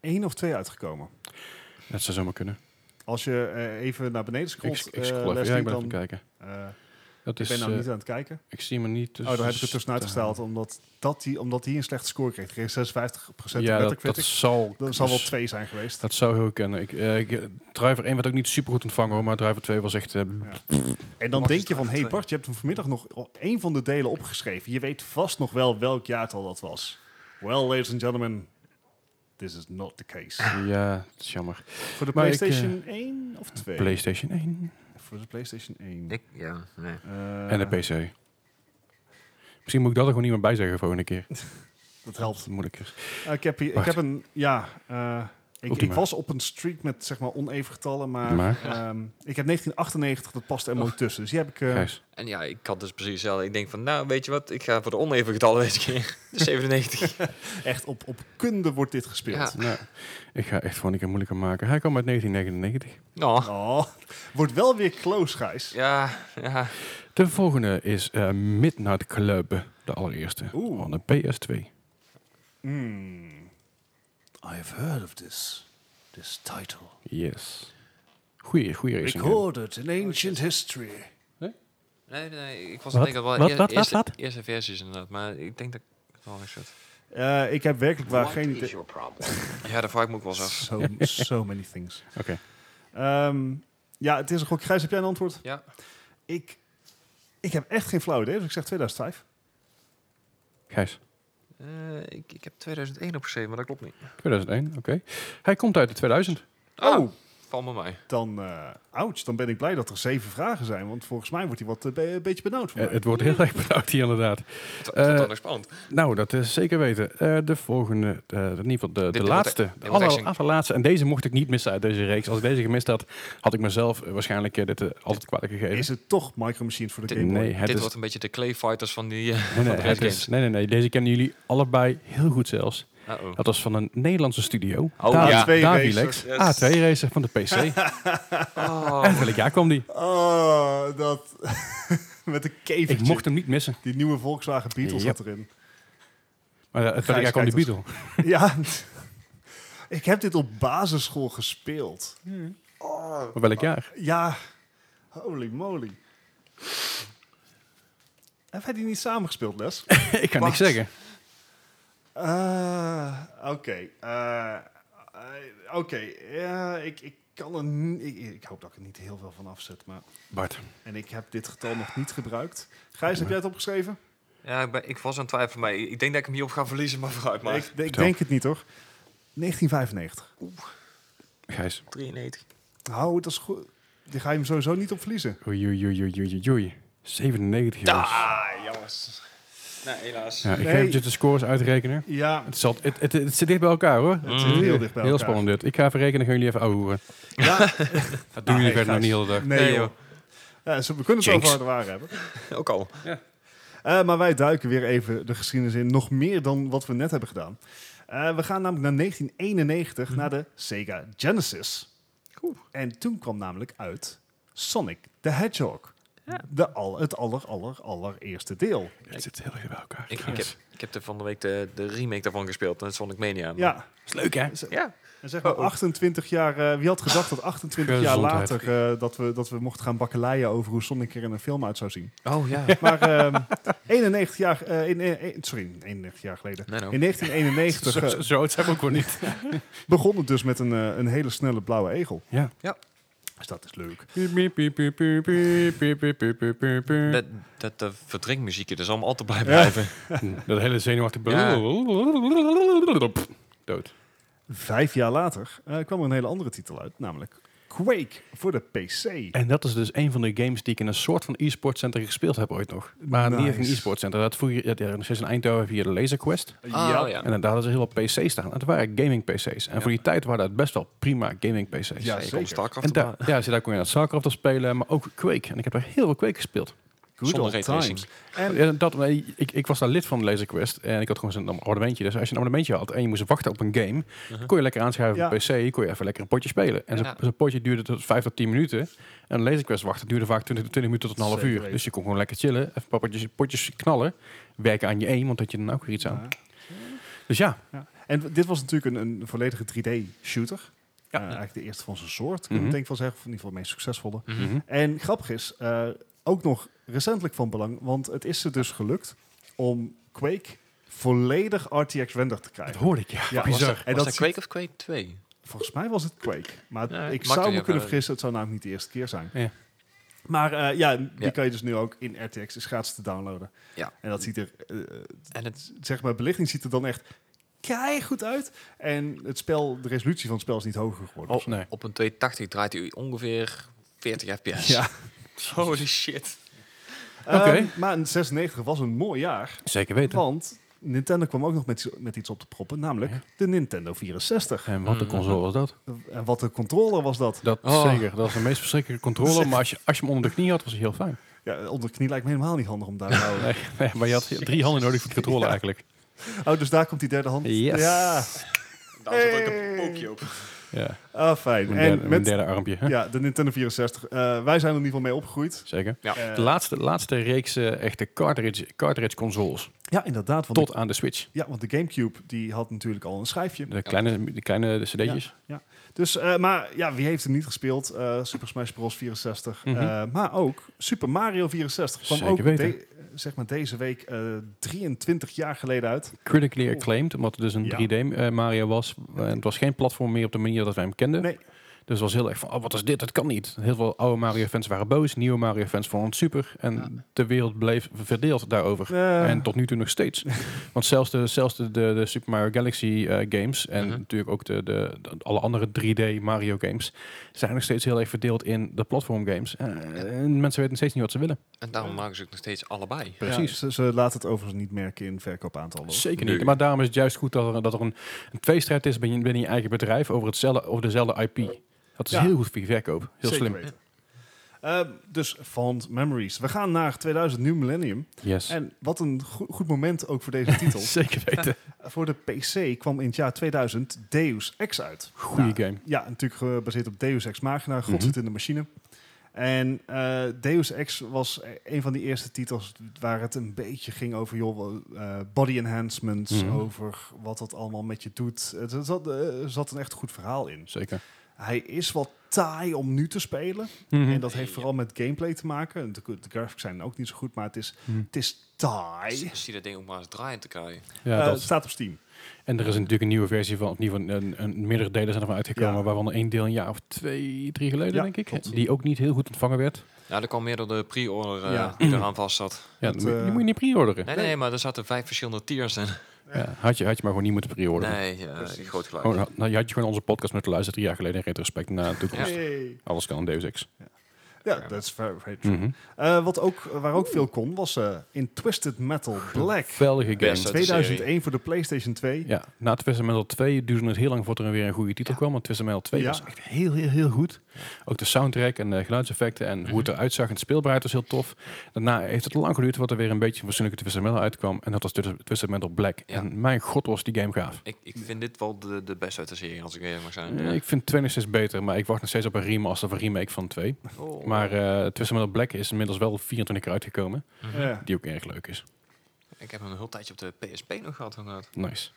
1 of 2 uitgekomen. Dat zou zomaar kunnen. Als je eh, even naar beneden Ik, scrolt, ik eh, scroll even. Ja, Leslie, ik ben even dan... kijken. eh, Dat ik is, ben nou eh, niet aan het kijken. ik zie me niet. Dus oh, daar heb ik dus- het tussen uitgesteld, omdat, dat die, omdat die een slechte score kreeg. Die kreeg 56% Ja, dat, dat Metacritic. zal... Dat zal wel 2 zijn geweest. Dat zou heel kunnen. Ik, eh, ik- Driver 1 werd ook niet super goed ontvangen hoor, maar Driver 2 was echt... eh, En dan denk Mag dus je van, je hé straks hey twee? Bart, je hebt hem vanmiddag nog één van de delen opgeschreven. Je weet vast nog wel welk jaartal dat was. Well, ladies and gentlemen, this is not the case. ja, dat is jammer. Voor de Maar ik, eh, PlayStation 1 of 2? PlayStation 1 Voor de PlayStation 1. Ik, ja, nee. Eh, en de PC. Misschien moet ik dat er gewoon niet meer bij zeggen volgende keer. Dat helpt. moeilijk is. Eh, ik, heb hier, ik Wacht. heb een, ja, eh, ik, Ultima. ik was op een streak met zeg maar oneven getallen, maar, Maar? ehm, ik heb 1998, dat past er mooi tussen. Dus die heb ik... eh, Gijs. En ja, ik had dus precies hetzelfde. Ik denk van, nou, weet je wat? Ik ga voor de oneven getallen deze keer. De 97. Echt op, op kunde wordt dit gespeeld. Nou, ik ga echt gewoon een keer moeilijker maken. Hij kwam uit 1999. Nou, Oh, wordt wel weer close, Gijs. ja, ja. De volgende is eh, Midnight Club. De allereerste. Oeh. Van de PS2. Hmm. I have heard of this, this title. Yes. Goeie, goeie Ik racing. game. hoorde het in ancient history. Nee, nee, ik was Wat? denk dat wel Wat, eer- wat, wat, eerste, wat? eerste versies inderdaad. Maar ik denk dat ik het wel eens had. Eh, ik heb werkelijk waar What geen is idee. your problem? Ja, daar vraag ik me ook wel eens af. So, so many things. Oké. Ehm, ja, het is een gok. Gijs, heb jij een antwoord? Ja, Ik, ik heb echt geen flauw idee, dus ik zeg 2005. Gijs. eh, ik, ik heb 2001 opgeschreven, maar dat klopt niet. 2001. Oké. Hij komt uit de 2000. Ah. Oh, Oh. val me mij. Dan, eh ouch, dan ben ik blij dat er zeven vragen zijn, want volgens mij wordt hij wat eh, be- een beetje benauwd van Eh, mij. het wordt heel erg benauwd hier inderdaad. Het Eh, wordt wel nog spannend. Nou, dat is zeker weten. Eh, de volgende, eh, in ieder geval de, de wordt laatste. echt- dit De wordt echt aller- een- allerlaatste. En deze mocht ik niet missen uit deze reeks. Als ik deze gemist had, had ik mezelf eh, waarschijnlijk eh, dit eh, altijd kwalijk gegeven. Is het toch Micro Machines voor de Dit- Game Boy? nee, het Dit is wordt een beetje de Clay Fighters van die... eh, Nee, nee, de het Red is- nee, nee, nee. Deze kennen jullie allebei heel goed zelfs. Uh-oh. Dat was van een Nederlandse studio. Oh, Da- ja. A2 Davilex. racer. Yes. Oh. A2 racer van de PC. en welk jaar kwam die? Oh, dat... met een kevertje. Ik mocht hem niet missen. Die nieuwe Volkswagen Beetle zat erin. Maar eh, het welk Gijs jaar kwam die kijkt Beatle? ja, ik heb dit op basisschool gespeeld. Maar welk jaar? Ja, holy moly. Heb jij die niet samengespeeld, Les? ik kan niks Wat? zeggen. Eh, Oké. eh, eh, Oké, ja, ik, ik kan er... ni- Ik, ik hoop dat ik er niet heel veel van afzet, maar... Bart. En ik heb dit getal nog niet gebruikt. Gijs, heb jij het opgeschreven? Ja, ik, ben, ik was aan het twijfelen. Maar ik denk dat ik hem hierop ga verliezen, maar vooruit maar. ik, ik denk het niet, hoor. 1995. Gijs. 93. Hou, dat is goed. Die ga je hem sowieso niet op verliezen. Oei, oei, oei, oei, oei, oei. 97, jongens. Ah, jongens. Nee, helaas. Ja, ik ga Nee. eventjes de scores uitrekenen. Ja, Het, zal, het, het, het zit dicht bij elkaar, hoor. het zit Mm. heel dicht bij Mm. Heel elkaar. spannend dit. Ik ga even rekenen, gaan jullie even ouwehoeren. Ja. Dat doen jullie hey, verder nog niet de hele dag. Nee, Nee, joh. joh. Ja, zo- we kunnen het Jinx. over de waar hebben. Ook al. Eh, maar wij duiken weer even de geschiedenis in. Nog meer dan wat we net hebben gedaan. Eh, we gaan namelijk naar 1991, naar de Sega Genesis. Oeh. En toen kwam namelijk uit Sonic the Hedgehog. De al, het aller, aller, allereerste deel. Het zit heel erg bij elkaar. Ik, ik, trouwens. heb, ik heb de van de week de, de remake daarvan gespeeld. Dat is Sonic Mania. Ja, is leuk, hè? Ja. en zeg maar Oh, oh. 28 jaar... eh, wie had gedacht dat 28 jaar Gezondheid. later eh, dat, we, dat we mochten gaan bakkeleien over hoe Sonic er in een film uit zou zien. Oh ja. Maar ehm 91 jaar... eh, in, eh, eh, sorry, 91 jaar geleden. Nee, nou. In 1991 Zo, eh, zo, zo oud zijn we ook wel niet. begon het dus met een, eh, een hele snelle blauwe egel. Ja. Dus dat is leuk. Dat, dat de verdrinkmuziekje, dat zal me altijd bij blijven. Dat hele zenuwachtige... Ja. Dood. Vijf jaar later eh, kwam er een hele andere titel uit, namelijk Quake voor de PC. En dat is dus een van de games die ik in een soort van e-sport center gespeeld heb ooit nog. Maar niet echt een Nice. e-sport center. Dat voer je dat ja, nog steeds in Eindhoven via de Laser Quest. Ah, ja. En daar hadden ze heel wat PC's staan. Het waren gaming PC's. En voor die tijd waren dat best wel prima gaming PC's. Ja, Ja, je komt zeker. Starcraft En erbij. daar, ja, dus daar kon je naar Starcraft op spelen, maar ook Quake. En ik heb daar heel veel Quake gespeeld. Good Zonder old raytracing. times. En Ja, dat, maar ik, ik was daar lid van Laser Quest en ik had gewoon zo'n abonnementje. Dus als je een abonnementje had en je moest wachten op een game, dan kon je lekker aanschuiven op een PC, kon je even lekker een potje spelen. En zo'n Ja. zo'n potje duurde tot 5 tot 10 minuten. En Laser Quest wachten duurde vaak 20, 20 minuten tot een half Zeker uur. weten. Dus je kon gewoon lekker chillen, even een paar potjes, potjes knallen, werken aan je aim, want dat je dan ook weer iets aan. Dus ja, Ja. En w- dit was natuurlijk een, een volledige 3D-shooter. Ja. Eh, eigenlijk de eerste van zijn soort, kan Mhm. ik denk ik wel zeggen. Of in ieder geval de meest succesvolle. Mhm. En grappig is, eh, ook nog recentelijk van belang, want het is ze dus gelukt om Quake volledig RTX render te dat krijgen. hoorde ik, ja. Ja, bizar. En En dat was dat Quake of Quake 2? Volgens mij was het Quake. Maar Ja, ik maakt zou niet me uit, kunnen eh. vergissen. Het zou namelijk niet de eerste keer zijn. Ja. Maar eh, ja, die Ja. kan je dus nu ook in RTX is gratis te downloaden. Ja. En dat ziet er, eh, En het, zeg maar, belichting ziet er dan echt goed uit. En het spel, de resolutie van het spel is niet hoger geworden. Oh, nee. op een 280 draait hij ongeveer 40 fps. Ja. Holy shit. Ehm, Oké. maar in 96 was een mooi jaar. Zeker weten. Want Nintendo kwam ook nog met, met iets op te proppen. Namelijk Ja. de Nintendo 64. En wat een console was dat? En wat een controller was dat. Dat Oh. zeker. Dat was de meest verschrikkelijke controller. Maar als je, als je hem onder de knie had, was hij heel fijn. Ja, onder de knie lijkt me helemaal niet handig om daar te houden. Nee, nee, maar je had drie handen nodig voor de controle eigenlijk. Oh, dus daar komt die derde hand. Yes. Ja. Daar zit ook Hey. een pookje op. Ja. Ah, fijn. Mijn En derde, mijn met derde armpje. Hè? ja, de Nintendo 64. eh, wij zijn er in ieder geval mee opgegroeid. Zeker. Ja. Eh, De laatste, laatste reeks eh, echte cartridge, cartridge consoles. ja, inderdaad. Want Tot de- aan de Switch. ja, want de Gamecube die had natuurlijk al een schijfje. De kleine, de kleine cd'tjes. Dus, eh, maar ja, wie heeft hem niet gespeeld? Eh, Super Smash Bros. 64. Mhm. eh, maar ook Super Mario 64 kwam Zeker ook weten. de- zeg maar deze week eh 23 jaar geleden uit. Critically acclaimed, omdat het dus een Ja. 3D eh, Mario was. En het was geen platform meer op de manier dat wij hem kenden. Nee. Dus het was heel erg van, oh, wat is dit? Dat kan niet. Heel veel oude Mario-fans waren boos. Nieuwe Mario-fans vonden het super. En de wereld bleef verdeeld daarover. Eh, En tot nu toe nog steeds. Want zelfs de, zelfs de, de, de Super Mario Galaxy eh, games en Mhm. natuurlijk ook de, de, de- alle andere 3D Mario games zijn nog steeds heel erg verdeeld in de platform games. Eh, en mensen weten nog steeds niet wat ze willen. En daarom maken ze ook nog steeds allebei. Precies. ja, ze, ze laten het overigens niet merken in verkoopaantallen. hoor. Zeker Nee. niet. Maar daarom is het juist goed dat er, dat er een, een tweestrijd is binnen, binnen je eigen bedrijf over, hetzelfde, over dezelfde IP. Dat is Ja. heel goed voor je verkoop. Heel Zeker slim. weten. Eh, dus fond memories. We gaan naar 2000 New Millennium. Yes. En wat een goe- goed moment ook voor deze titel. Zeker weten. Voor de PC kwam in het jaar 2000 Deus Ex uit. Goeie Nou, game. Ja, natuurlijk gebaseerd op Deus Ex Machina. God Mhm. zit in de machine. En eh, Deus Ex was e- een van de eerste titels waar het een beetje ging over joh, eh, body enhancements, Mhm. over wat dat allemaal met je doet. Het er zat, eh, er zat een echt goed verhaal in. Zeker. Hij is wat taai om nu te spelen. Mhm. En dat heeft vooral met gameplay te maken. De, de graphics zijn ook niet zo goed, maar het is, Mhm. het is taai. Ik zie dat ding ook maar eens draaien te krijgen. Ja, Eh, dat het staat op Steam. En er is natuurlijk een nieuwe versie van, of in ieder geval een, een, meerdere delen zijn ervan uitgekomen, Ja. waarvan er één deel een jaar of twee, drie geleden, Ja, denk ik, klopt. die ook niet heel goed ontvangen werd. Nou, dat kwam meer door de pre-order eh, Ja. die eraan vast zat. Ja, Dat, die, moet- die eh, moet je niet pre-orderen. Nee, nee, maar er zaten vijf verschillende tiers in. Ja, had, je, had je maar gewoon niet moeten pre-orderen. Nee, ja, groot gelijk. Oh, Gewoon, had- nou, je had je gewoon onze podcast moeten luisteren drie jaar geleden in retrospect naar de toekomst. Hey. Alles kan in Deus Ex. Ja, Fair dat is very, very true. Mhm. Eh, wat ook, waar ook veel kon, was eh, in Twisted Metal Black. Geweldige game. Best. 2001 voor de PlayStation 2. Ja, na Twisted Metal 2 duurde het heel lang voordat er weer een goede titel kwam. Want Twisted Metal 2 Ja. was echt heel, heel, heel goed. Ook de soundtrack en de geluidseffecten en hoe het eruit zag en de speelbaarheid was heel tof. Daarna heeft het lang geduurd voordat er weer een beetje een fatsoenlijke Twisted Metal uitkwam. En dat was Twisted Twisted Metal Black. Ja. En mijn god was die game gaaf. Ik, ik vind dit wel de, de beste uit de serie, als ik eerlijk mag zijn. Eh, nou. Ik vind 2 nog steeds beter, maar ik wacht nog steeds op een remaster of een remake van 2. Oh. Maar eh Twisted Metal Black is inmiddels wel 24 keer uitgekomen. Ja. Die ook erg leuk is. Ik heb hem een heel tijdje op de PSP nog gehad. hangen. Nice.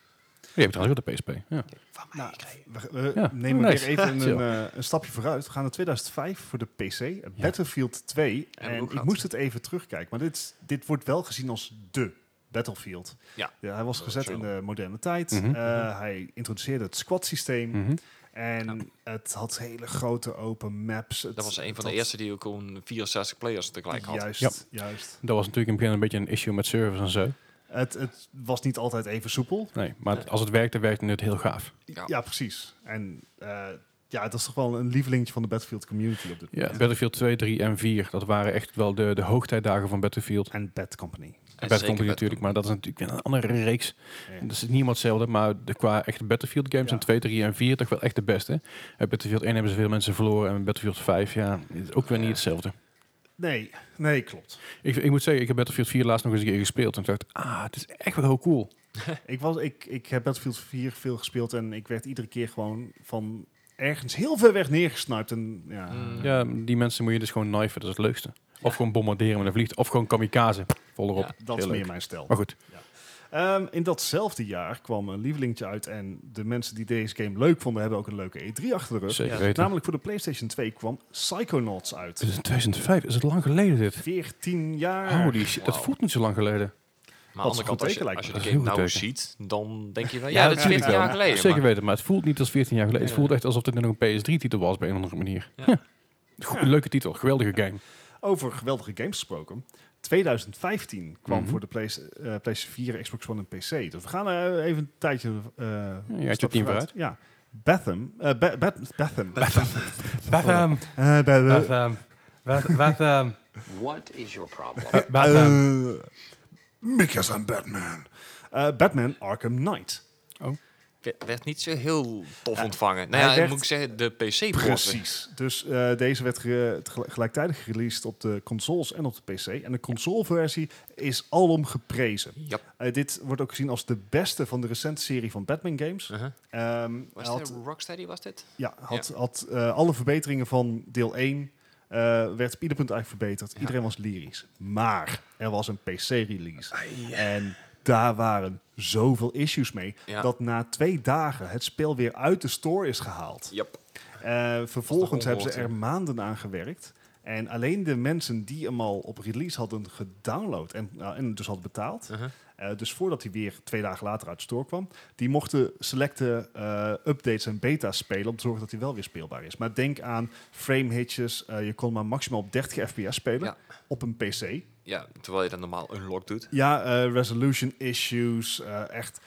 Je hebt trouwens wel de PSP. Ja. Van mij Nou, gekregen. we, we Ja, nemen nice. weer even Chill. een, eh, een stapje vooruit. We gaan naar 2005 voor de PC, Battlefield 2. we En ook ik gehad. moest het even terugkijken, maar dit, is- dit wordt wel gezien als de Battlefield. Ja. hij was Oh, gezet chill. in de moderne tijd. Mhm. Eh, Hij introduceerde het squad systeem. Mhm. En het had hele grote open maps. Het- Dat was een het van de had- eerste die ook een 64 players tegelijk had. Juist, Ja. juist. Dat was natuurlijk in het begin een beetje een issue met servers en zo. Het, het was niet altijd even soepel. Nee, maar als het werkte, werkte het heel gaaf. Ja. Ja, precies. En eh, ja, dat is toch wel een lievelingetje van de Battlefield community op dit Ja, Battlefield 2, 3 en 4, dat waren echt wel de, de hoogtijdagen van Battlefield. En Bad Company. En En Bad zeker Company Bad natuurlijk, maar dat is natuurlijk weer een andere reeks. Ja. Dat is niet wat hetzelfde, maar de, qua echte Battlefield games Ja. zijn 2, 3 en 4 toch wel echt de beste. Bij Battlefield 1 hebben ze veel mensen verloren en Battlefield 5, ja, is ook weer niet Ja. hetzelfde. Nee, nee, klopt. Ik, ik moet zeggen, ik heb Battlefield 4 laatst nog eens een keer gespeeld en ik dacht, ah, het is echt wel heel cool. Ik, was, ik, ik heb Battlefield 4 veel gespeeld en ik werd iedere keer gewoon van ergens heel ver weg neergesnipt. En, ja, Mm. Ja, die mensen moet je dus gewoon knifen, dat is het leukste. Of gewoon bombarderen met een vliegt, of gewoon kamikaze, vol erop. Ja, dat is Heel leuk. meer mijn stijl. Maar goed, Ehm, in datzelfde jaar kwam een lievelingetje uit en de mensen die deze game leuk vonden hebben ook een leuke E3 achter de rug. zeker Ja. weten. Namelijk voor de PlayStation 2 kwam Psychonauts Het is uit. in 2005, is het lang geleden dit? 14 jaar. Holy shit, dat Wauw. voelt niet zo lang geleden. Maar aan de andere goed kant, als teken je, lijkt als je me. de Dat is heel game nou goed ziet, dan denk je wel, Ja, ja, dat is natuurlijk 14 jaar wel. geleden. Zeker maar- weten, maar het voelt niet als 14 jaar geleden. Het Ja. voelt echt alsof dit nog een PS3-titel was, op een of andere manier. Ja. Huh. Go- Leuke titel, geweldige game. Over geweldige games gesproken. 2015 kwam Mhm. voor de Play- eh, PlayStation 4, Xbox One en PC. Dus we gaan eh, even een tijdje. eh je een hebt stap je team Ja. Betham. eh, Be- Be- Betham. Batham, Eh, Be- Batham, Batham, What is your problem? Eh, because I'm Batman. Eh, Batman Arkham Knight. We- werd niet zo heel tof ontvangen. hij Nou ja, werd- moet ik zeggen, de pc porten Precies. Dus eh, deze werd ge- tegelijk- gelijktijdig gereleased op de consoles en op de PC. En de consoleversie is alom geprezen. Ja. Eh, dit wordt ook gezien als de beste van de recente serie van Batman games. Uh-huh. Ehm, Was had- dit Rocksteady, was dit? Ja, had, had eh, alle verbeteringen van deel 1 eh, werd op ieder punt eigenlijk verbeterd. Iedereen was lyrisch. Maar er was een PC-release. En daar waren zoveel issues mee, Ja. dat na twee dagen het spel weer uit de store is gehaald. Yep. Eh, vervolgens Dat is hebben toch ze er maanden aan gewerkt. En alleen de mensen die hem al op release hadden gedownload en, nou, en dus hadden betaald, Uh-huh. eh, dus voordat hij weer twee dagen later uit de store kwam, die mochten selecte eh, updates en beta's spelen om te zorgen dat hij wel weer speelbaar is. Maar denk aan frame hitches, eh, je kon maar maximaal op 30 fps spelen Ja. op een PC. Ja, terwijl je dan normaal unlock doet. Ja, eh, resolution issues, eh, echt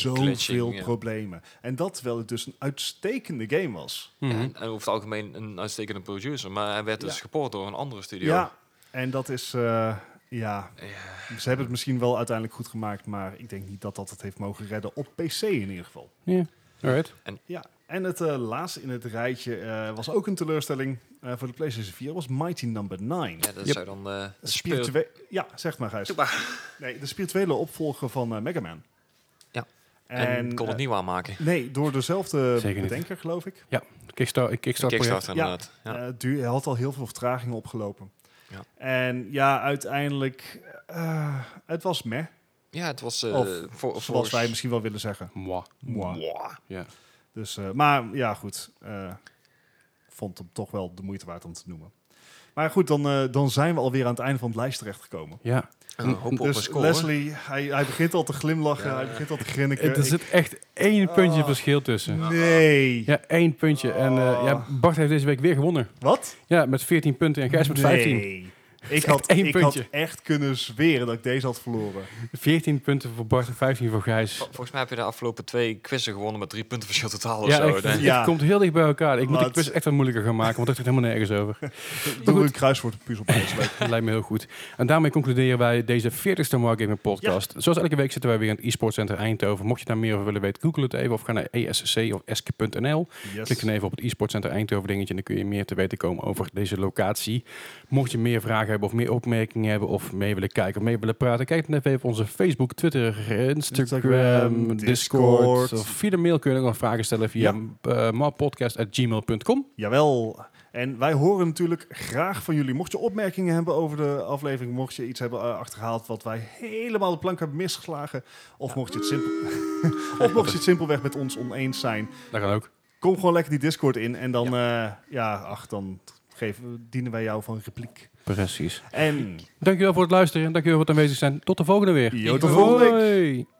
zoveel ja. problemen. En dat terwijl het dus een uitstekende game was. Mhm. En, en over het algemeen een uitstekende producer. Maar hij werd dus Ja. gepoord door een andere studio. Ja, en dat is. eh, ja, Ja. ze hebben het misschien wel uiteindelijk goed gemaakt, maar ik denk niet dat dat het heeft mogen redden op PC in ieder geval. Eh, Ja, alright. Ja, en het eh, laatste in het rijtje eh, was ook een teleurstelling eh, voor de PlayStation 4, was Mighty Number 9. Ja, dat Yep. zou dan eh De speel- spiritu- ja, zeg maar, Gijs. Doe Nee, de spirituele opvolger van eh, Mega Man. Ja. En, En, kon het eh, niet waarmaken. nee, door dezelfde Zeker niet. bedenker, geloof ik. Kickstarter, eh, Kickstarter project. Kickstarter Ja. inderdaad. Ja. Eh, duur, hij had al heel veel vertragingen opgelopen. Ja. En ja, uiteindelijk, eh, het was meh, Ja, het was... eh Of voor, zoals volgens- wij misschien wel willen zeggen. Mwah. Mwah. Mwah. Ja. Dus, eh, maar ja, goed. eh, Ik vond hem toch wel de moeite waard om te noemen. Maar goed, dan, eh, dan zijn we alweer aan het einde van het lijst terechtgekomen. Ja, En een hoop op een Dus score. hoor. Leslie, hij, hij begint al te glimlachen, Ja. hij begint al te grinniken. er Ik- zit echt één puntje Ah. verschil tussen. nee. Ja, één puntje. En eh, ja, Ah. Bart heeft deze week weer gewonnen. Wat? Ja, met 14 punten en Gijs met 15. Nee. Ik had, één ik had puntje. echt kunnen zweren dat ik deze had verloren. 14 punten voor Bart en 15 voor Gijs. Volgens mij heb je de afgelopen twee quizzen gewonnen met drie punten verschil totaal of Ja, zo. echt, denk ik. het Ja. komt heel dicht bij elkaar. Ik moet de Wat? quiz echt wat moeilijker gaan maken, want het gaat helemaal nergens over. Doe een kruiswoordpuzzel. bij ons. Dat lijkt me heel goed. En daarmee concluderen wij deze 40ste Mark Gaming podcast. Zoals elke week zitten wij weer in het e-sport center Eindhoven. Mocht je daar meer over willen weten, google het even of ga naar ESC of esk.nl. Klik dan Yes. even op het e-sport center Eindhoven dingetje en dan kun je meer te weten komen over deze locatie. Mocht je meer vragen hebben of meer opmerkingen hebben of mee willen kijken of mee willen praten, kijk dan even op onze Facebook, Twitter, Instagram, Instagram, Discord. Discord. Of via de mail kun je ook nog vragen stellen via eh, marpodcast@gmail.com. Jawel. En wij horen natuurlijk graag van jullie. Mocht je opmerkingen hebben over de aflevering, mocht je iets hebben eh, achterhaald wat wij helemaal de plank hebben misgeslagen, of, mocht, je het simpel, of mocht je het simpelweg met ons oneens zijn, Daar gaan ook. kom gewoon lekker die Discord in en dan, ja, ja ach, dan geven, dienen wij jou van repliek. Precies. En Dankjewel voor het luisteren. Dankjewel voor het aanwezig zijn. Tot de volgende weer. Yo, tot volgende week. Hoi.